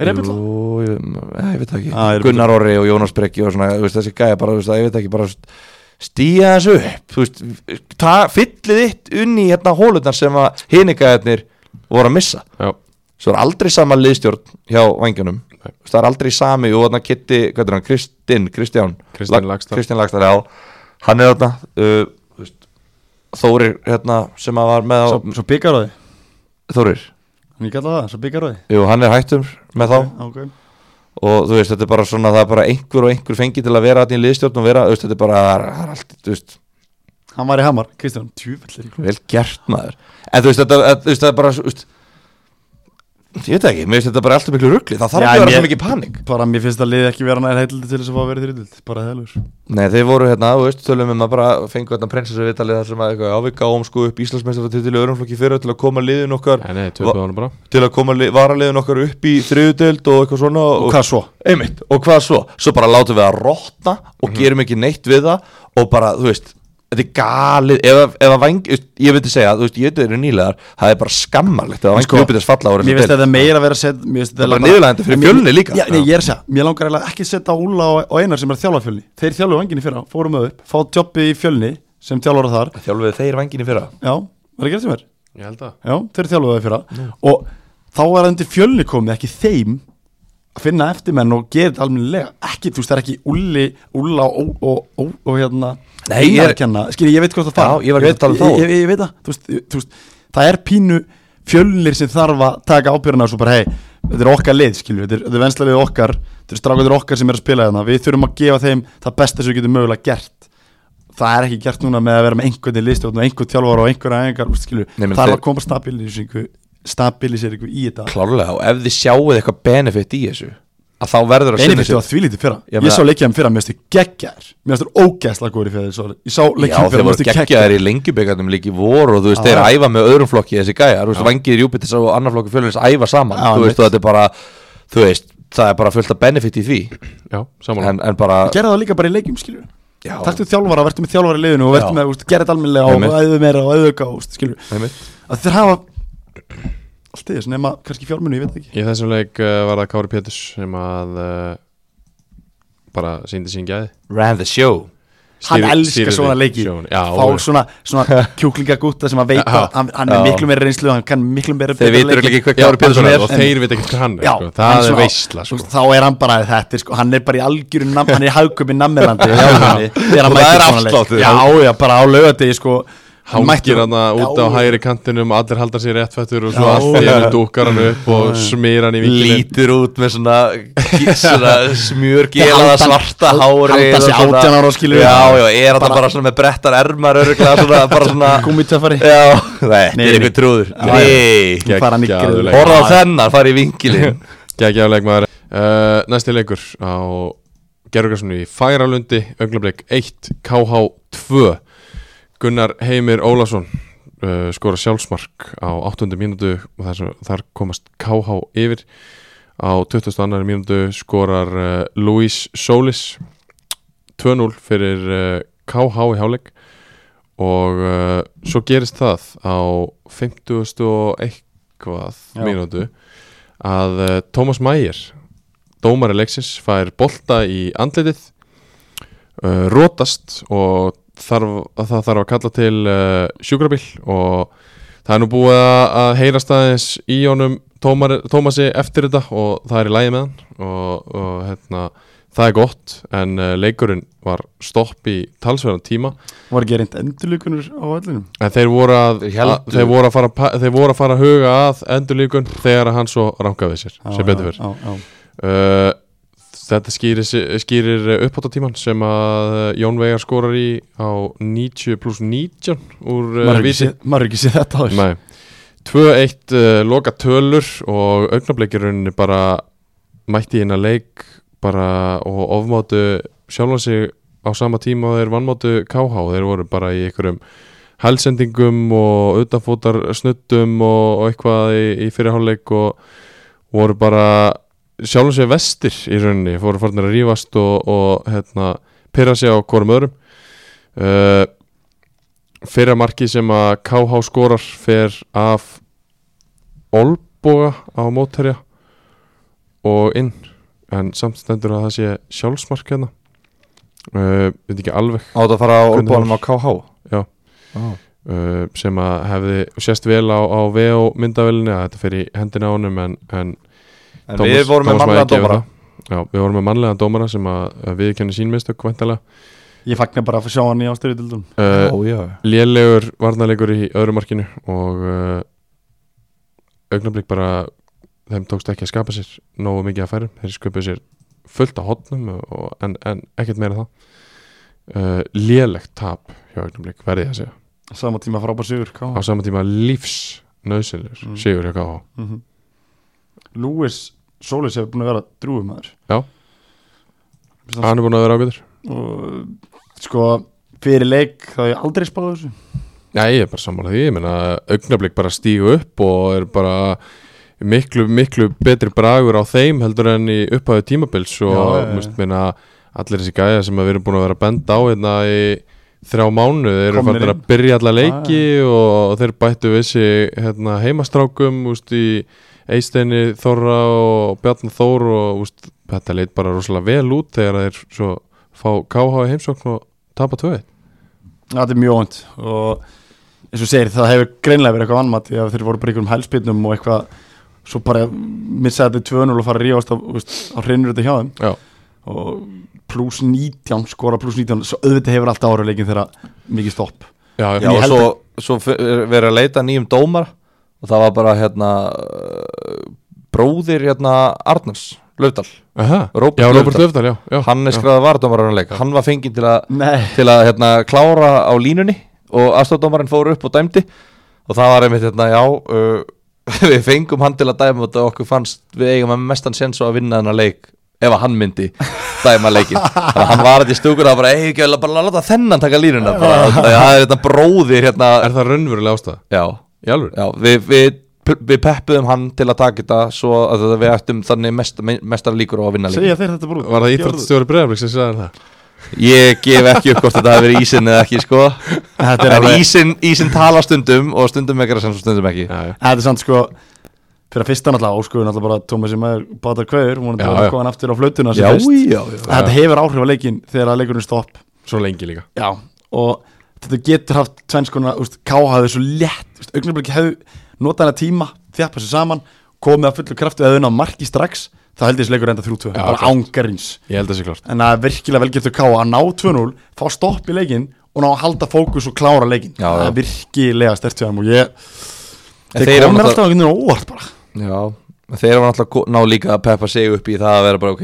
Er það byrla? Jú, ég, eh, ég veit það ekki Ah, ég er að Gunnar Orri og Jónas Brekki og svona þú veist, þessi gæja bara, þú veist, ég veit ekki bara stíða þessu upp þú veist, ta, fyllið þitt unni hérna hólutnar sem að hinigæðarnir voru að missa Já, svo er aldrei sama liðstjórn hjá vangjunum Nei. það er aldrei sami og þarna Kitti, hvað er hann, Kristinn, Kristján Kristinn Lag- Laxdal. Kristinn Lagstad, já, hann er þarna uh, þú veist, Þórir hérna sem að var með á, Svo, svo byggaróði, Þórir, hann ég kalla það, svo byggaróði jú, hann er hættur með þá okay. og þú veist, þetta er bara svona, það er bara einhver og einhver fengi til að vera þarna í liðstjórn og vera, þú veist, þetta er bara, það er- það er allt, þú veist Hann var í hamar, Kristján, tjúfellir vel gert maður en þú veist, þetta, að, þú veist, það er bara, þú veist ég veit það ekki, mér veist þetta bara alltaf miklu rugli, það þarf Já, ekki að vera mér- svo mikið panik Bara mér finnst að liði ekki vera nær heitildi til þess að fá að vera þrýtildi Bara þegar Nei, þeir voru hérna, þú veist, tölum um að bara fengu hérna prinsessu vitalið þar sem að eitthvað ávika ám sko upp Íslandsmeistaratitli örumflokki fyrir til að koma liðin okkar, nei, nei, töpuðu honum bara til að koma li, varaliðin okkar upp í þriðudeld og eitthvað svona Og hvað svo? Einmitt, og hvað svo? Svo bara látum við að rotna og Mhm. gerum ekki neitt við það og bara, þú veist, þetta er galið ef, að- ef að vangi, ég veit að segja þú veist, ég veit að þeir eru nýlegar, það er bara skammarlegt að vangi sko, sko, uppið þess falla ára Mér finnst að það er meira að vera að setja Mér finnst Það er að bara niðurlægjandi fyrir Mér- Fjölni líka. Já, nei, ég er að segja, mér langar eiginlega ekki að setja Úla og, og Einar sem er að þjálfa fjölni Þeir þjálfu vanginni fyrra, fórum með upp Fá tjoppi í fjölni sem þjálfara þar Þjálfuðu þeir vanginu fyrra Já, var ekki eftir mér? Ég held að Já, þeir þjálfuðu það fyrra Og þá er það undir fjölni komið ekki þeim að finna eftirmenn og gera þetta almennilega ekki, þú veist, það er ekki Úli, Úla og, og, og, og hérna Nei, ég er- kenna, skil ég veit hvað það fara Já, ég var ekki að tala um þá. ég, ég, ég veit það, þú veist, ég- þú veist, það er pínu fjölnir sem þarf að taka ábyrðina og svo bara, hei, þetta er okkar lið skilju, þetta er, þetta er vensla lið okkar þetta er strákaður okkar sem er að spila þarna, við þurfum að gefa þeim það besta sem við getum mögulega gert það er ekki gert núna með að vera með einhvern í liðstjórn og einhvern þjálfara og einhverja æfingar skilju, Nei, menn það er þeir- að koma stabiliseringu stabiliseringu í þetta Klárlega, og ef þið sjáuð eitthvað benefit í þessu að þá verður að Einnig setja finnst sig- þú að því lítið fyrra Ég Ég, meina- sá leikjaðum fyrra, mér finnst þið geggjaðir Mér finnst þið ógeðslega góður í fyrra þeir svo- Ég sá Já, leikjaðum þeir fyrra, mér voru finnst þið geggjaðir í lengjubikarnum líki vor og þú veist, Já. þeir æfa með öðrum flokki þessi gæjar, þú veist, vangir Júpiters og annar flokki fjölins æfa saman, Já, þú veist, mitt. og þetta er bara þú veist, það er bara fullt af benefit í því Já, samanlega en, en bara, Gerða það líka bara í leikjum, skilju já, Takktu þjálfara, verður með þjálfara í liðinu og verður Já. með, úst, gerða þetta almennilega Einmitt. og æðu meira og æðu gást, skilju einmitt Að þeir hafa allt í þessu, nema kannski fjármunni, ég veit það ekki Í þessum leik uh, var það Kári Péturs sem að uh, eh, bara síndi sín gæði ran the show hann Stýri- elskar stýrir svona því, leiki sjóni. Já, fá alveg. svona, svona kjúklingagúta sem að veita Já, hann, hann er já. miklu meira reynslu hann kann miklu meira Þeir betra vitur leiki. ekki hvað Já, Kári Pétursson akkurat, er og þeir veit ekkert hvað hann er Já, sko. hann það er svona- veisla þú sko. veist, þá er hann bara þetta er sko, hann er bara í algjöru nam, hann er hagköpi nammelandi Já, já. Og það er afsláttur. já, já, bara á laugardegi sko hann mættur- hangir hann út á Já, hægri kantinum allir halda sér réttfættur og svo Já. allt í hennu dúkar hann upp og smýr hann í vikilinn lítur út með svona, svona smjörgelaða Halda- svarta hal- hári halda sig 18 ára, skilur við. já, já, er þetta Bara- bara svona með brettar ermar öruglega svona, bara svona gúmmitöffari já, þetta Nei, er nei. einhver trúður Já, nei, Nú fara hann í Geggjaður grill. leikur. horfa á þennan, fara í vingilin Gægja leikmaður uh, Næsti leikur á Gerðurkarssonu í Færalundi Önglablík 1, KH 2 Gunnar Heimir Ólafsson uh, skora sjálfsmark á 8. mínútu og þar, þar komast KH yfir á 22. mínútu skorar uh, Luis Solis 2-0 fyrir uh, KH í háleik og uh, svo gerist það á 50. og eitthvað Já. mínútu að uh, Thomas Mayer dómari leiksins fær bolta í andlitið uh, rótast og þarf, að það þarf að kalla til uh, sjúkrabíl og það er nú búið að að heyrast aðeins í honum Tómar, Tómasi eftir þetta og það er í lægi með hann og, og hérna, það er gott en uh, leikurinn var stopp í talsverðan tíma voru gerind endurlíkunur á öllinum En þeir voru að, að, Þeir héldu- þeir voru að, fara, að pa- þeir voru að fara að huga að endurlíkun þegar að hann svo rangaði sér sem betur fyrr fyrr uh, Þetta skýrir, skýrir uppáttatíman sem að uh, Jón Veigar skorar í á 90 pluss 19 úr uh, maður hefur ekki vísi séð- maður hefur ekki séð þetta áður Nei 2-1 uh, loka tölur og augnableikirunni bara mætti inn að leik bara og ofmátu sjálfan sig á sama tíma og þeir vannmátu KH þeir voru bara í einhverjum hælsendingum og utanfótar snuttum og, og eitthvað í, í fyrirháleik og voru bara sjálfan sig vestir í rauninni fóru farnir að rífast og, og hérna, pyrra sig á hvorum öðrum uh, fyrra marki sem að KH skorar fer af Olboga á mótherja og inn en samt stendur að það sé sjálfsmark hérna uh, veit ekki alveg átt að fara á Hvernig úrbólum á var- KH já, Ó. uh, sem að hefði sést vel á, á VO myndavelinni að þetta fer í hendina á honum en, en en við vorum með Mayer mannlega gefur dómara það. Já, við vorum með mannlega dómara sem að að viðurkenna sín mistök væntalega ég fagnar bara að sjá hann í ástyrjutildum uh, já, lélegur varnarleikur í öðru markinu og uh, augnablík bara þeim tókst ekki að skapa sér nógu mikið að færum, þeir sköpuðu sér fullt á hotnum og, en, en ekkert meira en það uh, lélegt tap hjá augnablík, verði ég að segja sama tíma frábær sigur á sama tíma lífs nöðsynlegur Mm. sigur hjá KH Lewis Solis hefur búin að vera drúið maður Já. hann er búin að vera ágætur og sko fyrir leik þá hef ég aldrei spáð þessu Já, ég er bara sammála því, ég meina augnablik bara stígu upp og er bara miklu, miklu betri bragur á þeim heldur en í upphæðu tímabils og Já, já, já. must, meina, allir þessi gæja sem að við erum búin að vera að benda á hérna í þrjá mánu, þeir eru Komnir fannir að inn. byrja alla Já, leiki og þeir bættu við sig hérna, heimastrákum úst, í Eisteini Þorra og Bjarni Þór og úst, þetta leit bara rosalega vel út þegar þeir svo fá KH í heimsókn og tapa tvöið það er mjög óvænt og eins og segir það hefur greinlega verið eitthvað vannmatt því að þeir voru bara í einhverjum hælspilnum og eitthvað svo bara missa þetta í 2-0 og fara að rífast á, þú veist, á hreynur þetta hjá þeim Já, og pluss 19 skora pluss 19 svo auðvitað hefur alltaf ára leikin þegar mikið stopp já, já Ég og held svo, svo fer- verið að leita nýjum dómara og það var bara hérna uh, bróðir hérna Arnars Löfdal, Aha, Róbert já, Róbert Laufdal. Löfdal, já, já hann er já. skræða vardómaranleik hann var fenginn til að Nei, til að hérna, klára á línunni og aðstofdómarinn fór upp og dæmdi og það var einmitt hérna, já uh, við fengum hann til að dæma þetta og okkur fannst við eigum að mestan sens á að vinna þennan leik ef að hann myndi dæma leikin þannig að hann var þetta í stúkur að bara eigum ekki að bara láta þennan taka línuna bara, það er þetta bróðir hérna Er það raunverulega ástæða? já, Í alveg? já, við, við, við peppuðum hann til að taka þetta svo að við ættum þannig mest, mestar líkur á að vinna leikin segja þeir þetta bara út Var það Gjörðu- íþróttastjóri Breiðarblik sem sagði það? Ég gef ekki upp hvort þetta hefur verið ísinn eða ekki sko Þetta er En alveg- ísinn, ísinn tala stundum og stundum ekki sem stundum ekki Já, já, Þetta er samt sko fyrir að fyrsta náttúrulega áskuðu náttúrulega bara Tómasi maður bátar kveður, hún er Já, bara já. að koma hann aftur á flautuna sem Já, fyrst. já, já. Þetta hefur áhrif á leikin þegar að leikurinn er stopp Svo lengi líka Já, og þetta getur haft tvenns konar, úst, K hafði svo létt augnablik hefðu notað hana tíma þjappa sér saman, komið að fullu kraftu eða unna marki strax, það held ég þessi leikur enda 3-2, Já, bara klárt. ángarins Ég held að sé klart en það er virkilega velgert að K að ná 2-0 fá stopp í leikinn og ná að halda fókus og klára leikinn, Já, það já. er virkilega stert hjá þeim og ég En þeir þeir eru komir náttúrulega- alltaf einhvern veginn á óvart bara Já, en þeir eru náttúrulega go- ná líka að peppa sig upp í það að vera bara ok,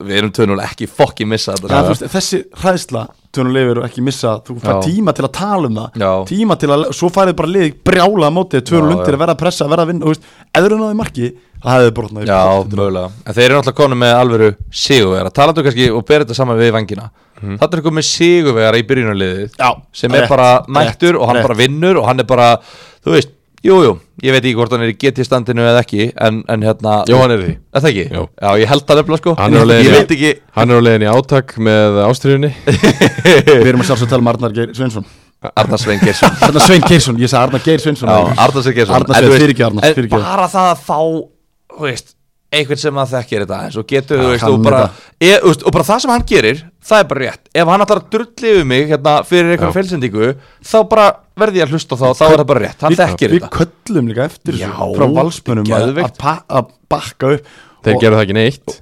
við erum tönul ekki fokki missa þetta Það, þú veist, þessi hræðsla tönum lifir og ekki missa þú fær Já. tíma til að tala um það Já. tíma til að, svo færið bara liðið brjála á mótið, tönum Já, lundir já. að vera að pressa að vera að vinna, þú veist, eður en á því marki það hefði brotnað í Já, brotið. mögulega En þeir eru náttúrulega konum með alvöru sigurvegara Talandu kannski og ber þetta saman við vangina Mhm. mm. Þetta er komið sigurvegara í byrjunarliðið Já, sem er rétt, bara rétt, mættur og hann rétt. bara vinnur og hann er bara, þú veist, jú, jú ég veit ekki hvort hann er í GT standinu eða ekki en, en hérna, Jó, hann er í því. Er það ekki? Jú. Já, ég held það nefnilega sko Hann er á leiðinni- Ég veit ekki Hann er á leiðin í átak með ástriðunni Við erum að sjálfsög að tala um Arnar Geir Sveinsson Arnar Svein Geirsson Arnar Svein Geirsson, ég sagði Arnar Geir Sveinsson Já, Arnar Svein Geirsson Arnar En þú Sveinn, veist, fyrirgefðu, Arnar, en fyrirgefðu. Bara það að fá, þú veist einhvern sem að þekkir þetta eins og getur, þú veist, hann og er bara, þetta. e, þú veist, og bara það sem hann gerir það er bara rétt, ef hann ætlar að drulli yfir mig hérna fyrir Já. einhverjum felsendingu þá bara verði ég að hlusta á þá, þá er það bara rétt hann þekkir Við þetta köllum líka eftir þessu Já, frá valsmönum að geðveikt. að pa- að bakka upp Þeir Og- gerðu það ekki neitt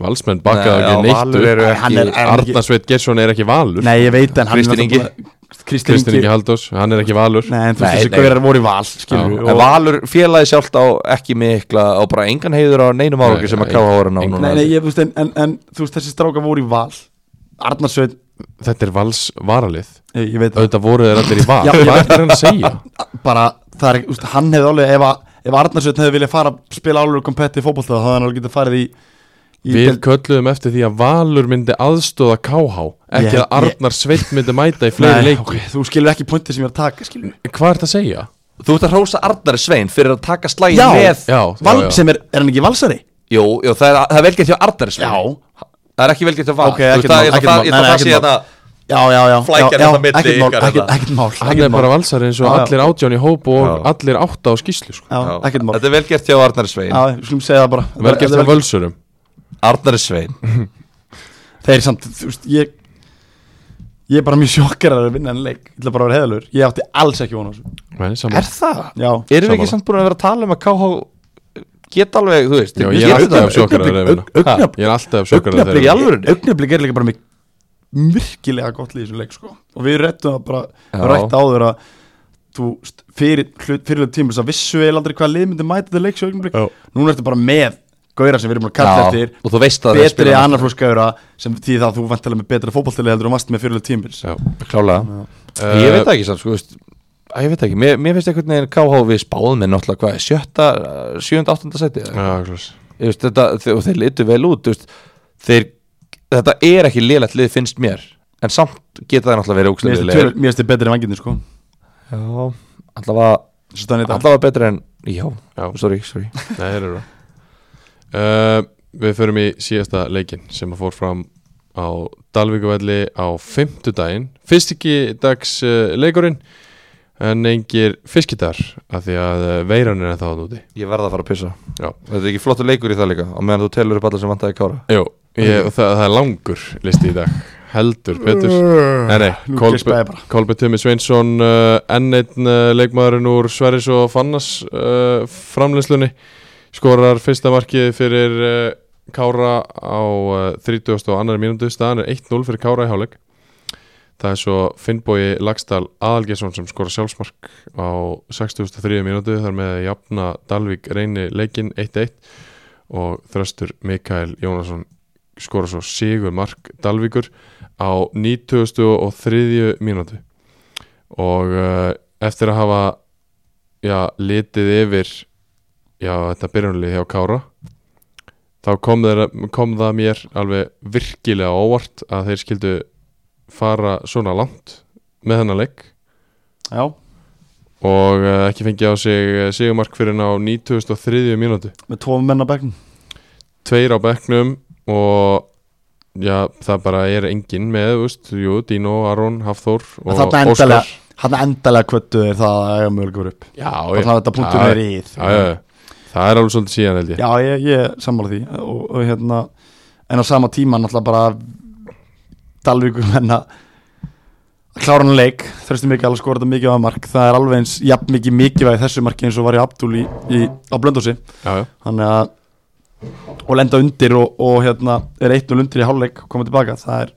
Valsmenn bakkaðu Nei, já, ekki neitt Valur upp eru Hann ekki er- er hann ekki- Arnar Sveit Gersson er ekki valur Nei, ég veit en hann er Kristinn Ingi. náttúrulega- Kristinn Kristinn Ingi ekki Haldós, hann er ekki valur Nei, en þú veist Nei, þessi nei. gaurar voru í val skilur Já, við, En og- Valur félagi sjálft á ekki mikla og bara engan heiður á neinum Nei, árangur sem að nei, káha ára ná engan. núna. Nei, nei, ég veist en, en, en þú veist þessi stráka voru í val Arnar Sveinn, Þetta er vals varalið ég, ég veit það Auðvitað voru þeir allir í val Já, Hvað ég- er hann að segja? bara, það er, ekki- þú veist, hann hefði alveg ef, að- ef Arnar Sveinn hefði viljað fara að spila alveg kompetti í fótbolta þá hefði hann alveg getið farið í, í Við deild- kölluðum eftir því að Valur myndi aðstóða KH Ekki Ég- að Arnar Sveit myndi mæta í fleiri Nei, leiki ok, þú skilur ekki pointið sem ég er að taka skilur við. Hvað er það að segja? Þú ert að hrósa Arnar Svein fyrir að taka slægin Já, með Já, Val, já, já. sem er, er hann ekki valsari? Jú, jú, það er, það er velgert hjá Arnar Svein Það er ekki velgert hjá Val Ok, Þú veist, ekkert það- mál, ég ætla ekkert það- mál. Ég ætla Nei, nei, það sé ekkert þetta Já, já, já, Flækjan já, er já, það milli ekkert mál, ykkar hérna. ekkert- þarna. ekkert mál Hann ekkert er bara mál. valsari eins og Já, já. allir átján í hóp og Já. allir átta á skýslu sko. Já, ekkert mál Þetta er velgert hjá Arnar Svein Já, við skulum segja það bara Þetta er- Vel gert þetta er af völsurum Arnar Svein Þeir samt, þú veist, ég Ég er bara mjög sjokkar að vinna en leik Ég ætla bara að vera heðalur Ég átti alls ekki vona þessu Nei, sama. Er það? Já Erum við Sammála. ekki samt búin að vera að tala um að KH geta alveg, þú veist Já, við ég er getum alltaf það. af sjokkar að augnablik- reyna aug- augnablik- Ég er alltaf af sjokkar að Augnablik, reyna já. alvörinni? Augnablik er líka bara mjög Virkilega gott lið í þessum leik sko Og við réttum það bara Já. Við rætt áður að Þú veist, fyrir hlut, fyrir hlut tíma Þess að vissu eða aldrei hvaða lið myndi mæta þetta leiks augnablik Já. Núna ertu bara með Gauðra sem við erum búin að kalla eftir Og þú veist að þeir Betri spila- annarflóksgauðra Sem því það að þú vantilega með betra fótballtili heldur og vast með fyrir hlut tímabils Já. Klálega Eh, Ég veit það ekki samt, sko, þú veist Æ, ég veit það ekki, mér, mér finnst einhvern veginn KH við spáðum með náttúrulega hvað, sjötta, eh, sjöunda, áttunda seti eða? Já, klás. Ég veist, þetta, þe- og þeir litu vel út þú veist, þeir, þetta er ekki liðlegt lið finnst mér, en samt geta það náttúrulega verið Mér ógstlega finnst liðlega þið- mér finnst þið betri en vanginni sko Já, allavega, Svo staðan í dag. allavega betra en já, Já. sorry, sorry Nei, þeir eru það. uh, Við förum í síðasta leikin sem að fór fram á Dalvíkuvelli á fimmtudaginn Fyrst ekki dags uh, leikurinn en engir fiskidar af því að uh, veiran er það úti Ég verða að fara að pissa Já. Þetta er ekki flottur leikur í það líka og meðan þú telur upp alla sem vantaði kára Jú, ég, það, það er langur listi í dag heldur betur Nei, nei, nú geispaði Kolbe, bara. Kolbe Tumi Sveinsson uh, enn einn uh, leikmaðurinn úr Sverris og Fannas uh, framleyslunni skorar fyrsta markið fyrir uh, Kára á uh, 30. og annar mínútu staðan er 1-0 fyrir Kára í hálfleik það er svo Finnbói Lagstall Aðalgesson sem skorar sjálfsmark á 63. mínútu þar með að jafna Dalvik reyni leikin 1-1 og þröstur Mikael Jónasson skora svo sigur mark Dalvíkur á 90. og 3. mínútu og uh, eftir að hafa já, litið yfir já, þetta byrjunlið hjá Kára þá kom, þeir, kom það mér alveg virkilega á óvart að þeir skildu fara svona langt með þennan leik Já, og uh, ekki fengi á sig eh, sigurmark fyrir en á 93. mínútu með tvo menn að bekknum tveir á bekknum og já, það bara er enginn með, þú veist, jú, Dino, Aron, Hafþór og Þarna endalega, þarna endalega kvöttu er það að eiga mögulega upp Já, og það er þetta punktum er í Já, já, já. það er alveg svolítið síðan held ég Já, ég, ég sammála því og, og hérna, en á sama tíma náttúrulega bara Dalvíkur menna klára hann leik Þrösti Mikael skora þetta mikið á mark það er alveg eins jafn mikið mikilvæg þessu marki eins og var í Abdul í, í, á blöndósi já, já, þannig að og lenda undir og, og hérna er eitt og lundir í hálfleik og koma tilbaka það er,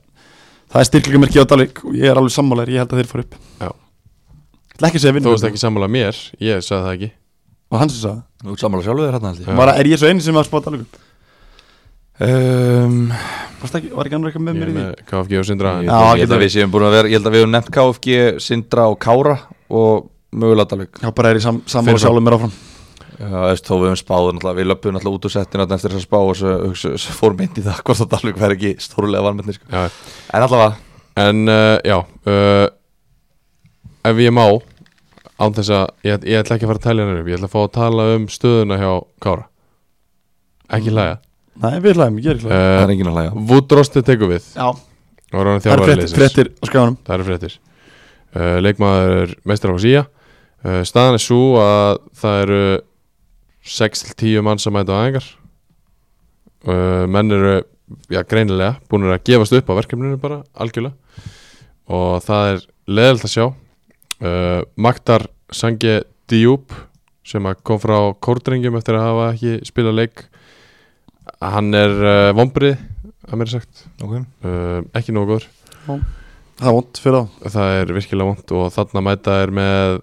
það er styrkleikamerki á Dalík og ég er alveg sammálaður, ég held að þeir fór upp Já. Ég ætla ekki að segja þú vinnur veist ekki sammála mér ég sagði það ekki og hans er það, Þú ert sammála sjálfur þér hérna held ég var, er ég svo eini sem var að spá Dalík um, var ekki, var ekki annar eitthvað með ég mér er í því með KFG og Sindra en- Ég Já, það held getur að við séum búin að vera Ég held að við hefum nefnt KFG, Sindra og Kára Og mögulega Dalvik já, bara er ég sam, sammála Fyrir fram. sjálfum mér áfram Já, veist, þó við höfum spáð náttúrulega, Við löpum náttúrulega út úr settinu þarna eftir þess að spá Og svo, svo, svo fór mynd í það hvort að Dalvik væri ekki stórlega vanmyndni sko. já, En allavega, En uh, já uh, Ef ég má Án þess að ég, ég ætla ekki að fara að tala hennar upp Ég ætla að fá að tala um stöðuna hjá Kára Ekki hlæja nei, við hlæðum, ég Mm. er ekki hlæðum það uh, er enginn að hlæja Vúdrosti tekur við já, og er orðinn það eru þjálfari fréttir, liðsins. fréttir á skjáðunum Það eru fréttir uh, Leikmaður er meistar á síja uh, Staðan er svo að það eru 6-10 mann sem mæta á aðingar uh, Menn eru já, greinilega búinir að gefast upp á verkefninu bara algjörlega og það er leðilt að sjá uh, Magdar Sange Diop sem að kom frá kórdrengjum eftir að hafa ekki spilað leik hann er uh, vombrið að mér er sagt okay. uh, ekki nógu góður það er vond fyrir þá það er virkilega vond og þarna mæta er með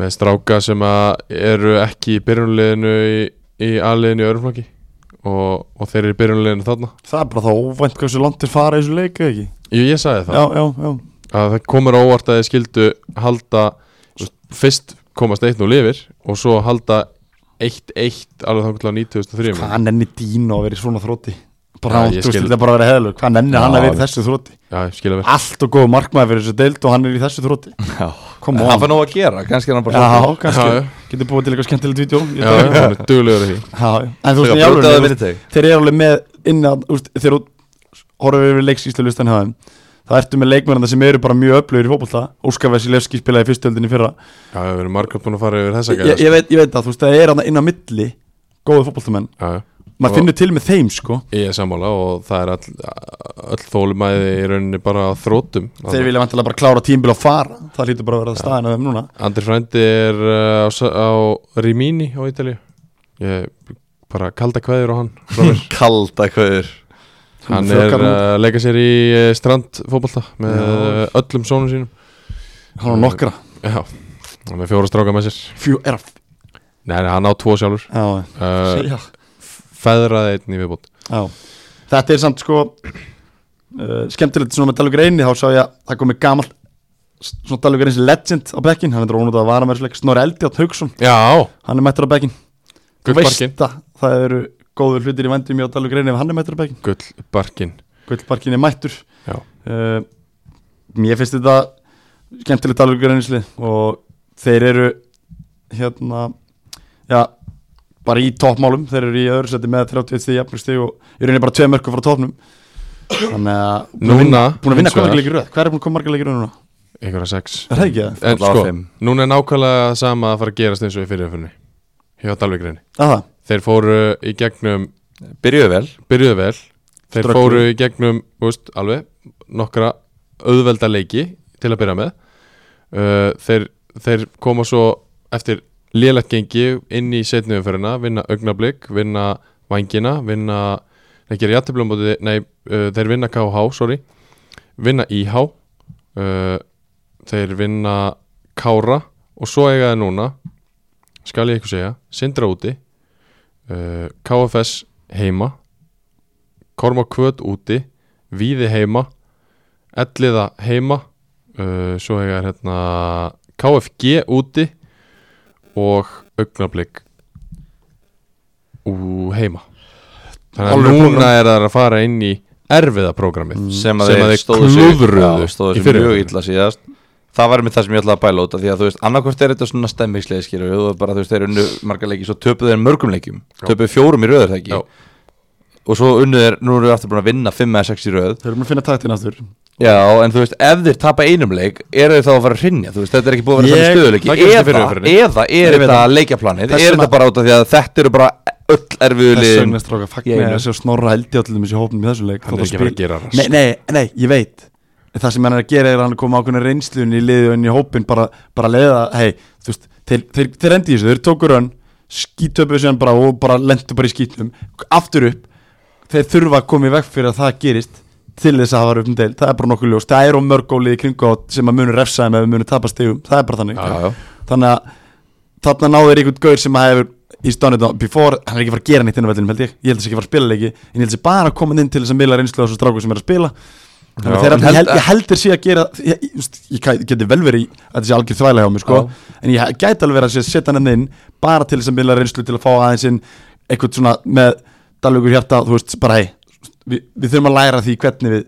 með stráka sem að eru ekki í byrjunliðinu í, í aðliðinu í örumflokki og, og þeir eru í byrjunliðinu þarna það er bara þá óvænt hversu langt er fara í þessu leik eða ekki Jú, ég sagði það, já, já, já, að það komur á óvart að þeir skildu halda þú veist, fyrst komast eitt nú lifir og svo halda 1-1 alveg þangt til á 9003 hvað nenni Dino að vera í svona þrótti Já, bara hann, ég þú veist, skil. þetta er bara að vera heðalög hvað nenni hann að vera í þessu þrótti Já, ég skilja vel allt og góð markmaður fyrir þessu deild og hann er í þessu þrótti Já. En koma Hann on fær nóg að gera, kannski er hann bara já, kannski, Já, já. getur búið til eitthvað skemmtilegt vídeo um Já, já, hann er duglegur að því já, já. en þú veist, Þegar ég brjótaði alveg vinnuteg þeir eru alveg með inn að, úst, þeir horfum við yfir leiksýslulistan hjá þeim það ertu með leikmennanda sem eru bara mjög öflugir í fótbolta Óskar Vesilevski spilaði fyrstöldinni fyrra Já, við erum margum búin að fara yfir þessa sko. ég, ég, veit, ég veit það, þú veist, það er hann inn á milli góðu fótboltamenn, Já, já Og- maður finnur til með þeim sko, Ég er sammála og það er all, all þólumæði í rauninni bara á þrótum þeir vilja vantilega bara klára tímbil og fara, það lítur bara að vera staðin af þeim núna Andri frændi er uh, á, s- á Rimini á Ítalíu Ég bara kalda kveður á hann frá mér. Kalda kvöður Hann Frökar er hún- að leika sér í uh, strandfótbolta með uh, öllum sónum sínum uh, hann á nokkra, Já, hann er fjóra stráka með sér fjú, er að Nei, nei, hann á tvo sjálfur já, uh, já, Feðraði einn í viðbót já. þetta er samt sko uh, skemmtilegt svona með Dalvíkur einni þá sá ég að það komið gamalt svona Dalvíkur eins legend á bekkin hann er drónut að vara með slik Snorri Eldjátt Haugsson Já, hann er mættur á bekkin, þú veist gullbarkin það það eru góður hlutir í vendum í á Dalvíkur einni ef hann er mættur á bekkin, Gullbarkin gullbarkin er mættur Já, uh, Mér finnst þetta skemmtilegt alveg reynisli og þeir eru hérna já, bara í toppmálum þeir eru í öðru seti með 31 stíð jafnlusti og í rauninni bara tvei mörku frá toppnum Þannig að búin að Núna, vinna- búin að vinna hins hvað vegar. margilegir röð Hver er búin að koma margilegir röð núna? einhverja sex Er það ekki það? En Alla á sko, fimm. núna er nákvæmlega sama að fara að gerast eins og í fyrirfunni hjá Dalvíkrinni. Það það, Þeir fóru í gegnum, Byrjuðu vel byrjuðu vel, þeir Ströggluðu. fóru í gegnum, þú veist, alveg, nokkra auðvelda leiki til að byrja með. Uh, þeir, þeir koma svo eftir lélegt gengi inn í setniðumferðina, vinna augnablík, vinna vangina, vinna, þeir gera jættiblum móti, nei, uh, þeir vinna KH, sorry, vinna IH, uh, þeir vinna Kára og svo eiga þeir núna, skal ég eitthvað segja, Sindra úti, uh, KFS heima, Korma Kvöt úti, Víði heima, Elliða heima, uh, svo eiga þeir hérna KFG úti og augnablík ú heima. Þannig að Alveg núna program. Mm. er það að fara inn í erfiða prógramið sem að sem að þeir þeir stóðu sig- klúðruðu já, stóðu í sig mjög fyrri. illa síðast það var með það sem ég ætlaði að bæla út af því að þú veist, annarkvæmt er þetta svona stemmingslega skilur við, og bara þú veist, þeir unnu marga leiki svo töpuðu þeir mörgum leikum, töpuðu fjórum í röður það ekki Já. og svo unnu þeir, nú eru þeir aftur búin að vinna 5 eða 6 í röð þeir eru búin að finna taktin aftur já, en þú veist, ef þeir tapa einum leik eru þeir þá að fara að rinja, þú veist, þetta er ekki búið að vera Ég- þannig það gerist í fyrri stöðuleiki, umferðinni. eða, eða er Ég veit þetta það. leikjaplanið, Þess er vegna- þetta bara út af því að þetta eru bara öll erfiðu Þess liðin vegna stráka, Ég fagna einu. þessi að snorra eldi á til þessi hópnum í þessu leik Hann þótt er að ekki að fara að spila- gera raskt. Nei, nei, nei, ég veit það sem hann er að gera er að hann er komið ákveðna reynslun í liðið og inn í hópin bara, bara leiða, hei, þú veist þeir, þeir, þeir endi í þessu, þeir tóku rönn skítöpuðu sér bara og bara lendu bara í skítum aftur upp, þeir þurfa að koma í veg fyrir að það gerist til þess að hafa upp um deil, það er bara nokkuð ljós það er og mörg ólið í kringu á sem að munur refsaðum eða munur tapast yfum, það er bara þannig Já, já. þannig að þarna náður einhvern gaur sem að hefur í stónið before, hann er ekki að fara að gera neitt inn á vellinum held ég, ég held þess ekki að fara að spila leiki en ég held þess bara að koma inn til þess að miðla reynslu á þessu stráku sem er að spila Já, þannig að þeirra, en ég, held- held, ég heldur sé að gera ég, ég, ég, ég gæ- geti vel verið í að þessi algjör þvæla hjá mér sko, en ég gæti alveg verið að sé að setja hann inn bara til þess að miðla reynslu til að fá aðeins inn eitthvað svona með dalugur hjarta, þú veist, bara hei við, við þurfum að læra því hvernig við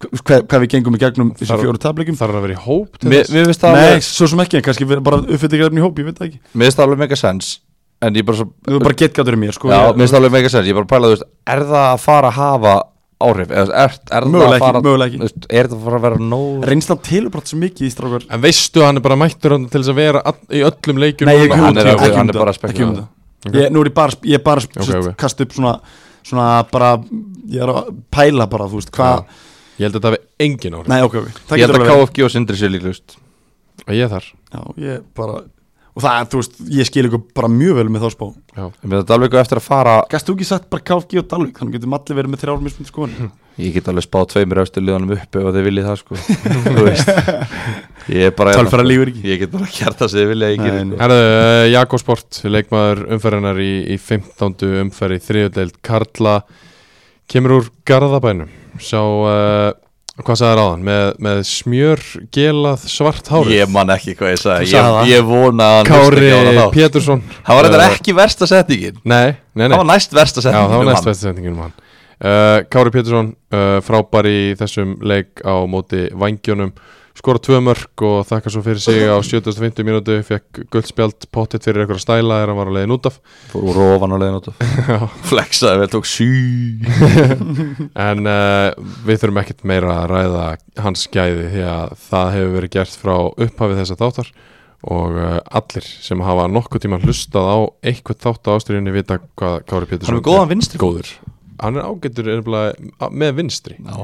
hvað, hvað við gengum í gegnum þessum Þarf- fjóru tableikum Þarf hann að vera í hóp til Mér þess? mér finnst það Nei, alveg- svo sem ekki, en kannski við- bara uppfyllingarefni í hóp, ég veit það ekki mér finnst það alveg mega sens En ég bara svo Þú er bara getgætur í mér, sko Já, Ég- mér finnst það alveg mega sens Ég bara pæla, þú veist Er það að fara að hafa áhrif? Eða, þú veist, Er, er það Mögulega að ekki, fara mögulega ekki. þú veist, Er það að fara að vera nóg Reynslan telur bara svo mikið í strákar En veistu að hann er bara mættur hann til þess að vera all, í öllum leikjum Nei, ég núna? hann er ekki- alveg- ekki um hann er það, bara að ekki um spekulera. það Ég, nú er ég bara, ég er bara okay, ok. kast upp svona, svona bara, ég er að pæla bara, þú veist, hvað Ég held að þetta hafi engin áhrif Nei, ok, ok, það Ég held að alveg verið. KFG og Sindri sér líklust Og ég er þar Já, ég bara, og það, þú veist, ég skil ykkur bara mjög vel með þá spá Ég finnst það alveg eftir að fara Gast þú ekki sagt bara KFG og Dalvik, þannig getum allir verið með þrjár mismundi skoðan Ég get alveg spáð tveimur eftir liðanum upp ef þið viljið það sko Þú veist Ég er bara hérna, Tölfræði lýgur ekki. Ég get bara gert það sem þið vilja að ég Nei, nei. gerir sko. Herðu, uh, Jakob Sport, leikmaður umferðinar í, í 15. umferði þriðudeld Karla kemur úr Garðabænum Sá, uh, hvað sagði ráðan? Með, með smjör, gelað, svart hárið Ég man ekki hvað ég sagði Þú sagði Ég, það. ég vona að hann hlusti Kári ekki á hana þá. Pétursson Það var þetta Eh, ekki versta settingin Nei, nei, nei Það var næst versta Já, settingin það var um næst hann. besta sendingin um hann uh, Kári Pétursson uh, frábær í þessum leik á móti vangjónum skora tvö mörg og þakka svo fyrir sig á 75 mínútu fekk guldspjald pottitt fyrir einhverja stæla er hann var á leiðin út af Fór úr ofan á leiðin út af. Flexaði vel, tók sí en uh, við þurfum ekkert meira að ræða hans gæði því að það hefur verið gert frá upphafi þessa þáttar og uh, allir sem hafa nokkuð tíma hlustað á eitthvað þátt á ástriðinni vita hvað Kári Pétursson Hann er með góðan vinstri fót. góður hann er ágættur nefnilega á- með vinstri Já.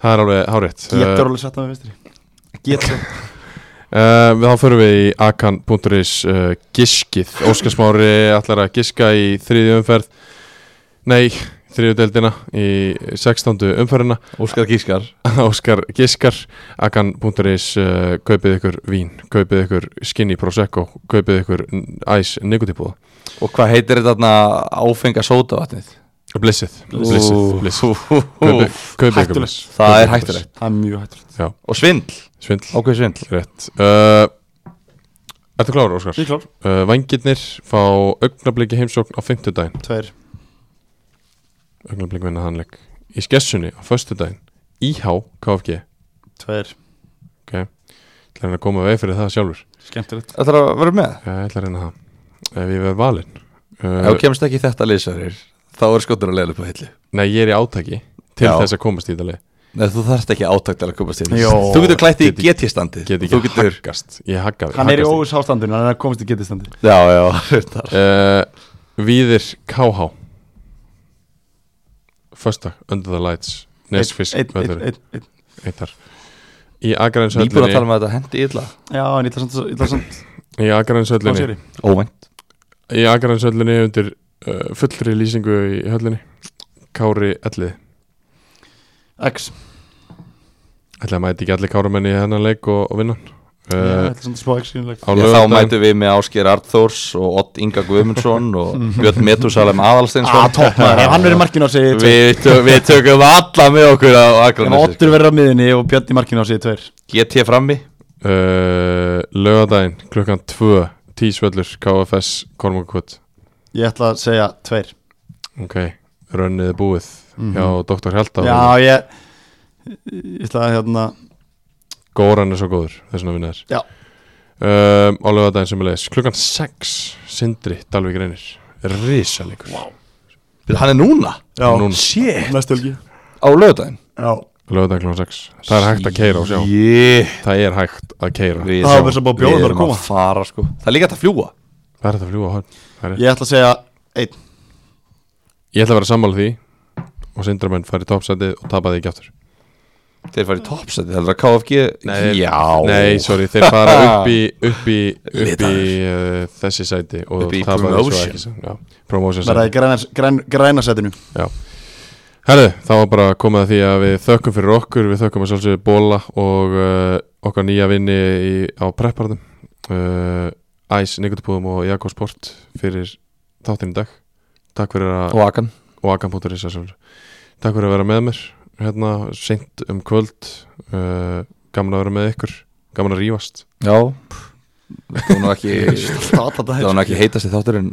það er alveg hárétt Eh. uh, Getur alveg sett það með vestri Getur uh, við þá förum við í akan.is uh, giskið, Óskarsmári ætlar að giska í þriðju umferð nei, þriðju deildina í 16. umferðina Óskar Gískar Óskar Giskar akan.is uh, kaupið ykkur vín, kaupið ykkur skinny prosecco, kaupið ykkur n- æs nikotipúða, Og hvað heitir þetta þarna áfenga sótavatnið? blissið blissið, blissið kaupið, kaupið ykkur bliss Það Kaupið ykkur er hættulegt Það er mjög hættulegt Og svindl, bliss. svindl, ákveð svindl rétt uh, Ertu klára Óskar? Ég er klár, Uh, Vængirnir fá augnabliki heimsókn á 50 daginn, tveir augnabliki vinna hannleik í skessunni á 1. daginn IH KFG, Tveir, ok Það er að koma vegi fyrir það sjálfur skemmtilegt Það þarf að vera með Já, Ég ætla að reyna það Ef ég verð valinn Ef uh, þú kemst ekki í þetta liðsverðir Þá er skotur að leiða upp á hillu Nei, ég er í átaki til Já. þess að komast í þetta leið Nei, þú þarft ekki átakt til að komast inn Jó. Þú getur klætt í Get ekki- GT-standi Get Þú ekki getur haggast Ég haggaði Hann er í óvis ástandinu, hann er að komast í getistandi Já, já, reyndar. uh, Víðir KH Fösta, Under the Lights Nesfisk, Einn, einn, Vöður, einn, einn Eittar Í Nýbúin að tala Akrainshöllinni um með þetta hendi illa Já, en ég ætla samt- ég ætla samt Í Hvað Akrainshöllinni sér ég? Óvænt Í Akrainshöllinni undir uh, fullri lýsingu í höllinni Kári Ellið X Ætla að mæti ekki allir káramenni í hennan leik og, og vinnan uh, Já, Ég ætla samt að spá X skiljanlegt Á Þá lögum mætu við með Ásker Arthors og Ott Inga Guðmundsson og Björn Metusalem Aðalsteinsson Mhm. Ah, topp maður, ef hann verður markinu á sig ég tveir við, tö- við tökum alla með okkur á Ef Akranesi Ottur verður á miðinni og Björn í markinu á sig ég tveir GT frammi uh, Lögadaginn klukkan 2 Tísvöllur KFS Kormokvöld Ég ætla að segja tveir Ok, rönnið er búið hjá Dr. Hjalta Mhm. Já, og ég Ég ætla að hérna Góran er svo góður þess vegna vinnar Já. um, Á lögadaginn sem er leiðis Klukkan 6, Sindri, Dalvík reynir Rísalegur wow. Við- Hann er núna Núna. Shit Næstu helgi Á lögudaginn Já Lögadaginn klukkan 6 Það er hægt að keira og sjá yeah. Það er hægt að keira Við Það var sjáum. þess að bara bjóða Við bara að erum koma. fara, sko. Það er líka hægt að fljúa Það er þetta að fljúga á hann Ég ætla að segja einn Ég ætla að vera sammála því og Sindramenn fari í toppsætið og tapa því ekki aftur Þeir farið í toppsæti, það er að KFG Já Nei, sorry, þeir fara upp í upp í, upp í uh, Litar. þessi sæti og Upp í tapa þessu promotion. ekki sem- já, Promotion verða í sæti græna- græn- græna setinu Herðu, það var bara komið að því að við þökkum fyrir okkur við þökkum að sjálfsögðu Bóla og uh, okkar nýja vinni í, á prepparðum uh, Æs, Nikotapúðum og Jakob Sport fyrir þáttinn í dag Takk fyrir að Og Akan og akan.is að sjálfsögðu. Takk fyrir að vera með mér hérna, seint um kvöld uh, gaman að vera með ykkur gaman að rífast Já Það var nú ekki Það var nú ekki heitast í þátturinn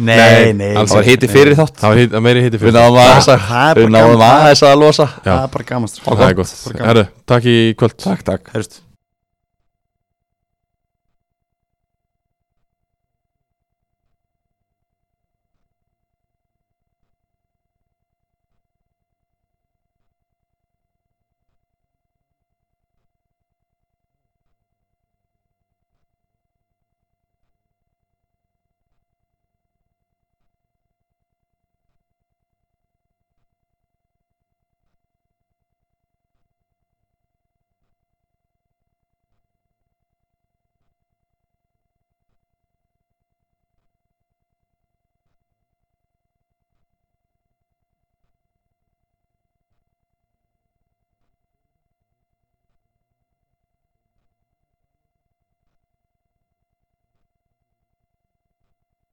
Nei, nei alls Það var heiti fyrir þátt Það var heit, meiri hitti Við fyrir náðum aðeins að Það er Við bara náðum gaman aðeins að losa Það er bara gaman strákar. Það er gott Bara gaman. Herru, takk í kvöld Takk, takk Heyrst